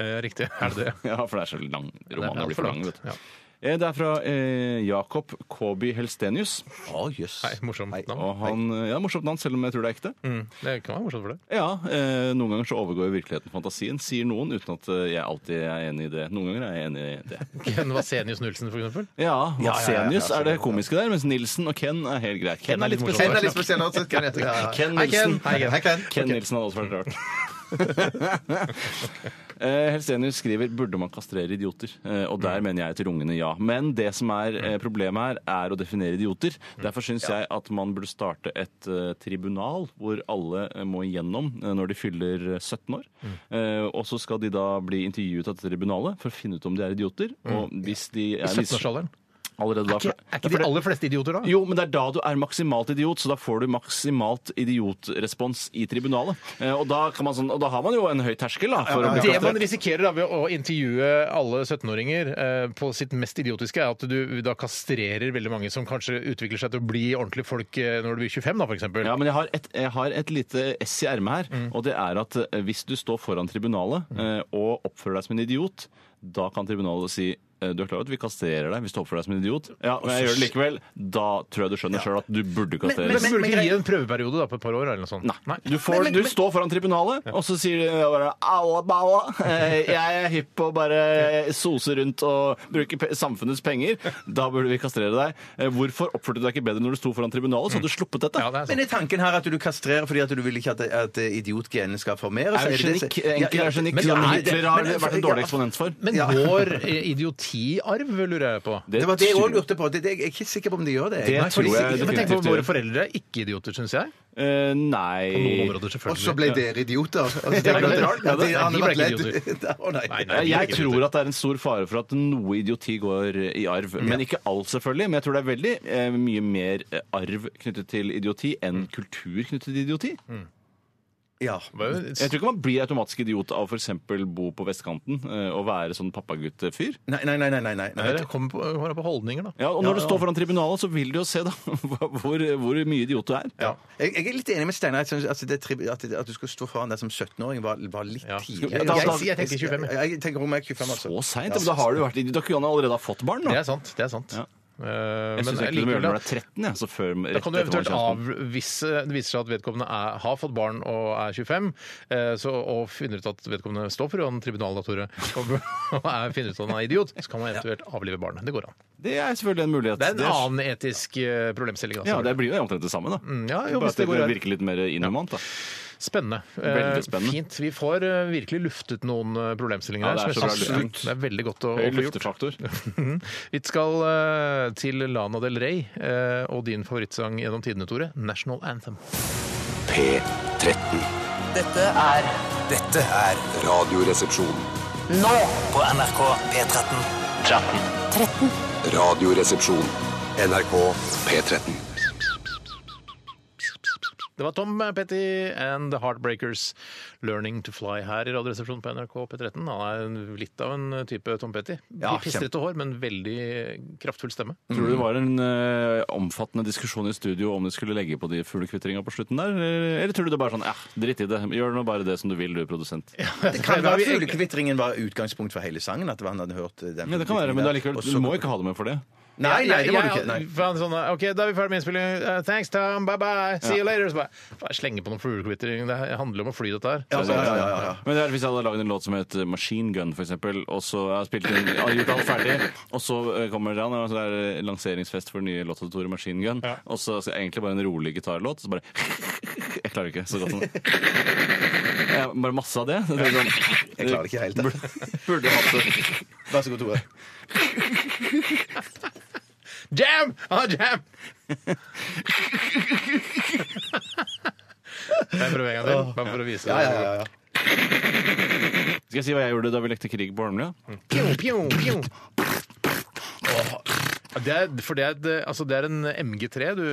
Speaker 7: Eh, riktig. Er det det?
Speaker 8: Ja, for det er så lang. Romanen blir for lang, vet du.
Speaker 7: Ja.
Speaker 8: Eh, Det er fra eh, Jakob Koby Helstenius.
Speaker 3: Å, jøss.
Speaker 7: Hei, morsomt
Speaker 3: Hei.
Speaker 7: navn.
Speaker 8: Og han, ja, Morsomt navn, selv om jeg tror det er ekte.
Speaker 7: Det kan være morsomt for deg.
Speaker 8: Ja, eh, Noen ganger så overgår virkeligheten fantasien, sier noen, uten at eh, jeg alltid er enig i det. Noen ganger er jeg enig i det.
Speaker 7: Ken Vasenius Nilsen, for eksempel.
Speaker 8: Ja,
Speaker 3: ja, ja,
Speaker 8: Vasenius
Speaker 3: ja,
Speaker 8: er det komiske der, mens Nilsen og Ken er helt greit. Ken er litt
Speaker 7: morsom.
Speaker 3: Ken er
Speaker 8: spesiell.
Speaker 3: litt spesiell også. Ken heter- ja, ja.
Speaker 8: Ken
Speaker 3: Hei,
Speaker 8: Nilsen.
Speaker 3: Hei, Ken. Hei, Ken.
Speaker 8: Ken Nilsen hadde også vært rart. Eh, Helstenius skriver burde man kastrere idioter. Eh,
Speaker 7: Mm.
Speaker 8: Og der mener jeg til rungende ja. Men det som er eh, problemet her, er å definere idioter.
Speaker 7: Mm.
Speaker 8: Derfor syns jeg at man burde starte et eh, tribunal hvor alle eh, må igjennom eh, når de fyller eh, 17 år.
Speaker 7: Mm.
Speaker 8: Eh, Og så skal de da bli intervjuet av dette tribunalet for å finne ut om de er idioter. Og hvis de er
Speaker 7: 17-årsalderen.
Speaker 8: Allerede da.
Speaker 7: Mm. Er ikke, er ikke
Speaker 8: For
Speaker 7: de
Speaker 8: det-
Speaker 7: aller fleste idioter da?
Speaker 8: Jo, men det er da du er maksimalt idiot, så da får du maksimalt idiotrespons i tribunalet. Eh, Og da, kan man sånn, og da har man jo en høy terskel, da. For å bli
Speaker 7: Det man
Speaker 8: kastrert.
Speaker 7: risikerer da ved å intervjue alle 17-åringer eh, på sitt mest idiotiske, er at du da kastrerer veldig mange som kanskje utvikler seg til å bli ordentlige folk eh, når du blir 25, da, for eksempel.
Speaker 8: Ja, men jeg har et, jeg har et lite ess i ermet her,
Speaker 7: Mm.
Speaker 8: og det er at eh, hvis du står foran tribunalet eh, og oppfører deg som en idiot, da kan tribunalet si eh, du er klar over at vi kastrerer deg hvis du oppfører deg som en idiot. Ja, men jeg gjør det likevel. Da tror jeg du skjønner sjøl at du burde
Speaker 7: Men
Speaker 8: kastreres.
Speaker 7: så burde du
Speaker 3: men-
Speaker 7: ikke gi en prøveperiode da, på et par år? eller noe sånt?
Speaker 8: Nei. Du, får, du står foran tribunalet, og så sier du bare Alla balla! eh, Jeg er hypp på å bare sose rundt og bruke pe- samfunnets penger. Da burde vi kastrere deg. Eh, Hvorfor oppførte du deg ikke bedre når du sto foran tribunalet? Så hadde du sluppet dette.
Speaker 7: Ja, det er sant.
Speaker 3: Men er tanken her at du kastrerer fordi at du vil ikke at, at idiotgenene skal formere seg? Er det det-
Speaker 8: Eugenikk, enkel eugenikk,
Speaker 3: Men-
Speaker 8: som
Speaker 3: Nei, det-
Speaker 8: Hitler har
Speaker 3: men-
Speaker 8: vært en dårlig eksponent for.
Speaker 7: Men
Speaker 3: Ja.
Speaker 7: går idiotiarv, lurer jeg på?
Speaker 3: Det var det jeg òg
Speaker 8: tror-
Speaker 3: lurte på. Det, det, jeg er ikke sikker på om de gjør det.
Speaker 8: Det
Speaker 3: Nei,
Speaker 8: tror
Speaker 7: Men
Speaker 8: jeg
Speaker 7: tenk på
Speaker 8: definitivt
Speaker 7: våre
Speaker 8: gjør.
Speaker 7: foreldre er ikke idioter, syns jeg. På
Speaker 8: Eh,
Speaker 7: noen
Speaker 8: Nei
Speaker 7: områder,
Speaker 3: Og så
Speaker 7: selvfølgelig.
Speaker 3: ble dere idioter. Altså, det
Speaker 8: Ja,
Speaker 3: ble-
Speaker 8: det er rart,
Speaker 3: Ja,
Speaker 8: men
Speaker 3: det-
Speaker 8: det-
Speaker 3: han
Speaker 7: de
Speaker 3: har
Speaker 7: ble
Speaker 3: vært
Speaker 7: ikke
Speaker 3: ledd- Å, nei.
Speaker 7: Nei, nei.
Speaker 8: Ja, Jeg tror at det er en stor fare for at noe idioti går i arv. Men ikke alt, selvfølgelig. Men jeg tror det er veldig eh, mye mer eh, arv knyttet til idioti enn kultur knyttet til idioti.
Speaker 3: Ja.
Speaker 8: Jeg tror ikke man blir automatisk idiot av f.eks. bo på vestkanten eh, og være sånn pappagutt-fyr.
Speaker 3: Nei, nei, nei, nei, nei, nei.
Speaker 7: Det kommer på, kommer på holdninger, da.
Speaker 8: Ja, og når du står foran tribunalet, så vil du jo se da hvor, hvor mye idiot du er.
Speaker 3: Jeg, jeg er litt enig med Steinar. jeg synes At, det tri- at, at du skulle stå foran der som 17-åring, var, var litt
Speaker 7: Ja.
Speaker 3: tidlig.
Speaker 8: Jeg- jeg-
Speaker 7: jeg tenker 25, jeg.
Speaker 3: Jeg, jeg tenker om jeg er 25, altså.
Speaker 8: Så seint! Da har du vært idiot. Da kunne han allerede ha fått barn.
Speaker 7: Det
Speaker 8: Da.
Speaker 7: er sant. det er sant.
Speaker 8: Ja.
Speaker 7: Eh,
Speaker 8: Jeg
Speaker 7: men
Speaker 8: syns ikke du må
Speaker 7: likevel,
Speaker 8: gjøre det
Speaker 7: da,
Speaker 8: når du er 13. Jeg, så før,
Speaker 7: da
Speaker 8: rett
Speaker 7: kan du
Speaker 8: etter man
Speaker 7: eventuelt
Speaker 8: er 16.
Speaker 7: av, Hvis eh, det viser seg at vedkommende er, har fått barn og er 25, eh, så, og finner ut at vedkommende står foran tribunaldatoret og er- finner ut at han er idiot, så kan man eventuelt avlive barnet. Det går an.
Speaker 8: Det er selvfølgelig en mulighet.
Speaker 7: Det er en
Speaker 8: Det er-
Speaker 7: annen etisk eh, problemstilling.
Speaker 8: Ja,
Speaker 7: Altså.
Speaker 8: det blir jo omtrent det samme, da.
Speaker 7: ja, jo,
Speaker 8: Bare
Speaker 7: hvis
Speaker 8: at det
Speaker 7: det går an.
Speaker 8: virker litt mer inhumant, da.
Speaker 7: Spennende. Eh,
Speaker 8: Veldig spennende.
Speaker 7: Fint. Vi får eh, virkelig luftet noen eh, problemstillinger
Speaker 8: Ja,
Speaker 7: her.
Speaker 8: det er
Speaker 7: som jeg
Speaker 8: så bra
Speaker 7: synes-
Speaker 8: lufting.
Speaker 7: Det er veldig godt å, å
Speaker 8: Høy
Speaker 7: få gjort.
Speaker 8: luftefaktor.
Speaker 7: Vi skal eh, til Lana Del Rey eh, og din favorittsang gjennom tidene, Tore. 'National Anthem'.
Speaker 1: P13.
Speaker 2: Dette er
Speaker 1: Dette er Radioresepsjon.
Speaker 2: nå på NRK P13.
Speaker 1: Radioresepsjon. NRK P13.
Speaker 7: Det var Tom eh, Petty and The Heartbreakers 'Learning to Fly' her i Radioresepsjonen på NRK P13. Han er en- litt av en eh, type Tom Petty.
Speaker 3: Ja,
Speaker 7: Pistrete hår, men veldig kraftfull stemme.
Speaker 8: Tror du det var en eh, omfattende diskusjon i studio om de skulle legge på de fuglekvittringa på slutten der? eh, Eller tror du det bare er sånn eh, dritt i det, gjør nå bare det som du vil, du, produsent. Ja,
Speaker 3: Det kan være fuglekvitringen var utgangspunkt for hele sangen. At han hadde hørt eh, den
Speaker 8: det kan være, men det er likevel,
Speaker 3: Og
Speaker 8: du
Speaker 3: så-
Speaker 8: må ikke ha det med for det.
Speaker 3: Nei, nei, det må du
Speaker 7: Jeg-
Speaker 3: ikke. Nei.
Speaker 7: jeg- faen, sånn, ok, da er vi ferdig med innspilling. Eh, thanks, Tom. Bye bye. See you later. Så bare, faen, slenge på noen fuglekvittering. Det handler om å fly, dette her.
Speaker 3: Ja, ja, ja, ja, ja.
Speaker 8: Men det er, hvis jeg hadde lagd en låt som het Machine Gun, for eksempel, og så jeg har spilt inn, jeg har gjort alt ferdig, og så eh, kommer det an, og så er det lanseringsfest for den nye låta til Tore Machine Gun,
Speaker 7: Ja.
Speaker 8: og så skal jeg egentlig bare en rolig gitarlåt, så bare Jeg klarer ikke så godt som det. Jeg, bare masse av det. det er sånn,
Speaker 3: Jeg klarer det ikke helt.
Speaker 8: Burde hatt det.
Speaker 3: Vær så god, Tore.
Speaker 7: Jam! Ah, jam! Jeg prøver en gang til, bare for å vise
Speaker 3: Ja, ja, ja, ja.
Speaker 8: Skal jeg si hva jeg gjorde da vi lekte krig på Holmlia?
Speaker 7: Pjo, pjo, pjo. Åh, Det er, for det er, et, altså det er en MG3, du,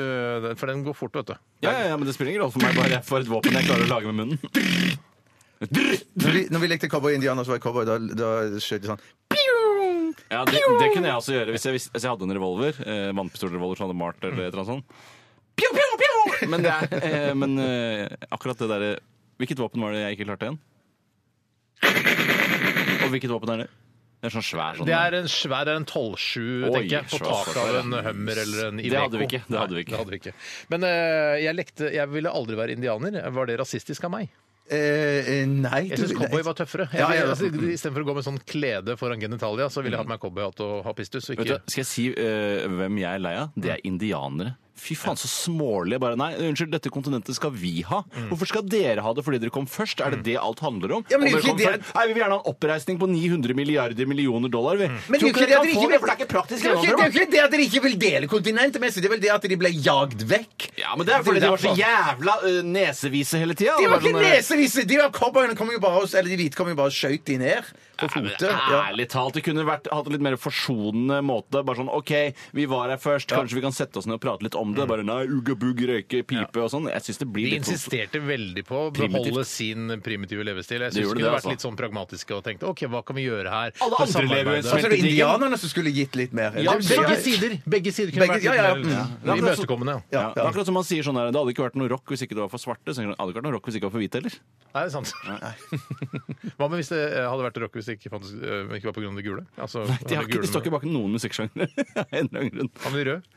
Speaker 7: den- for den går fort, vet du.
Speaker 8: Ja, ja, ja, men det spiller ingen rolle for meg, bare jeg får et våpen jeg klarer å lage med munnen.
Speaker 3: Når vi, når vi lekte cowboy-indianer, så var jeg cowboy. Da, da skjøt de sånn
Speaker 8: Ja, det, det kunne jeg også gjøre hvis jeg, visste- hvis jeg hadde en revolver. Eh, Vannpistolrevolver som hadde malt eller et eller annet sånt. Pjo, pjo, pjo! Men, det er, eh, men eh, akkurat det derre Hvilket våpen var det jeg ikke klarte igjen? Og hvilket våpen er det? Det er sånn svær sånn.
Speaker 7: Det er en svær det er en 12-7,
Speaker 8: Oi,
Speaker 7: tenker jeg, på
Speaker 8: svær,
Speaker 7: taket
Speaker 8: svær,
Speaker 7: av
Speaker 8: ja.
Speaker 7: en Hummer eller en
Speaker 8: Det
Speaker 7: Iveco.
Speaker 8: hadde vi ikke, det hadde vi
Speaker 7: Nei,
Speaker 8: ikke.
Speaker 7: det hadde vi ikke. Men eh, jeg lekte, jeg ville aldri være indianer. Var det rasistisk av meg?
Speaker 3: eh, eh, Nei.
Speaker 7: Jeg syns cowboy var tøffere. Jeg,
Speaker 3: Ja, ja, ja.
Speaker 7: altså,
Speaker 8: mm.
Speaker 7: Istedenfor å gå med sånn klede foran genitalia, så ville jeg hatt meg cowboyhatt og ha pistus. Og
Speaker 8: Vet du,
Speaker 7: ikke...
Speaker 8: hva, skal jeg si eh, hvem jeg er lei av? Det er
Speaker 3: Mm.
Speaker 8: indianere. Fy faen, så smålige. Bare, nei, unnskyld, dette kontinentet skal vi ha. Hvorfor skal dere ha det fordi dere kom først? Er det det alt handler om?
Speaker 3: Mm. Ja, men
Speaker 8: Om dere
Speaker 3: egentlig
Speaker 8: kom
Speaker 3: det er-
Speaker 8: først? Nei, Vi vil gjerne ha en oppreisning på 900 milliarder millioner dollar, vi.
Speaker 3: Mm. Men
Speaker 8: Tror
Speaker 3: det er jo ikke det at
Speaker 8: dere
Speaker 3: dere
Speaker 8: kan få
Speaker 3: ikke
Speaker 8: det, for det er ikke praktisk
Speaker 3: Det er jo ikke- det er
Speaker 8: gjennomførbart.
Speaker 3: jo ikke det at dere ikke vil dele kontinentet med seg, det er vel det at de ble jagd vekk.
Speaker 8: Ja, men det er fordi de var så jævla eh, nesevise hele Sånn tida. eh,
Speaker 3: De var ikke nesevisse! De var cowboyene kom jo bare og- eller de hvite kom jo bare og skjøt de ned. på
Speaker 8: Nei, men
Speaker 3: fote. Ja.
Speaker 8: Ærlig talt, det kunne vært, hatt en litt mer forsonende måte. Bare sånn OK, vi var her først, kanskje vi kan sette oss ned og prate litt om
Speaker 7: Mm.
Speaker 8: det. Bare nei, ugga-bugg, røyke, pipe og sånn. Jeg syns det blir
Speaker 7: De
Speaker 8: litt for-
Speaker 7: insisterte veldig på å beholde
Speaker 8: Primitivt.
Speaker 7: sin primitive levestil. Jeg
Speaker 8: Det
Speaker 7: synes
Speaker 8: gjorde
Speaker 7: de
Speaker 8: det,
Speaker 7: kunne
Speaker 8: altså.
Speaker 7: vært litt sånn pragmatiske og tenkt OK, hva kan vi gjøre her?
Speaker 8: Alle
Speaker 7: for
Speaker 8: andre lever jo i
Speaker 7: samarbeidet?»
Speaker 3: Altså, det er indianerne som skulle gitt litt mer.
Speaker 7: Ja,
Speaker 3: Eller-
Speaker 7: begge sider. Begge sider kunne vært
Speaker 3: Begge- ja, ja,
Speaker 7: litt
Speaker 3: ja.
Speaker 7: mer
Speaker 3: Ja,
Speaker 8: men altså-
Speaker 7: imøtekommende. Ja.
Speaker 8: Ja,
Speaker 3: Ja,
Speaker 8: Det er
Speaker 3: ja.
Speaker 8: akkurat som man sier sånn her, det hadde ikke vært noe rock hvis ikke det var for svarte. Så tenker man, det hadde ikke vært noe rock hvis ikke det var for hvite heller.
Speaker 7: Nei, det er sant. Hva med hvis det eh, hadde vært rock hvis det ikke, fantes, eh, ikke var pga. det gule? Altså,
Speaker 8: De, har
Speaker 7: det
Speaker 8: ikke,
Speaker 7: gule
Speaker 8: de står ikke bak noen musikksjanger. av en eller annen grunn.
Speaker 7: Hva med de røde?
Speaker 8: De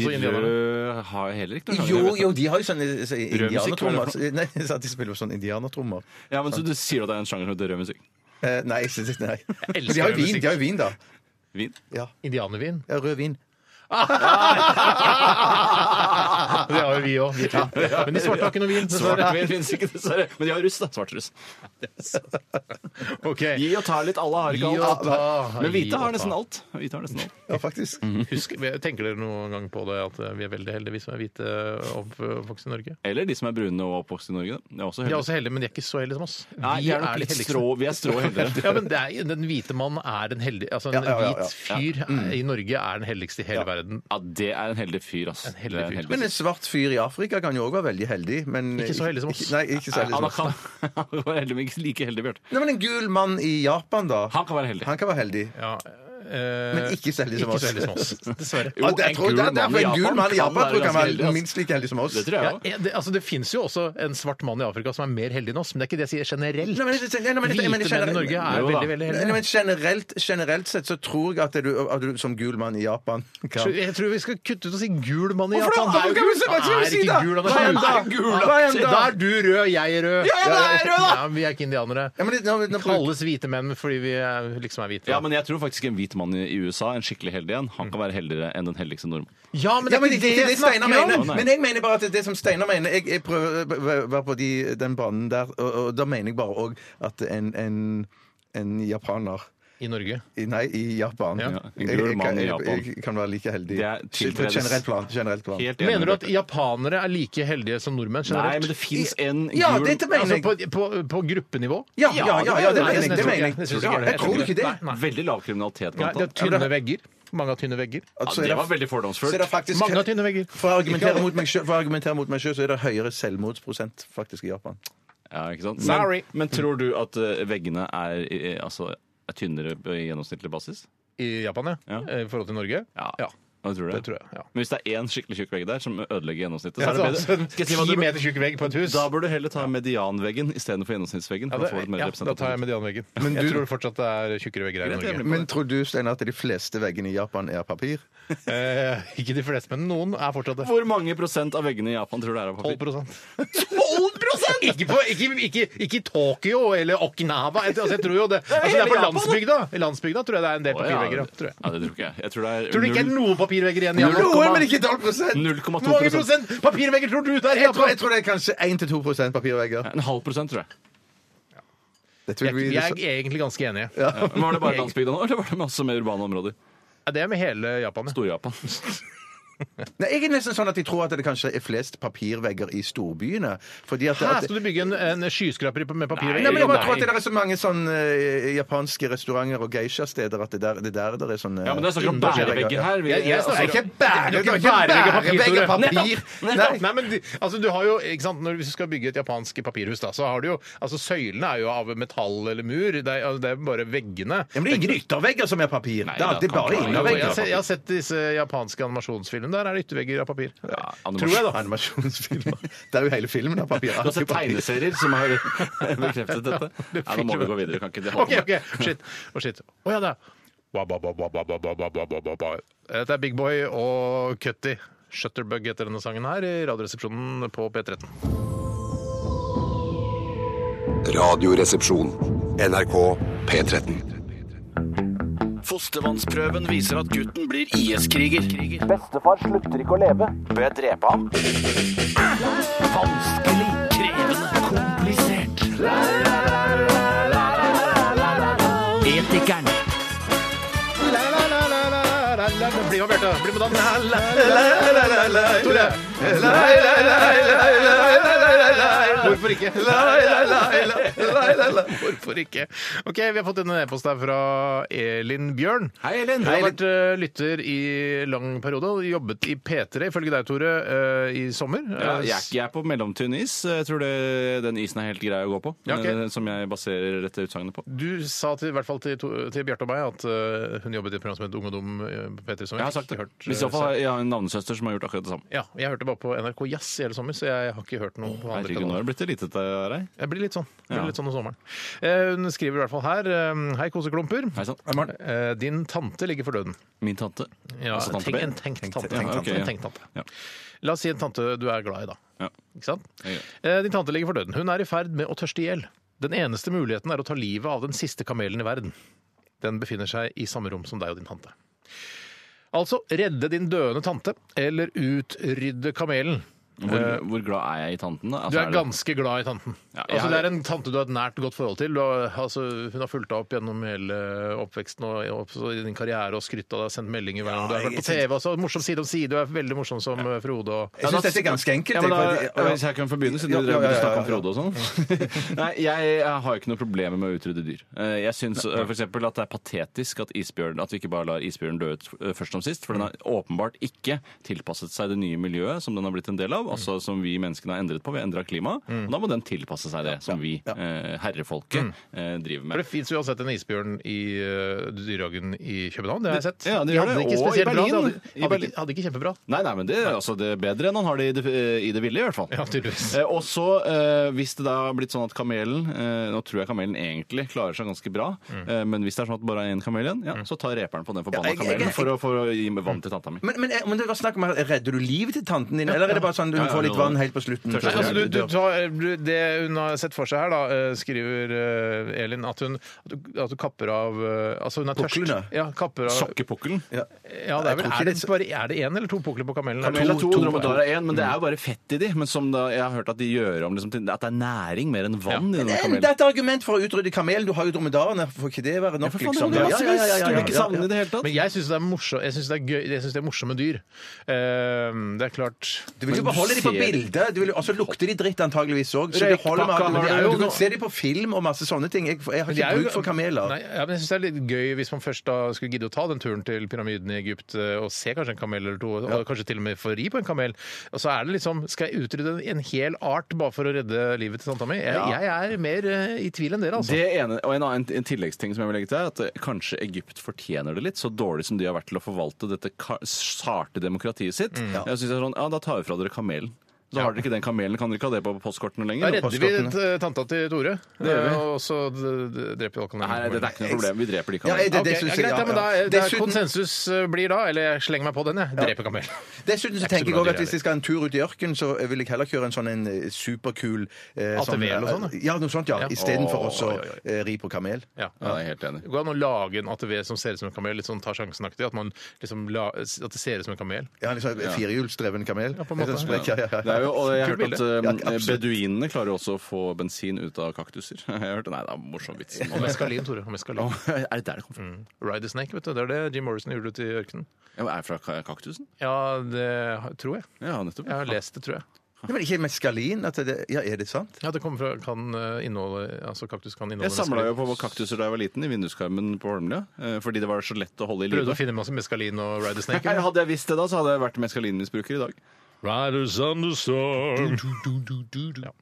Speaker 7: Altså indianerne.
Speaker 8: røde har heller ikke noen
Speaker 3: Jo,
Speaker 8: sjanger.
Speaker 3: jo, de har jo sånne så, indianertrommer.
Speaker 8: eller
Speaker 3: Nei, så at de spiller jo sånn indianertrommer.
Speaker 8: Ja, men så du sier at det er en sjanger som heter rød musikk.
Speaker 3: Eh, nei, jeg synes ikke nei.
Speaker 7: elsker
Speaker 3: Men De har jo vin,
Speaker 7: musikk.
Speaker 3: de har jo vin da.
Speaker 8: Vin.
Speaker 3: Ja,
Speaker 7: Indianervin.
Speaker 3: ja rød vin.
Speaker 7: Det har jo vi òg. Men de svarte har ikke noe vin.
Speaker 8: Svart
Speaker 7: dessverre.
Speaker 8: vin finnes ikke, dessverre. Men de har russ, da. Svart russ.
Speaker 7: Ok.
Speaker 8: Gi og ta litt. Alle har ikke
Speaker 7: Gi og
Speaker 8: alt.
Speaker 7: ta,
Speaker 8: Men
Speaker 7: gi og
Speaker 8: hvite har
Speaker 7: ta.
Speaker 8: nesten alt. Hvite har nesten alt.
Speaker 3: Ja, faktisk.
Speaker 7: Husk, tenker dere noen gang på det at vi er veldig heldige, vi som er hvite oppvokst i Norge?
Speaker 8: Eller de som er brune og oppvokst i Norge. Det er også
Speaker 7: De er
Speaker 8: heldig.
Speaker 7: også heldige, men de er ikke så heldige som oss.
Speaker 8: Nei, vi
Speaker 7: de
Speaker 8: er nok
Speaker 7: de
Speaker 8: litt
Speaker 7: heldigste.
Speaker 8: strå, vi er strå heldigere.
Speaker 7: Ja, men det er, Den hvite mann er den heldige Altså, en
Speaker 3: Ja, ja, ja, ja.
Speaker 7: hvit fyr er- i Norge er den heldigste i hele verden.
Speaker 8: Ja, det er en heldig fyr, ass.
Speaker 7: En heldig
Speaker 8: Det er
Speaker 7: fyr.
Speaker 3: Men en svart fyr i Afrika kan jo også være veldig heldig. Men
Speaker 7: Ikke så heldig som oss.
Speaker 3: Ikke- Nei, ikke så heldig som
Speaker 8: Han
Speaker 3: oss.
Speaker 7: sånn-
Speaker 8: kan han var heldig, men ikke like heldig, Bjarte.
Speaker 3: Nei, men en gul mann i Japan da.
Speaker 8: Han kan være heldig.
Speaker 3: Han kan være heldig.
Speaker 7: Ja, eh,
Speaker 3: Men ikke så heldig som oss.
Speaker 7: Ikke så heldig som oss, dessverre.
Speaker 8: Jo,
Speaker 3: Ja, det- jeg
Speaker 8: en
Speaker 3: tror-
Speaker 8: gul
Speaker 3: det er
Speaker 8: mann i
Speaker 3: derfor en gul
Speaker 8: Japan
Speaker 3: mann i
Speaker 8: kan
Speaker 3: Japan
Speaker 8: være
Speaker 3: tror jeg
Speaker 8: ganske
Speaker 3: kan
Speaker 8: heldig, ass.
Speaker 3: være minst like heldig som oss.
Speaker 8: Det tror jeg
Speaker 7: Ja,
Speaker 8: òg.
Speaker 7: det, altså, det finnes jo også en svart mann i Afrika som er mer heldig enn oss, men det er ikke det jeg sier generelt.
Speaker 3: Nei, men jeg- jeg- jeg- jeg- jeg- jeg-
Speaker 7: Hvite
Speaker 3: jeg-
Speaker 7: menn
Speaker 3: jeg-
Speaker 7: i Norge er
Speaker 8: Jo da.
Speaker 7: veldig, veldig
Speaker 3: Nei,
Speaker 7: heldige.
Speaker 3: men generelt, generelt sett så tror jeg at du, at du som gul mann i Japan kan
Speaker 7: Jeg tror vi skal kutte ut å si gul mann i
Speaker 3: Hvorfor da?
Speaker 7: Japan. Det er jo
Speaker 3: Hva kan vi si-
Speaker 7: gul.
Speaker 3: hva skal vi
Speaker 7: Er
Speaker 3: si
Speaker 7: ikke
Speaker 3: da?
Speaker 7: gul, han er
Speaker 3: Hva er
Speaker 7: gul.
Speaker 3: han da?
Speaker 7: gul,
Speaker 3: Hva er han da?
Speaker 7: Da er du rød, jeg er rød.
Speaker 3: Ja, da er jeg rød, da.
Speaker 7: Ja, men vi er ikke indianere.
Speaker 3: Ja, men det- nå- nå-
Speaker 7: Vi kalles hvite menn fordi vi er, liksom er hvite.
Speaker 8: Ja, men jeg tror faktisk en hvit mann i i USA, en skikkelig heldig en, han kan være heldigere enn den heldigste nordmann.
Speaker 7: Ja, men
Speaker 3: Ja,
Speaker 7: det
Speaker 3: men
Speaker 7: er
Speaker 3: det,
Speaker 7: ikke det
Speaker 3: det,
Speaker 7: jeg
Speaker 3: Steinar
Speaker 7: snakker
Speaker 3: mener.
Speaker 7: om!
Speaker 8: Nei.
Speaker 3: Men jeg mener bare at det som Steinar mener Jeg, jeg prøver å være på de, den banen der, og, og da mener jeg bare òg at en, en, en japaner
Speaker 7: I Norge.
Speaker 3: i- Nei, i Japan.
Speaker 7: Ja.
Speaker 8: En gul mann i
Speaker 3: jeg,
Speaker 8: Japan.
Speaker 3: jeg, jeg kan være like heldig.
Speaker 8: Det er
Speaker 3: på
Speaker 8: tiltredes-
Speaker 3: et generelt plan. Generelt plan.
Speaker 8: Helt enig
Speaker 7: Mener du
Speaker 8: med
Speaker 7: at japanere er like heldige som nordmenn
Speaker 8: Bjarte. Nei, men
Speaker 7: generelt?
Speaker 8: det fins en gul
Speaker 3: Ja, dette mener
Speaker 7: Altså
Speaker 3: jeg.
Speaker 7: på, på, på gruppenivå?
Speaker 3: Ja, ja, ja, ja, det
Speaker 7: Nei,
Speaker 3: mener jeg. Det
Speaker 7: tror
Speaker 3: mener jeg.
Speaker 7: ikke. synes
Speaker 8: Ja,
Speaker 7: ikke det.
Speaker 3: Jeg tror ikke det.
Speaker 7: Nei, nei.
Speaker 8: Veldig lav kriminalitet
Speaker 7: Nei,
Speaker 8: blant
Speaker 7: Det er
Speaker 8: annet.
Speaker 7: tynne vegger. Mange har tynne vegger.
Speaker 3: At så
Speaker 8: Ja,
Speaker 3: er
Speaker 8: det var
Speaker 3: det-
Speaker 8: veldig
Speaker 3: så er
Speaker 8: fordomsfullt.
Speaker 3: det faktisk
Speaker 7: Mange har tynne vegger.
Speaker 3: For å argumentere mot meg selv- for å argumentere mot meg sjøl, så er det høyere selvmordsprosent faktisk i Japan.
Speaker 8: Ja, ikke sant?
Speaker 7: Sorry.
Speaker 8: Men, men tror du at eh, veggene er, eh, altså, er tynnere på gjennomsnittlig basis?
Speaker 7: I Japan, ja. Eh,
Speaker 8: Ja.
Speaker 7: I forhold til Norge. ja.
Speaker 8: Jeg tror det.
Speaker 7: Det tror jeg, ja.
Speaker 8: Men hvis det er én skikkelig tjukk vegg der som ødelegger gjennomsnittet, så
Speaker 7: Ja, altså,
Speaker 8: er det bedre. Skal jeg si hva
Speaker 7: Ti
Speaker 8: du-
Speaker 7: meter tjukk vegg på et hus.
Speaker 8: Da bør du heller ta medianveggen istedenfor gjennomsnittsveggen.
Speaker 7: ja,
Speaker 8: for å få
Speaker 7: det,
Speaker 8: et mer
Speaker 7: ja, da tar jeg
Speaker 8: representativt.
Speaker 7: medianveggen. Men jeg tror fortsatt det er tjukkere vegger her i
Speaker 8: Greit, jeg
Speaker 7: Norge.
Speaker 8: blir med.
Speaker 3: Men tror du, Steinar, at de fleste veggene i Japan er av papir?
Speaker 7: Eh, ikke de fleste, men noen er fortsatt det.
Speaker 8: Hvor mange prosent av veggene i Japan tror du er av
Speaker 7: 12
Speaker 8: papir?
Speaker 7: ikke, på, ikke, ikke, ikke i Tokyo eller Okinawa. Jeg, altså, jeg tror jo det. Altså, det er på landsbygda. I landsbygda tror jeg det er en del
Speaker 8: Å, ja.
Speaker 7: papirvegger. da, Tror jeg.
Speaker 8: Ja, det tror ikke jeg. Jeg tror det er
Speaker 7: Tror du ikke det er
Speaker 8: null-
Speaker 7: noen papirvegger igjen? i Japan?
Speaker 3: Noen, men ikke 12
Speaker 8: 0,2
Speaker 7: Hvor mange prosent papirvegger tror du det er? i
Speaker 3: Jeg tror,
Speaker 7: Japan?
Speaker 3: jeg tror det er kanskje 1-2 papirvegger.
Speaker 8: En halv prosent, tror jeg.
Speaker 3: Det tror vi,
Speaker 7: Jeg jeg er egentlig ganske enig.
Speaker 8: Men var det bare landsbygda nå, eller var det også med urbane områder?
Speaker 7: Ja, Det er med hele Japan. ja.
Speaker 8: Stor-Japan.
Speaker 3: Nei, jeg er nesten sånn at jeg tror at det kanskje er flest papirvegger i storbyene. Fordi at,
Speaker 7: Her
Speaker 3: at
Speaker 7: skal du bygge en, en skyskraper med papirvegger.
Speaker 3: Nei, men jeg bare
Speaker 7: Nei.
Speaker 3: tror at det er så mange sånne eh, japanske restauranter og geisha-steder at det der, det der der er sånn, eh, sånne
Speaker 8: Ja, men det er snakk om bærevegger her. Vi,
Speaker 7: Jeg- jeg snakker
Speaker 3: Nei,
Speaker 8: altså,
Speaker 3: ikke
Speaker 7: Det
Speaker 3: bære,
Speaker 7: er ikke
Speaker 3: ikke
Speaker 7: bærevegg av papir,
Speaker 3: bærevegg av
Speaker 7: Tore.
Speaker 3: papir!
Speaker 7: Nei, Nei, men de- altså, du har jo, ikke sant, når, Hvis du skal bygge et japansk papirhus, da, så har du jo altså, Søylene er jo av metall eller mur. Det er, altså, det er bare veggene.
Speaker 3: Ja, men det er ingen yttervegger som er papir.
Speaker 8: Nei,
Speaker 3: det er alltid
Speaker 8: det kan
Speaker 3: bare
Speaker 8: ikke
Speaker 7: Jo, jeg,
Speaker 8: være.
Speaker 7: har
Speaker 3: innervegger.
Speaker 7: sett, jeg har sett disse japanske animasjonsfilmene. Der er det yttervegger av papir.
Speaker 8: ja,
Speaker 7: Tror jeg,
Speaker 8: animasjon.
Speaker 7: da.
Speaker 3: Animasjonsfilmer. Det er jo hele filmen av papir.
Speaker 8: Du har sett tegneserier som har bekreftet dette? Nei, nå må vi gå videre. Kan ikke det
Speaker 7: OK,
Speaker 8: holde
Speaker 7: OK. Shit. Å, shit. Å ja, det er Ba, ba, ba, ba, ba, ba, ba, ba, ba, ba, ba. Dette er Big Boy og Cutty. Shutterbug heter denne sangen her i Radioresepsjonen på P13.
Speaker 1: Radioresepsjon. NRK P13.
Speaker 8: Fostervannsprøven viser at gutten blir IS-kriger.
Speaker 6: Bestefar slutter ikke å leve. Bør jeg drepe ham?
Speaker 8: Vanskelig, krevende, komplisert. Etikeren.
Speaker 7: Bli med, Bjarte. Bli med dans. Tore. Hvor Hvorfor ikke? Lai, lai, lai, lai, lai, lai, lai. Hvorfor ikke? Ok, Vi har fått en e-post her fra Elin Bjørn.
Speaker 8: Hei, Elin.
Speaker 7: Du har vært eh, lytter i lang periode og jobbet i P3, ifølge deg, Tore, eh, i sommer.
Speaker 8: Ja,
Speaker 7: Eh,
Speaker 8: jeg, er ikke- jeg er på mellomtynn is. Jeg tror det, den isen er helt grei å gå på.
Speaker 7: Ja, ok.
Speaker 8: eh, Som jeg baserer dette utsagnet på.
Speaker 7: Du sa til, i hvert fall til, to- til Bjarte og meg at eh, hun jobbet i et program som het Ung og dum eh, på P3. Som
Speaker 8: Jeg har
Speaker 7: ikke
Speaker 8: sagt det.
Speaker 7: hørt,
Speaker 8: Men I
Speaker 7: eh,
Speaker 8: så fall
Speaker 7: selv.
Speaker 8: har jeg har en navnesøster som har gjort akkurat det samme.
Speaker 7: Ja, jeg hørte bare på NRK Jazz i hele sommer, så jeg har ikke hørt noe på andre
Speaker 8: Herregud, nå har
Speaker 7: kanaler.
Speaker 8: det blitt elitete av deg.
Speaker 7: Jeg blir litt sånn Jeg blir
Speaker 8: Ja.
Speaker 7: litt sånn om sommeren. Eh, hun skriver i hvert fall her eh, Hei, koseklumper.
Speaker 8: Hei sann.
Speaker 7: Eh, din tante ligger for døden.
Speaker 8: Min tante.
Speaker 7: Ja,
Speaker 8: Altså tante
Speaker 7: tenk,
Speaker 8: B.
Speaker 7: en tenkt tante.
Speaker 8: Ja, ok, ja.
Speaker 7: En tenkt tante.
Speaker 8: Ja.
Speaker 7: La oss si en tante du er glad i, da.
Speaker 8: Ja.
Speaker 7: Ikke sant?
Speaker 8: Ja, ja.
Speaker 7: Eh, Din tante ligger for døden. Hun er i ferd med å tørste i hjel. Den eneste muligheten er å ta livet av den siste kamelen i verden. Den befinner seg i samme rom som deg og din tante. Altså redde din døende tante, eller utrydde kamelen.
Speaker 8: Hvor, hvor glad er jeg i tanten? da? Altså,
Speaker 7: Eh, Du er
Speaker 8: det-
Speaker 7: ganske glad i tanten.
Speaker 8: Ja, jeg
Speaker 7: altså,
Speaker 8: har-
Speaker 7: det er en tante du har et nært, godt forhold til. Du har, altså, hun har fulgt deg opp gjennom hele oppveksten og også i din karriere og skrytt av deg, sendt meldinger hver gang du har vært på TV. Også, morsom side om side, du er veldig morsom som eh, Frode. Og...
Speaker 3: Jeg syns dette er ganske enkelt.
Speaker 8: Ja, men da,
Speaker 3: jeg, for-
Speaker 8: hvis jeg kan få begynne, siden
Speaker 3: Ja,
Speaker 8: du
Speaker 3: ja,
Speaker 8: drev
Speaker 3: ja,
Speaker 8: og
Speaker 3: ja,
Speaker 8: snakket om
Speaker 3: ja.
Speaker 8: Frode og sånn. Nei, jeg, jeg har ikke noe problem med å utrydde dyr. Eh, Jeg syns f.eks. at det er patetisk at, isbjørn, at vi ikke bare lar isbjørnen dø ut eh, først som sist, for den har åpenbart ikke tilpasset seg det nye miljøet som den har blitt en del av, altså som vi menneskene har endret på. Vi har endra klimaet, og da må den tilpasse seg det som vi, eh, herrefolket, eh, driver
Speaker 7: For
Speaker 8: med.
Speaker 7: det fins uansett en isbjørn i eh, dyrehagen i København, det har jeg sett.
Speaker 8: Ja,
Speaker 7: de
Speaker 8: det gjør
Speaker 7: hadde
Speaker 8: det.
Speaker 7: ikke
Speaker 8: Og i
Speaker 7: spesielt bra. De
Speaker 8: Berlin.
Speaker 7: hadde,
Speaker 8: I
Speaker 7: hadde,
Speaker 8: Berlin.
Speaker 7: ikke, hadde ikke kjempebra.
Speaker 8: Nei, nei, men det er altså det er bedre enn han har det i det, i det ville, i hvert fall.
Speaker 7: Ja, tydeligvis.
Speaker 8: Eh, Og så, eh, hvis det da har blitt sånn at kamelen eh, Nå tror jeg kamelen egentlig klarer seg ganske bra,
Speaker 7: Mm.
Speaker 8: eh, men hvis det er sånn at bare er én kamel igjen, ja, så tar reperen på den forbanna
Speaker 3: jeg- jeg-
Speaker 8: kamelen for å, for å gi meg vann til tanta mi.
Speaker 3: men, eh, men, men det var snakk om at Redder du livet til tanten din, eller er det bare sånn hun får litt vann helt på slutten?
Speaker 7: Nei, altså, du, du tar, du, det hun har sett for seg her, da, eh, skriver eh, Elin, at hun, at du- at hun kapper av eh, Altså, hun er tørst.
Speaker 3: Puklene.
Speaker 7: Ja, kapper av
Speaker 8: Sokkepukkelen.
Speaker 3: Ja.
Speaker 7: Ja, det er, vel, er, det bare, er det én eller to pukler på kamelen?
Speaker 8: Kamel er to,
Speaker 7: To-
Speaker 8: dromedar er én, men det
Speaker 7: Mm.
Speaker 8: er jo bare fett i de. Men som da, jeg har hørt at de gjør om liksom, til at det er næring mer enn vann i denne
Speaker 3: Enda
Speaker 8: kamelen.
Speaker 3: et argument for å utrydde kamelen. Du har jo dromedarene. Får ikke det være nok,
Speaker 8: for faen, det holder massevis. Skulle ikke savne det i det hele tatt.
Speaker 7: Men jeg syns det er morsomt. Jeg syns det er gøy. Jeg synes det er morsomme dyr. Eh, det er klart
Speaker 3: Du vil jo beholde de på bildet, du vil- og så lukter de dritt antageligvis òg. Så det
Speaker 7: Røykpakka
Speaker 3: holder med at
Speaker 7: har
Speaker 3: du-
Speaker 7: jo
Speaker 3: du kan
Speaker 7: nå-
Speaker 3: se de på film og masse sånne ting. Jeg, jeg har
Speaker 7: Men det
Speaker 3: ikke
Speaker 7: er jo-
Speaker 3: bruk for kameler.
Speaker 7: Nei, ja, men jeg synes det er litt gøy hvis man først da skulle gidde å ta den turen til pyramiden i Egypt eh, og se kanskje en kamel eller to, og kanskje til og med få ri på en kamel. Og så er det liksom Skal jeg utrydde en- en hel art bare for å redde livet til tanta mi? Jeg, jeg er mer eh, i tvil enn dere, altså.
Speaker 8: Det ene, og en annen en tilleggsting som jeg vil legge til, er at eh, kanskje Egypt fortjener det litt, så dårlig som de har vært til å forvalte dette ka- sarte demokratiet sitt. Jeg synes det er sånn, ja, Da tar vi fra dere kamelen. Så har dere ikke den kamelen, kan dere ikke ha det på postkortene
Speaker 7: Da
Speaker 8: lenger.
Speaker 7: redder vi t- tanta til Tore, eh, og så d- d- dreper vi alle
Speaker 8: Nei,
Speaker 7: kamelene.
Speaker 8: det er ikke noe problem. Vi dreper de
Speaker 3: Ja,
Speaker 8: kamelene.
Speaker 3: det-
Speaker 7: Ok,
Speaker 3: synes
Speaker 7: ja,
Speaker 3: jeg-
Speaker 7: greit, ja, men da,
Speaker 3: ja.
Speaker 7: er- da er
Speaker 3: Dessuten-
Speaker 7: konsensus eh, blir da, eller jeg slenger meg på den, jeg. Dreper kamelen.
Speaker 3: Dessuten så
Speaker 7: Det er ikke
Speaker 3: tenker jeg
Speaker 7: så bra
Speaker 3: også at
Speaker 7: dyr,
Speaker 3: hvis jeg skal en tur ut i ørkenen, så vil jeg heller kjøre en sånn en eh, superkul eh,
Speaker 7: ATV eller sånn, da?
Speaker 3: Ja, noe sånt, ja.
Speaker 7: Ja.
Speaker 3: Istedenfor
Speaker 7: Å,
Speaker 3: også
Speaker 7: oi, oi,
Speaker 3: eh, ri på kamel.
Speaker 7: Ja.
Speaker 8: Ja, jeg er helt enig.
Speaker 7: Det går an å lage en ATV som ser ut som en kamel, litt sånn ta sjansen-aktig. At, man liksom la, at det ser ut som en kamel.
Speaker 3: Ja, liksom Firehjulsdreven kamel.
Speaker 7: Ja, på en måte.
Speaker 3: En sånn sprekk, ja, ja,
Speaker 8: Det er jo, og jeg har
Speaker 7: Kult
Speaker 8: hørt at
Speaker 7: bilde.
Speaker 8: eh,
Speaker 3: Ja, absolutt.
Speaker 8: beduinene klarer jo også å få bensin ut av kaktuser. Jeg har hørt, Nei, det er en morsom vits. Nå-
Speaker 7: Og meskalin, Tore. Og meskalin.
Speaker 8: Å, Er det der det kommer fra?
Speaker 7: Ride the Snake, vet du. Det er det Jim Morrison gjorde ute i ørkenen.
Speaker 8: Ja, men Er det fra ka- kaktusen?
Speaker 7: Ja, det tror jeg.
Speaker 8: Ja, nettopp.
Speaker 7: Jeg har lest det, tror jeg.
Speaker 3: Ja, Men ikke meskalin? At det, ja, er det sant?
Speaker 7: Ja, det kommer fra kan eh, inneholde Altså kaktus kan inneholde
Speaker 8: Jeg samla jo
Speaker 7: meskalin.
Speaker 8: på kaktuser da jeg var liten, i vinduskarmen på Holmlia. eh, Fordi det var så lett å holde i
Speaker 7: Prøvde
Speaker 8: live.
Speaker 7: å finne masse meskalin og Ride the Snake.
Speaker 8: Nei,
Speaker 7: eller?
Speaker 8: Hadde jeg visst det da, så hadde jeg vært meskalinmisbruker i dag.
Speaker 7: Riders on the storm. Ja.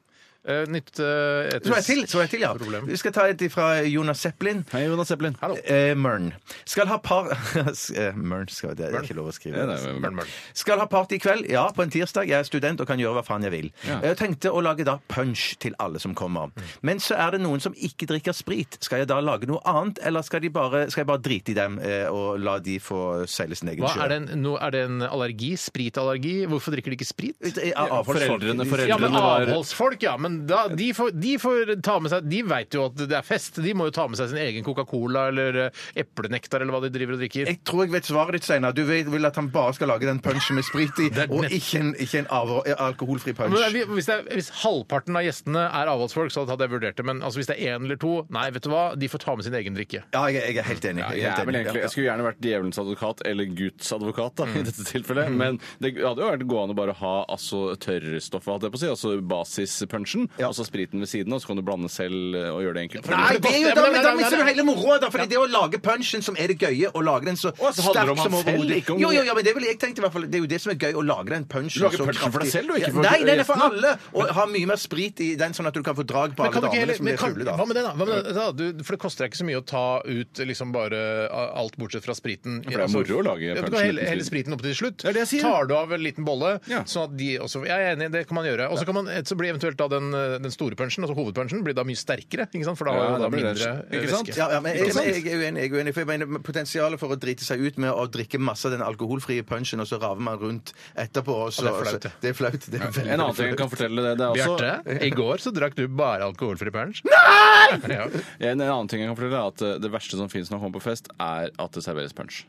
Speaker 7: Eh, Nytt eh,
Speaker 3: Så er jeg til,
Speaker 7: etisk
Speaker 3: så er jeg til, ja.
Speaker 7: problem.
Speaker 3: Vi skal ta et fra Jonas Zeppelin.
Speaker 8: Hei, Jonas Zeppelin.
Speaker 7: Hallo.
Speaker 3: Eh, Mørn. Skal ha par... Eh, Mørn skal det, det er ikke lov å skrive.
Speaker 8: Ja, det er-
Speaker 7: Mørn, mørn.
Speaker 3: Skal ha party i kveld. Ja, på en tirsdag. Jeg er student og kan gjøre hva faen jeg vil.
Speaker 8: Ja.
Speaker 3: Jeg tenkte å lage da punch til alle som kommer. Men så er det noen som ikke drikker sprit. Skal jeg da lage noe annet, eller skal, de bare, skal jeg bare drite i dem eh, og la de få seile sin egen
Speaker 7: Hva, er,
Speaker 3: sjø?
Speaker 7: det en, no, er det en allergi? Spritallergi? Hvorfor drikker de ikke sprit?
Speaker 3: Eh, av- avholdsfolk.
Speaker 8: Foreldrene,
Speaker 7: Ja, men
Speaker 8: foreldrene var
Speaker 7: avholdsfolk, ja. Men da, de, får, de får ta med seg De veit jo at det er fest. De må jo ta med seg sin egen Coca-Cola eller eh, eplenektar eller hva de driver og drikker.
Speaker 3: Jeg tror jeg vet svaret ditt, Steinar. Du vil, vil at han bare skal lage den punchen med sprit i, og ikke en, ikke en av, alkoholfri punch.
Speaker 7: Men vi- hvis, det er, hvis halvparten av gjestene er avholdsfolk, så hadde jeg vurdert det. Men altså, hvis det er én eller to, nei, vet du hva, de får ta med sin egen drikke.
Speaker 3: Ja, jeg, jeg er helt enig. Jeg,
Speaker 8: jeg,
Speaker 3: er
Speaker 8: er
Speaker 3: helt
Speaker 8: vel
Speaker 3: enig.
Speaker 8: egentlig, jeg skulle gjerne vært djevelens advokat eller Guds advokat da, i dette tilfellet, men det hadde jo vært gående å bare ha altså, tørrstoffet, hadde jeg på å si, altså basispunchen, lunsjen, og så spriten ved siden, og så kan du blande selv og gjøre det enkelt.
Speaker 3: Nei, det er jo,
Speaker 7: Ja,
Speaker 3: da,
Speaker 7: men-
Speaker 3: men da
Speaker 7: men-
Speaker 3: mister du
Speaker 7: men-
Speaker 3: hele moroa, da. For det er å lage punchen som er det gøye, og lage den så
Speaker 8: Å, så handler det
Speaker 3: sterk
Speaker 8: om
Speaker 3: som
Speaker 8: han selv,
Speaker 3: overhodet
Speaker 8: ikke om-
Speaker 3: Jo, jo, ja, men det ville jeg tenkt i hvert fall. Det er jo det som er gøy, å lage den punchen.
Speaker 8: Du lager
Speaker 3: så
Speaker 8: punchen for deg
Speaker 3: kraftig.
Speaker 8: selv, du, ikke for
Speaker 3: Ja, Nei, den er for
Speaker 8: gjestene.
Speaker 3: alle. Og ha mye mer sprit i den, sånn at du kan få drag på
Speaker 7: Men
Speaker 3: alle
Speaker 7: kan du ikke
Speaker 3: damene
Speaker 7: heller,
Speaker 3: som
Speaker 7: men
Speaker 3: blir
Speaker 7: kan,
Speaker 3: fulle, da.
Speaker 7: hva med det, da? Hva med det, da? Du, for det koster deg ikke så mye å ta ut liksom bare alt bortsett fra spriten.
Speaker 8: For det er moro å lage
Speaker 7: Ja, Du
Speaker 8: punchen
Speaker 7: kan helle,
Speaker 8: uten
Speaker 7: helle
Speaker 8: spriten.
Speaker 7: spriten opp til slutt.
Speaker 8: Det er det jeg sier.
Speaker 7: Tar du av en liten bolle,
Speaker 8: Ja.
Speaker 7: sånn at de også Jeg er enig, det kan man gjøre. Og så kan man, så blir eventuelt da den, den store punchen, altså hovedpunchen, blir da mye sterkere, ikke sant? For da har
Speaker 8: Ja,
Speaker 7: jo
Speaker 8: da
Speaker 7: da
Speaker 8: blir
Speaker 7: mindre
Speaker 8: det-
Speaker 7: eh,
Speaker 8: ikke sant?
Speaker 7: væske.
Speaker 3: Ja, ja, men jeg,
Speaker 8: Ikke sant?
Speaker 3: jeg, er uenig. jeg er uenig, for jeg mener Potensialet for å drite seg ut med å drikke masse av den alkoholfrie punchen, og så raver man rundt etterpå. Og så,
Speaker 7: det er flaut,
Speaker 3: så-
Speaker 7: det.
Speaker 3: det er flaut. Det er veldig
Speaker 8: En annen ting jeg kan fortelle det, det er også
Speaker 7: Bjarte, i går så drakk du bare alkoholfri punch. Nei! Ja,
Speaker 8: altså- En annen ting jeg kan fortelle er at eh, det verste som finnes når man kommer på fest, er at det serveres punch.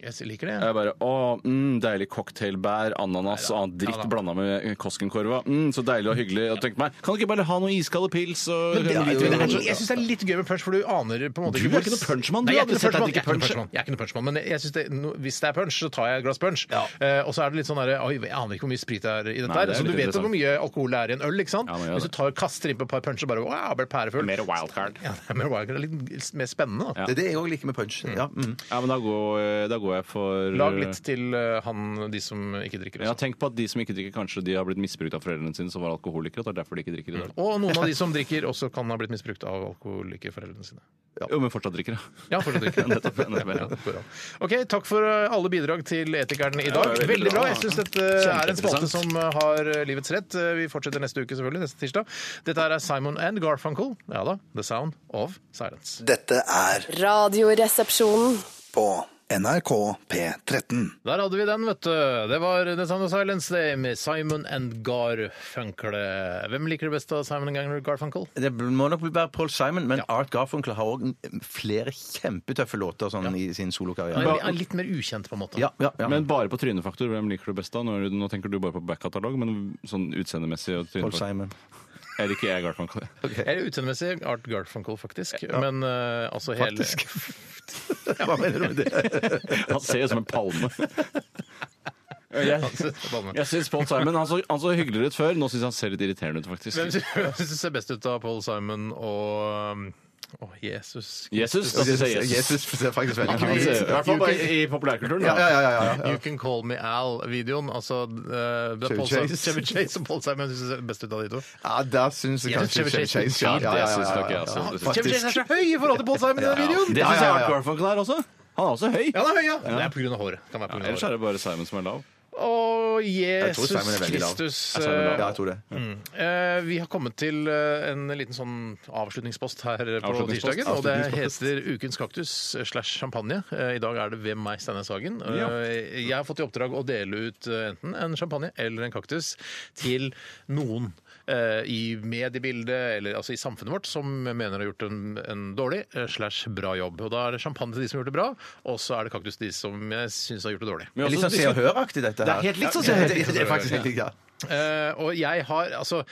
Speaker 7: jeg liker det.
Speaker 8: Jeg bare, å, mm, Deilig cocktailbær, ananas og annet dritt
Speaker 7: Ja da.
Speaker 8: blanda med eh, Koskenkorva. Mm, så deilig og hyggelig. Og tenkte meg, Kan du ikke bare ha noe iskalde pils? Og,
Speaker 7: Men det,
Speaker 3: Ja,
Speaker 7: vet
Speaker 3: jo,
Speaker 7: du, det
Speaker 3: jo,
Speaker 7: er,
Speaker 3: jo.
Speaker 7: jeg syns det er litt gøy med punch, for du aner på en måte
Speaker 8: Du er ikke noe punchmann, du
Speaker 7: Nei, jeg er
Speaker 8: hadde
Speaker 7: ikke noe
Speaker 8: sett deg
Speaker 7: punchmann. Jeg er
Speaker 8: drikke
Speaker 7: ikke noe punchmann. Jeg er ikke
Speaker 8: punch.
Speaker 7: noe punchmann, Men jeg synes det, no, hvis det er punch, så tar jeg et glass punch. Eh, og så er det litt sånn der, Oi, jeg aner ikke hvor mye sprit det er i dette
Speaker 8: Nei,
Speaker 7: her.
Speaker 8: det er
Speaker 7: Så du
Speaker 8: litt
Speaker 7: vet jo hvor mye alkohol det er i en øl, ikke sant?
Speaker 8: Ja, man gjør
Speaker 7: Hvis
Speaker 8: det.
Speaker 7: du tar, kaster innpå et par puncher, bare wow, ble pærefull.
Speaker 8: Mer wildcard.
Speaker 7: Ja, det er mer wildcard. Det er Litt mer spennende, da.
Speaker 3: Det er det jeg òg liker med punch. Ja, mm.
Speaker 8: Ja, men da går, eh, da går jeg for
Speaker 7: Lag litt til eh, han, de som ikke drikker. altså.
Speaker 8: Ja,
Speaker 7: Også.
Speaker 8: tenk på at de som ikke drikker, kanskje de har blitt misbrukt av foreldrene sine som var alkoholikere. og det er derfor de ikke drikker i dag.
Speaker 7: Og noen av de som drikker, også kan ha blitt misbrukt av alkoholikerforeldrene sine.
Speaker 8: Jo, men fortsatt drikker, ja.
Speaker 7: Ja, fortsatt ikke.
Speaker 8: Nettopp, nettopp, ja.
Speaker 7: Ja, det går an. OK, takk for eh, alle bidrag til Etikeren i dag.
Speaker 8: det var veldig
Speaker 7: Veldig bra.
Speaker 8: bra.
Speaker 7: Jeg syns dette er en spalte som eh, har eh, livets rett. Eh, Vi fortsetter neste uke, selvfølgelig. Neste tirsdag. Dette her er Simon and Garfunkel. Ja da. The Sound of Silence.
Speaker 5: Dette er
Speaker 4: Radioresepsjonen.
Speaker 5: på NRK P13.
Speaker 7: Der hadde vi den, vet du. Det var The Sound of Silence det, med Simon and Garfunkel. Hvem liker du best av Simon and Garfunkel?
Speaker 3: Det må nok være Paul Simon, men Art Garfunkel har òg flere kjempetøffe låter sånn, i sin
Speaker 7: Han er
Speaker 3: solokarriere.
Speaker 7: li- han er litt mer ukjent, på en måte.
Speaker 3: Ja, ja, ja.
Speaker 8: Men bare på trynefaktor, hvem liker du best da? Nå, er du- nå tenker du bare på backkatalog, men sånn utseendemessig og
Speaker 3: Paul
Speaker 8: trynefaktor.
Speaker 3: Simon.
Speaker 8: Jeg liker jeg Garfunkel.
Speaker 7: Eller utseendemessig Art Garfunkel, faktisk. Men eh, altså hele
Speaker 3: Faktisk. Hva mener du med det?
Speaker 8: Han ser ut som en palme. Jeg, jeg syns Paul Simon han så, han så hyggeligere ut før. Nå syns jeg han ser litt irriterende ut,
Speaker 7: Hvem
Speaker 8: faktisk.
Speaker 7: sy- hvem syns du ser best ut av Paul Simon og um, Å, Jesus.
Speaker 8: Jesus? Da syns jeg Jesus.
Speaker 3: Jesus ser faktisk veldig
Speaker 8: Han ser- I
Speaker 3: ut
Speaker 8: hvert fall bare i populærkulturen.
Speaker 3: Ja, ja,
Speaker 8: da.
Speaker 3: ja, ja, ja.
Speaker 7: You Can Call Me Al-videoen. Altså uh, det er Paul Simon-
Speaker 3: Chevy Chase.
Speaker 7: Chevy Chase og Paul Simon syns du ser best ut av de to.
Speaker 3: ja da syns jeg
Speaker 7: Ja,
Speaker 3: kanskje
Speaker 7: Chevy Chase.
Speaker 3: ja.
Speaker 8: Fint,
Speaker 3: Ja, ja,
Speaker 8: jeg synes
Speaker 3: ja,
Speaker 8: nok jeg,
Speaker 3: ja,
Speaker 8: altså.
Speaker 3: ja.
Speaker 8: Det synes
Speaker 7: Chevy Chase er så høy i forhold til Paul Simon i den videoen!
Speaker 8: Det
Speaker 3: Ja,
Speaker 8: syns
Speaker 3: ja,
Speaker 8: jeg
Speaker 3: ja.
Speaker 8: Art Garfunkel er også. Han er også høy.
Speaker 7: Ja, det er høy, ja. Det er pga. håret. Kan være på grunn av
Speaker 8: Ellers er
Speaker 7: håret.
Speaker 8: det bare Simon som er lav.
Speaker 7: Å,
Speaker 3: tror
Speaker 7: Jesus
Speaker 3: Simon er veldig lav.
Speaker 7: Kristus.
Speaker 3: Ja, Simon er lav.
Speaker 7: eh,
Speaker 3: Ja, jeg tror det.
Speaker 7: Eh, vi har kommet til eh, en liten sånn avslutningspost her eh, på
Speaker 8: Avslutningspost.
Speaker 7: tirsdagen. Og det
Speaker 8: Avslutningspost.
Speaker 7: heter Ukens kaktus slash champagne. Eh, I dag er det ved meg, Steinar Sagen. Eh,
Speaker 8: Ja.
Speaker 7: jeg har fått i oppdrag å dele ut eh, enten en champagne eller en kaktus til noen. eh, I mediebildet, eller altså i samfunnet vårt, som mener har gjort en, en dårlig eh, slash bra jobb. Og Da er det champagne til de som har gjort det bra, og så er det kaktus til de som jeg syns har gjort det dårlig.
Speaker 8: Men også
Speaker 3: Litt sånn
Speaker 8: de
Speaker 3: Se
Speaker 8: som-
Speaker 3: og Hør-aktig, dette her.
Speaker 8: Det er helt likt sånn Se
Speaker 3: Ja,
Speaker 8: og Hør.
Speaker 3: det- det er faktisk helt likt, ja.
Speaker 7: Eh, og jeg har altså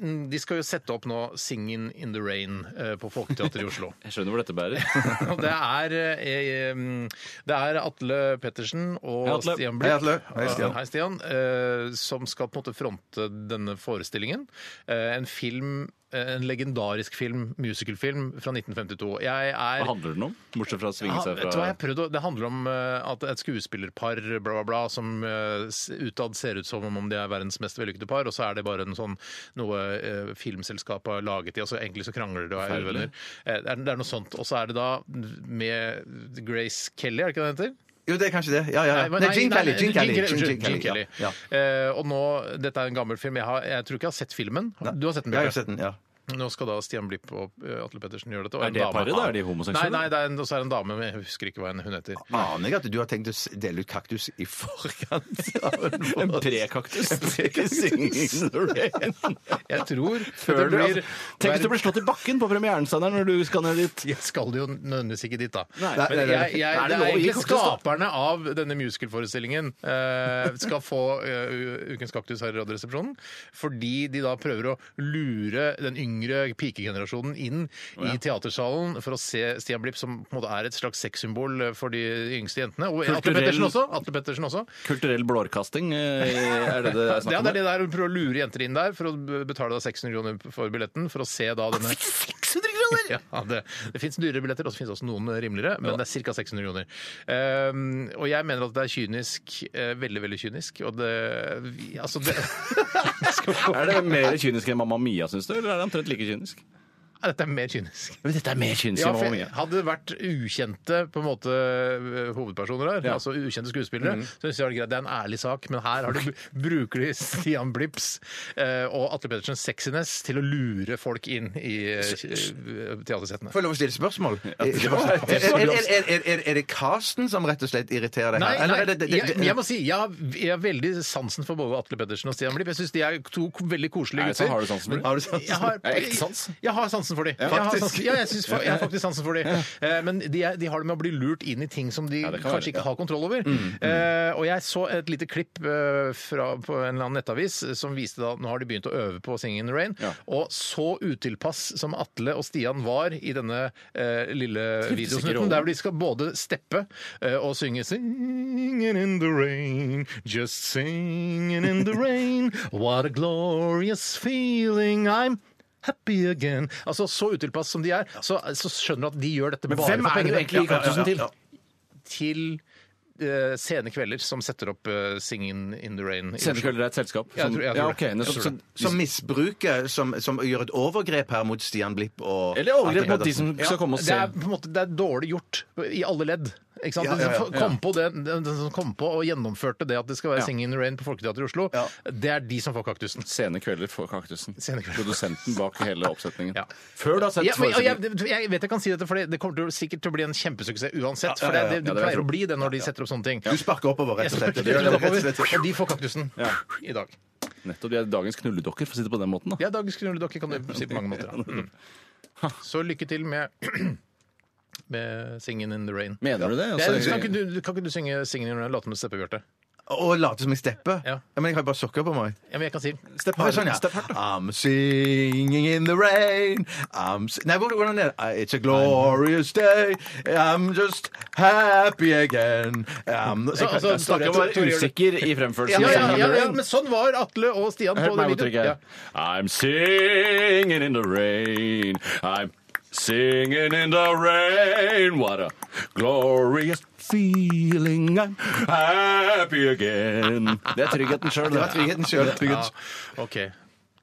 Speaker 7: De skal jo sette opp nå 'Singing in the Rain' eh, på Folketeatret i Oslo.
Speaker 8: Jeg skjønner hvor dette bærer.
Speaker 7: Og det er, eh, em, det er Atle Pettersen og
Speaker 8: Hei, Atle.
Speaker 7: Stian
Speaker 3: Hei,
Speaker 7: Blipp
Speaker 3: Atle. Hei, Stian.
Speaker 7: Hei, Stian. eh, som skal på en måte fronte denne forestillingen. Eh, en film eh, en legendarisk film, musicalfilm fra 1952. Jeg er
Speaker 8: Hva handler den om? Bortsett fra å svinge
Speaker 7: ja,
Speaker 8: seg
Speaker 7: vet du hva,
Speaker 8: fra
Speaker 7: jeg prøvde, å- det handler om eh, at et skuespillerpar bla, bla, bla, som eh, s- utad ser ut som om de er verdens mest vellykkede par, og så er det bare en sånn, noe eh, filmselskapet har laget i. Altså, egentlig så krangler de og er
Speaker 8: Forferdelig.
Speaker 7: uvenner. Eh, det, er, det er noe sånt. Og så er det da med Grace Kelly, er det ikke det hun heter?
Speaker 3: Jo, det er kanskje det. Ja, ja, ja.
Speaker 7: men
Speaker 3: Nei, Gene Kelly. Gene Kelly.
Speaker 7: unnskyld,
Speaker 3: Gene Kelly, ja. Ja.
Speaker 7: Eh, og nå, Dette er en gammel film. Jeg, har, jeg tror ikke jeg har sett filmen. Du har sett den?
Speaker 3: Jeg har
Speaker 7: Bjarte.
Speaker 3: jo sett den, ja.
Speaker 7: Nå skal da Stian Blipp og eh, Atle Pettersen gjøre dette. og
Speaker 8: Er
Speaker 7: en
Speaker 8: det
Speaker 7: dame-
Speaker 8: paret, da? Er de homoseksuelle?
Speaker 7: Nei, nei, det er en, og så er det en dame, men jeg husker ikke hva hun heter.
Speaker 3: Aner jeg at du har tenkt å s- dele ut kaktus i forkant av en båt?
Speaker 8: en prekaktus? Ikke singing in the rain.
Speaker 7: Jeg tror
Speaker 8: Før
Speaker 7: dette
Speaker 8: du, altså, tenk hvis du
Speaker 7: hver-
Speaker 8: blir slått i bakken på premieren, Steinar, når du skal ned dit.
Speaker 7: jeg skal jo nødvendigvis ikke dit, da.
Speaker 8: Nei,
Speaker 7: Men
Speaker 3: nei, nei.
Speaker 7: jeg, jeg,
Speaker 8: Er det
Speaker 7: det
Speaker 8: lov
Speaker 7: er
Speaker 8: å gi
Speaker 7: egentlig
Speaker 8: kaktus, da?
Speaker 7: skaperne av denne musicalforestillingen eh, skal få eh, Ukens kaktus her i Radioresepsjonen, fordi de da prøver å lure den yngre yngre pikegenerasjonen inn i teatersalen for å se Stian Blipp, som på en måte er et slags sexsymbol for de yngste jentene. Og Atle
Speaker 8: Kulturell-
Speaker 7: Pettersen også. Atle Pettersen også.
Speaker 8: Kulturell blårkasting, eh, er det det er
Speaker 7: Ja,
Speaker 8: snakk
Speaker 7: det
Speaker 8: om?
Speaker 7: er det der Hun prøver å lure jenter inn der for å b- betale da 600 kroner for billetten. For å se da denne
Speaker 8: 600 kroner!
Speaker 7: ja, det, det fins dyrere billetter, og så fins også noen rimeligere, men det er ca. 600 kroner. Ehm, og jeg mener at det er kynisk. eh, veldig, veldig kynisk. Og det vi, Altså, det Skal vi få-
Speaker 8: Er det mer kynisk enn Mamma Mia, syns du? Eller er det omtrent like kynisk?
Speaker 7: Nei, Dette er mer kynisk.
Speaker 8: Men dette er mer kynisk
Speaker 7: Ja,
Speaker 8: enn
Speaker 7: for
Speaker 8: Mamma Mia.
Speaker 7: hadde det vært ukjente på en måte eh, hovedpersoner her,
Speaker 8: Ja. Mhm.
Speaker 7: altså ukjente skuespillere, så synes jeg det er greit. Det er en ærlig sak, men her har du, bruker de Stian Blips eh, og Atle Pettersens sexiness til å lure folk inn i eh, teatersettene.
Speaker 3: Får jeg lov å stille spørsmål? Eh, Er, det casten som rett og slett irriterer deg?
Speaker 7: Nei, nei jeg, jeg må si jeg har, jeg har veldig sansen for både Atle Pettersen og Stian Blipp. Jeg syns de er to k- veldig koselige
Speaker 8: Nei, så
Speaker 7: gutter.
Speaker 8: har du sansen for dem?
Speaker 7: Men-
Speaker 8: Har du sansen?
Speaker 7: Jeg har,
Speaker 8: Er det ekte sans?
Speaker 7: Jeg har sansen for dem. Ja, jeg, har
Speaker 8: faktisk.
Speaker 7: sansen, ja, jeg, syns fa- jeg har faktisk sansen for dem. Eh, Men de, er, de har det med å bli lurt inn i ting som de
Speaker 8: Ja, det kan
Speaker 7: kanskje
Speaker 8: være, ja. Mm,
Speaker 7: ikke har kontroll over. Eh, og jeg så et lite klipp eh, fra, på en eller annen nettavis eh, som viste da nå har de begynt å øve på Singing in the Rain.
Speaker 8: Ja.
Speaker 7: Og så utilpass som Atle og Stian var i denne eh, lille
Speaker 8: Trivdes ikke i
Speaker 7: videosnutten,
Speaker 8: rollen.
Speaker 7: der hvor de skal både steppe eh, og synge Singing in the rain, just singing in the rain What a glorious feeling I'm Happy again. Altså, Så utilpass som de er, så, så skjønner du at de gjør dette bare
Speaker 8: hvem
Speaker 7: for
Speaker 8: er det
Speaker 7: pengene.
Speaker 8: du egentlig gir
Speaker 7: Ja, ja, ja,
Speaker 8: kaktusen
Speaker 7: ja. Til eh, Sene Kvelder, som setter opp eh, Singing in the Rain. i Oslo.
Speaker 8: Sendekvelder er et selskap?
Speaker 7: Jeg tror- jeg tror
Speaker 8: ja,
Speaker 7: det.
Speaker 8: ok,
Speaker 7: Jeg
Speaker 8: nettopp.
Speaker 7: tror det.
Speaker 8: Så-
Speaker 3: Som misbruker, som, gjør et overgrep her mot Stian Blipp og
Speaker 8: Eller overgrep mot de som skal komme og
Speaker 7: det
Speaker 8: se.
Speaker 7: er på en måte det er dårlig gjort i alle ledd. Ikke sant?
Speaker 3: Ja, ja, ja.
Speaker 7: Den som Kom på det, den den som kom på og gjennomførte det at det skal være
Speaker 8: Ja.
Speaker 7: Singing in the Rain på Folketeatret i Oslo,
Speaker 3: Ja.
Speaker 7: det er de som får kaktusen.
Speaker 8: Sene kvelder for kaktusen.
Speaker 7: Sene kvelder.
Speaker 8: Produsenten bak hele oppsetningen.
Speaker 7: Ja.
Speaker 8: Før du har sett
Speaker 7: Ja, men, og jeg,
Speaker 8: forestillingen.
Speaker 7: jeg vet jeg kan si dette, for det, det kommer til, å- sikkert til å bli en kjempesuksess uansett. For det,
Speaker 3: ja, ja.
Speaker 7: det, det
Speaker 8: Ja, det vil jeg
Speaker 7: pleier
Speaker 8: tro.
Speaker 7: å bli det når de setter opp sånne ting.
Speaker 3: Du sparker oppover, rett og slett.
Speaker 7: Og de får kaktusen
Speaker 8: Ja.
Speaker 7: i dag.
Speaker 8: Nettopp. De er dagens knulledokker, for å si det på den måten. da.
Speaker 7: Ja, dagens knulledokke kan du si på mange måter. da. Mm. Så lykke til med, med Singing in the Rain.
Speaker 8: Mener du det?
Speaker 7: Jeg,
Speaker 8: Altså,
Speaker 7: kan, ikke du, kan ikke du synge 'Singing in the Rain'? Late som et steppebjørte?
Speaker 3: Og later som jeg stepper.
Speaker 7: Ja.
Speaker 3: Men jeg har bare sokker på meg.
Speaker 7: Ja, men jeg kan si
Speaker 3: Stepp hardt. Stepp hardt, da. sånn, I'm singing in the rain I'm si Nei, hvordan hvordan er det? Uh, It's a glorious day I'm just happy again Um, I'm
Speaker 7: Så, altså,
Speaker 3: Jeg snakker
Speaker 7: Tore-
Speaker 8: jeg var
Speaker 3: bare-
Speaker 7: Tore-
Speaker 8: usikker i fremførelsen.
Speaker 7: ja, ja,
Speaker 8: av
Speaker 7: ja,
Speaker 8: Sene
Speaker 7: ja,
Speaker 8: Kvelder.
Speaker 7: men sånn var Atle og Stian på
Speaker 8: Hør meg
Speaker 7: den
Speaker 8: hvor trygg jeg
Speaker 7: videoen.
Speaker 8: er. I'm singing in the rain. I'm singing in the rain. What a glorious feeling. I'm happy again. Det er tryggheten sjøl.
Speaker 3: Det var tryggheten selv.
Speaker 7: Ja. Ja, OK.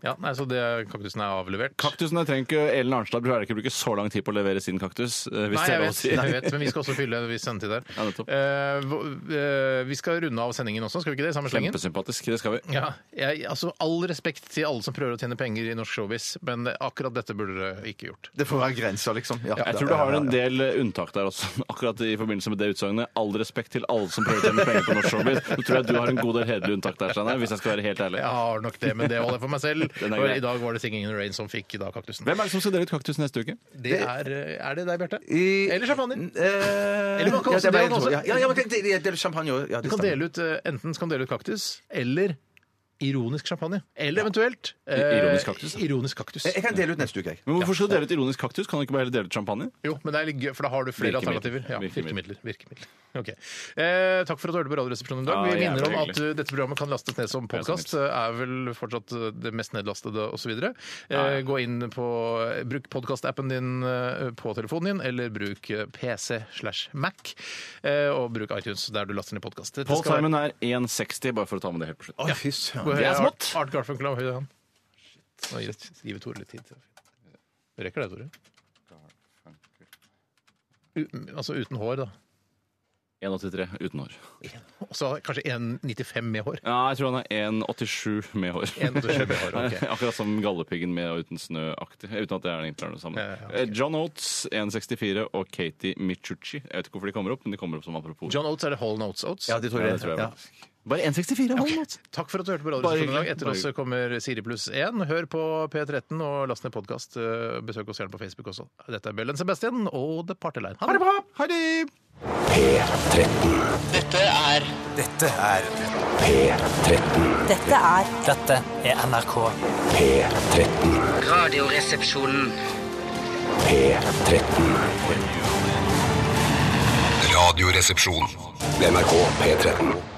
Speaker 7: Ja, nei, så det, kaktusen er avlevert.
Speaker 8: Kaktusene trenger ikke Ellen Arnstad bør ikke bruke så lang tid på å levere sin kaktus. eh, Hvis
Speaker 7: Nei,
Speaker 8: det
Speaker 7: jeg
Speaker 8: er lov å
Speaker 7: vet,
Speaker 8: si.
Speaker 7: jeg vet, men vi skal også fylle en viss sendetid der.
Speaker 8: Ja, nettopp.
Speaker 7: Eh, hvor- eh, vi skal runde av sendingen også, skal vi ikke det? Samme slengen?
Speaker 8: Kjempesympatisk. Det skal vi.
Speaker 7: Ja, jeg, altså All respekt til alle som prøver å tjene penger i norsk showbiz, men akkurat dette burde dere ikke gjort.
Speaker 3: Det får være grenser, liksom. Ja,
Speaker 8: Jeg tror du har en del eh, unntak der også, akkurat i forbindelse med det utsagnet. All respekt til alle som prøver å tjene penger på norsk showbiz. Så tror jeg du har en god del hederlige unntak der, Steinar, hvis jeg skal være helt ærlig.
Speaker 7: Jeg har nok det, men det holder jeg for meg selv.
Speaker 8: Den er
Speaker 7: Og
Speaker 8: grei.
Speaker 7: I dag var det 'Singing in the Rain' som fikk da kaktusen.
Speaker 8: Hvem er det som skal dele ut kaktus neste uke?
Speaker 7: Det er, eh, er det deg, Bjarte?
Speaker 3: I-
Speaker 7: Eller champagne?
Speaker 3: Eh,
Speaker 7: Eller man kan
Speaker 3: ja,
Speaker 7: også
Speaker 3: det var
Speaker 7: dele
Speaker 3: en
Speaker 7: den
Speaker 3: to.
Speaker 7: også.
Speaker 3: Ja, ja, ja, men det- det- det- det er champagne også. Ja, det
Speaker 7: Du kan
Speaker 3: stemmer.
Speaker 7: dele ut, eh, enten så kan du dele ut kaktus, eller ironisk champagne. Eller eventuelt eh,
Speaker 8: I- ironisk kaktus, da.
Speaker 7: ironisk kaktus.
Speaker 3: Jeg kan dele ut neste uke, jeg.
Speaker 8: Men Hvorfor skal du dele ut ironisk kaktus? Kan du ikke bare heller dele ut champagne?
Speaker 7: Jo, men det er litt gøy, for da har du flere
Speaker 8: Virkemiddel.
Speaker 7: alternativer. Ja,
Speaker 8: Virkemiddel.
Speaker 7: virkemidler. virkemidler. Ok. Eh, takk for at du hørte på Radioresepsjonen i dag.
Speaker 8: Ja,
Speaker 7: Vi
Speaker 8: jævlig
Speaker 7: minner om at
Speaker 8: hyggelig.
Speaker 7: eh, dette programmet kan lastes ned som podkast.
Speaker 8: Ja,
Speaker 7: Er vel fortsatt eh, det mest nedlastede osv.
Speaker 8: Ja,
Speaker 7: Eh,
Speaker 8: ja.
Speaker 7: gå inn på eh, Bruk podkastappen din eh, på telefonen din, eller bruk eh, PC slash Mac, eh, og bruk iTunes der du laster ned podkast.
Speaker 8: Paul Simon er 1,60, bare for å ta med det helt på slutt.
Speaker 3: Å, fy søren.
Speaker 7: Det
Speaker 8: er smått.
Speaker 7: Art Garfunkel har høy han. Nå gir jeg- gir vi Tore litt tid. Rekker det, Tore? U altså uten hår, da.
Speaker 8: 1,83 uten hår.
Speaker 7: Og så kanskje 1,95 med hår.
Speaker 8: Ja, jeg tror han er 1,87 med hår.
Speaker 7: 1,87 med hår, ok.
Speaker 8: Akkurat som Galdhøpiggen med og uten snø-aktig. Uten at det er egentlig er noe sammen.
Speaker 7: Ja, ja, ok.
Speaker 8: Eh, John Oates, 1,64, og Katie Michucci. Jeg vet ikke hvorfor de kommer opp, men de kommer opp som apropos.
Speaker 7: John Oates er det Whole Notes Oates.
Speaker 3: Ja, det tror
Speaker 8: Ja,
Speaker 3: jeg.
Speaker 8: det tror jeg
Speaker 3: Ja.
Speaker 8: faktisk. Bare 1,64 har han altså.
Speaker 7: Takk for at du hørte på
Speaker 8: Bare
Speaker 7: Radioresepsjonen i dag.
Speaker 8: hyggelig.
Speaker 7: Etter
Speaker 8: Bare
Speaker 7: oss
Speaker 8: hyggelig.
Speaker 7: kommer Siri pluss 1. Hør på P13 og last ned podkast. Besøk oss gjerne på Facebook også. Dette er Bellen Sebastian og The Partyline. Ha det bra!
Speaker 8: Ha det!
Speaker 2: Dette er Dette er
Speaker 1: P13.
Speaker 2: Dette er Dette er NRK.
Speaker 1: P13.
Speaker 2: Radioresepsjonen.
Speaker 1: P13. Radioresepsjon. NRK P13.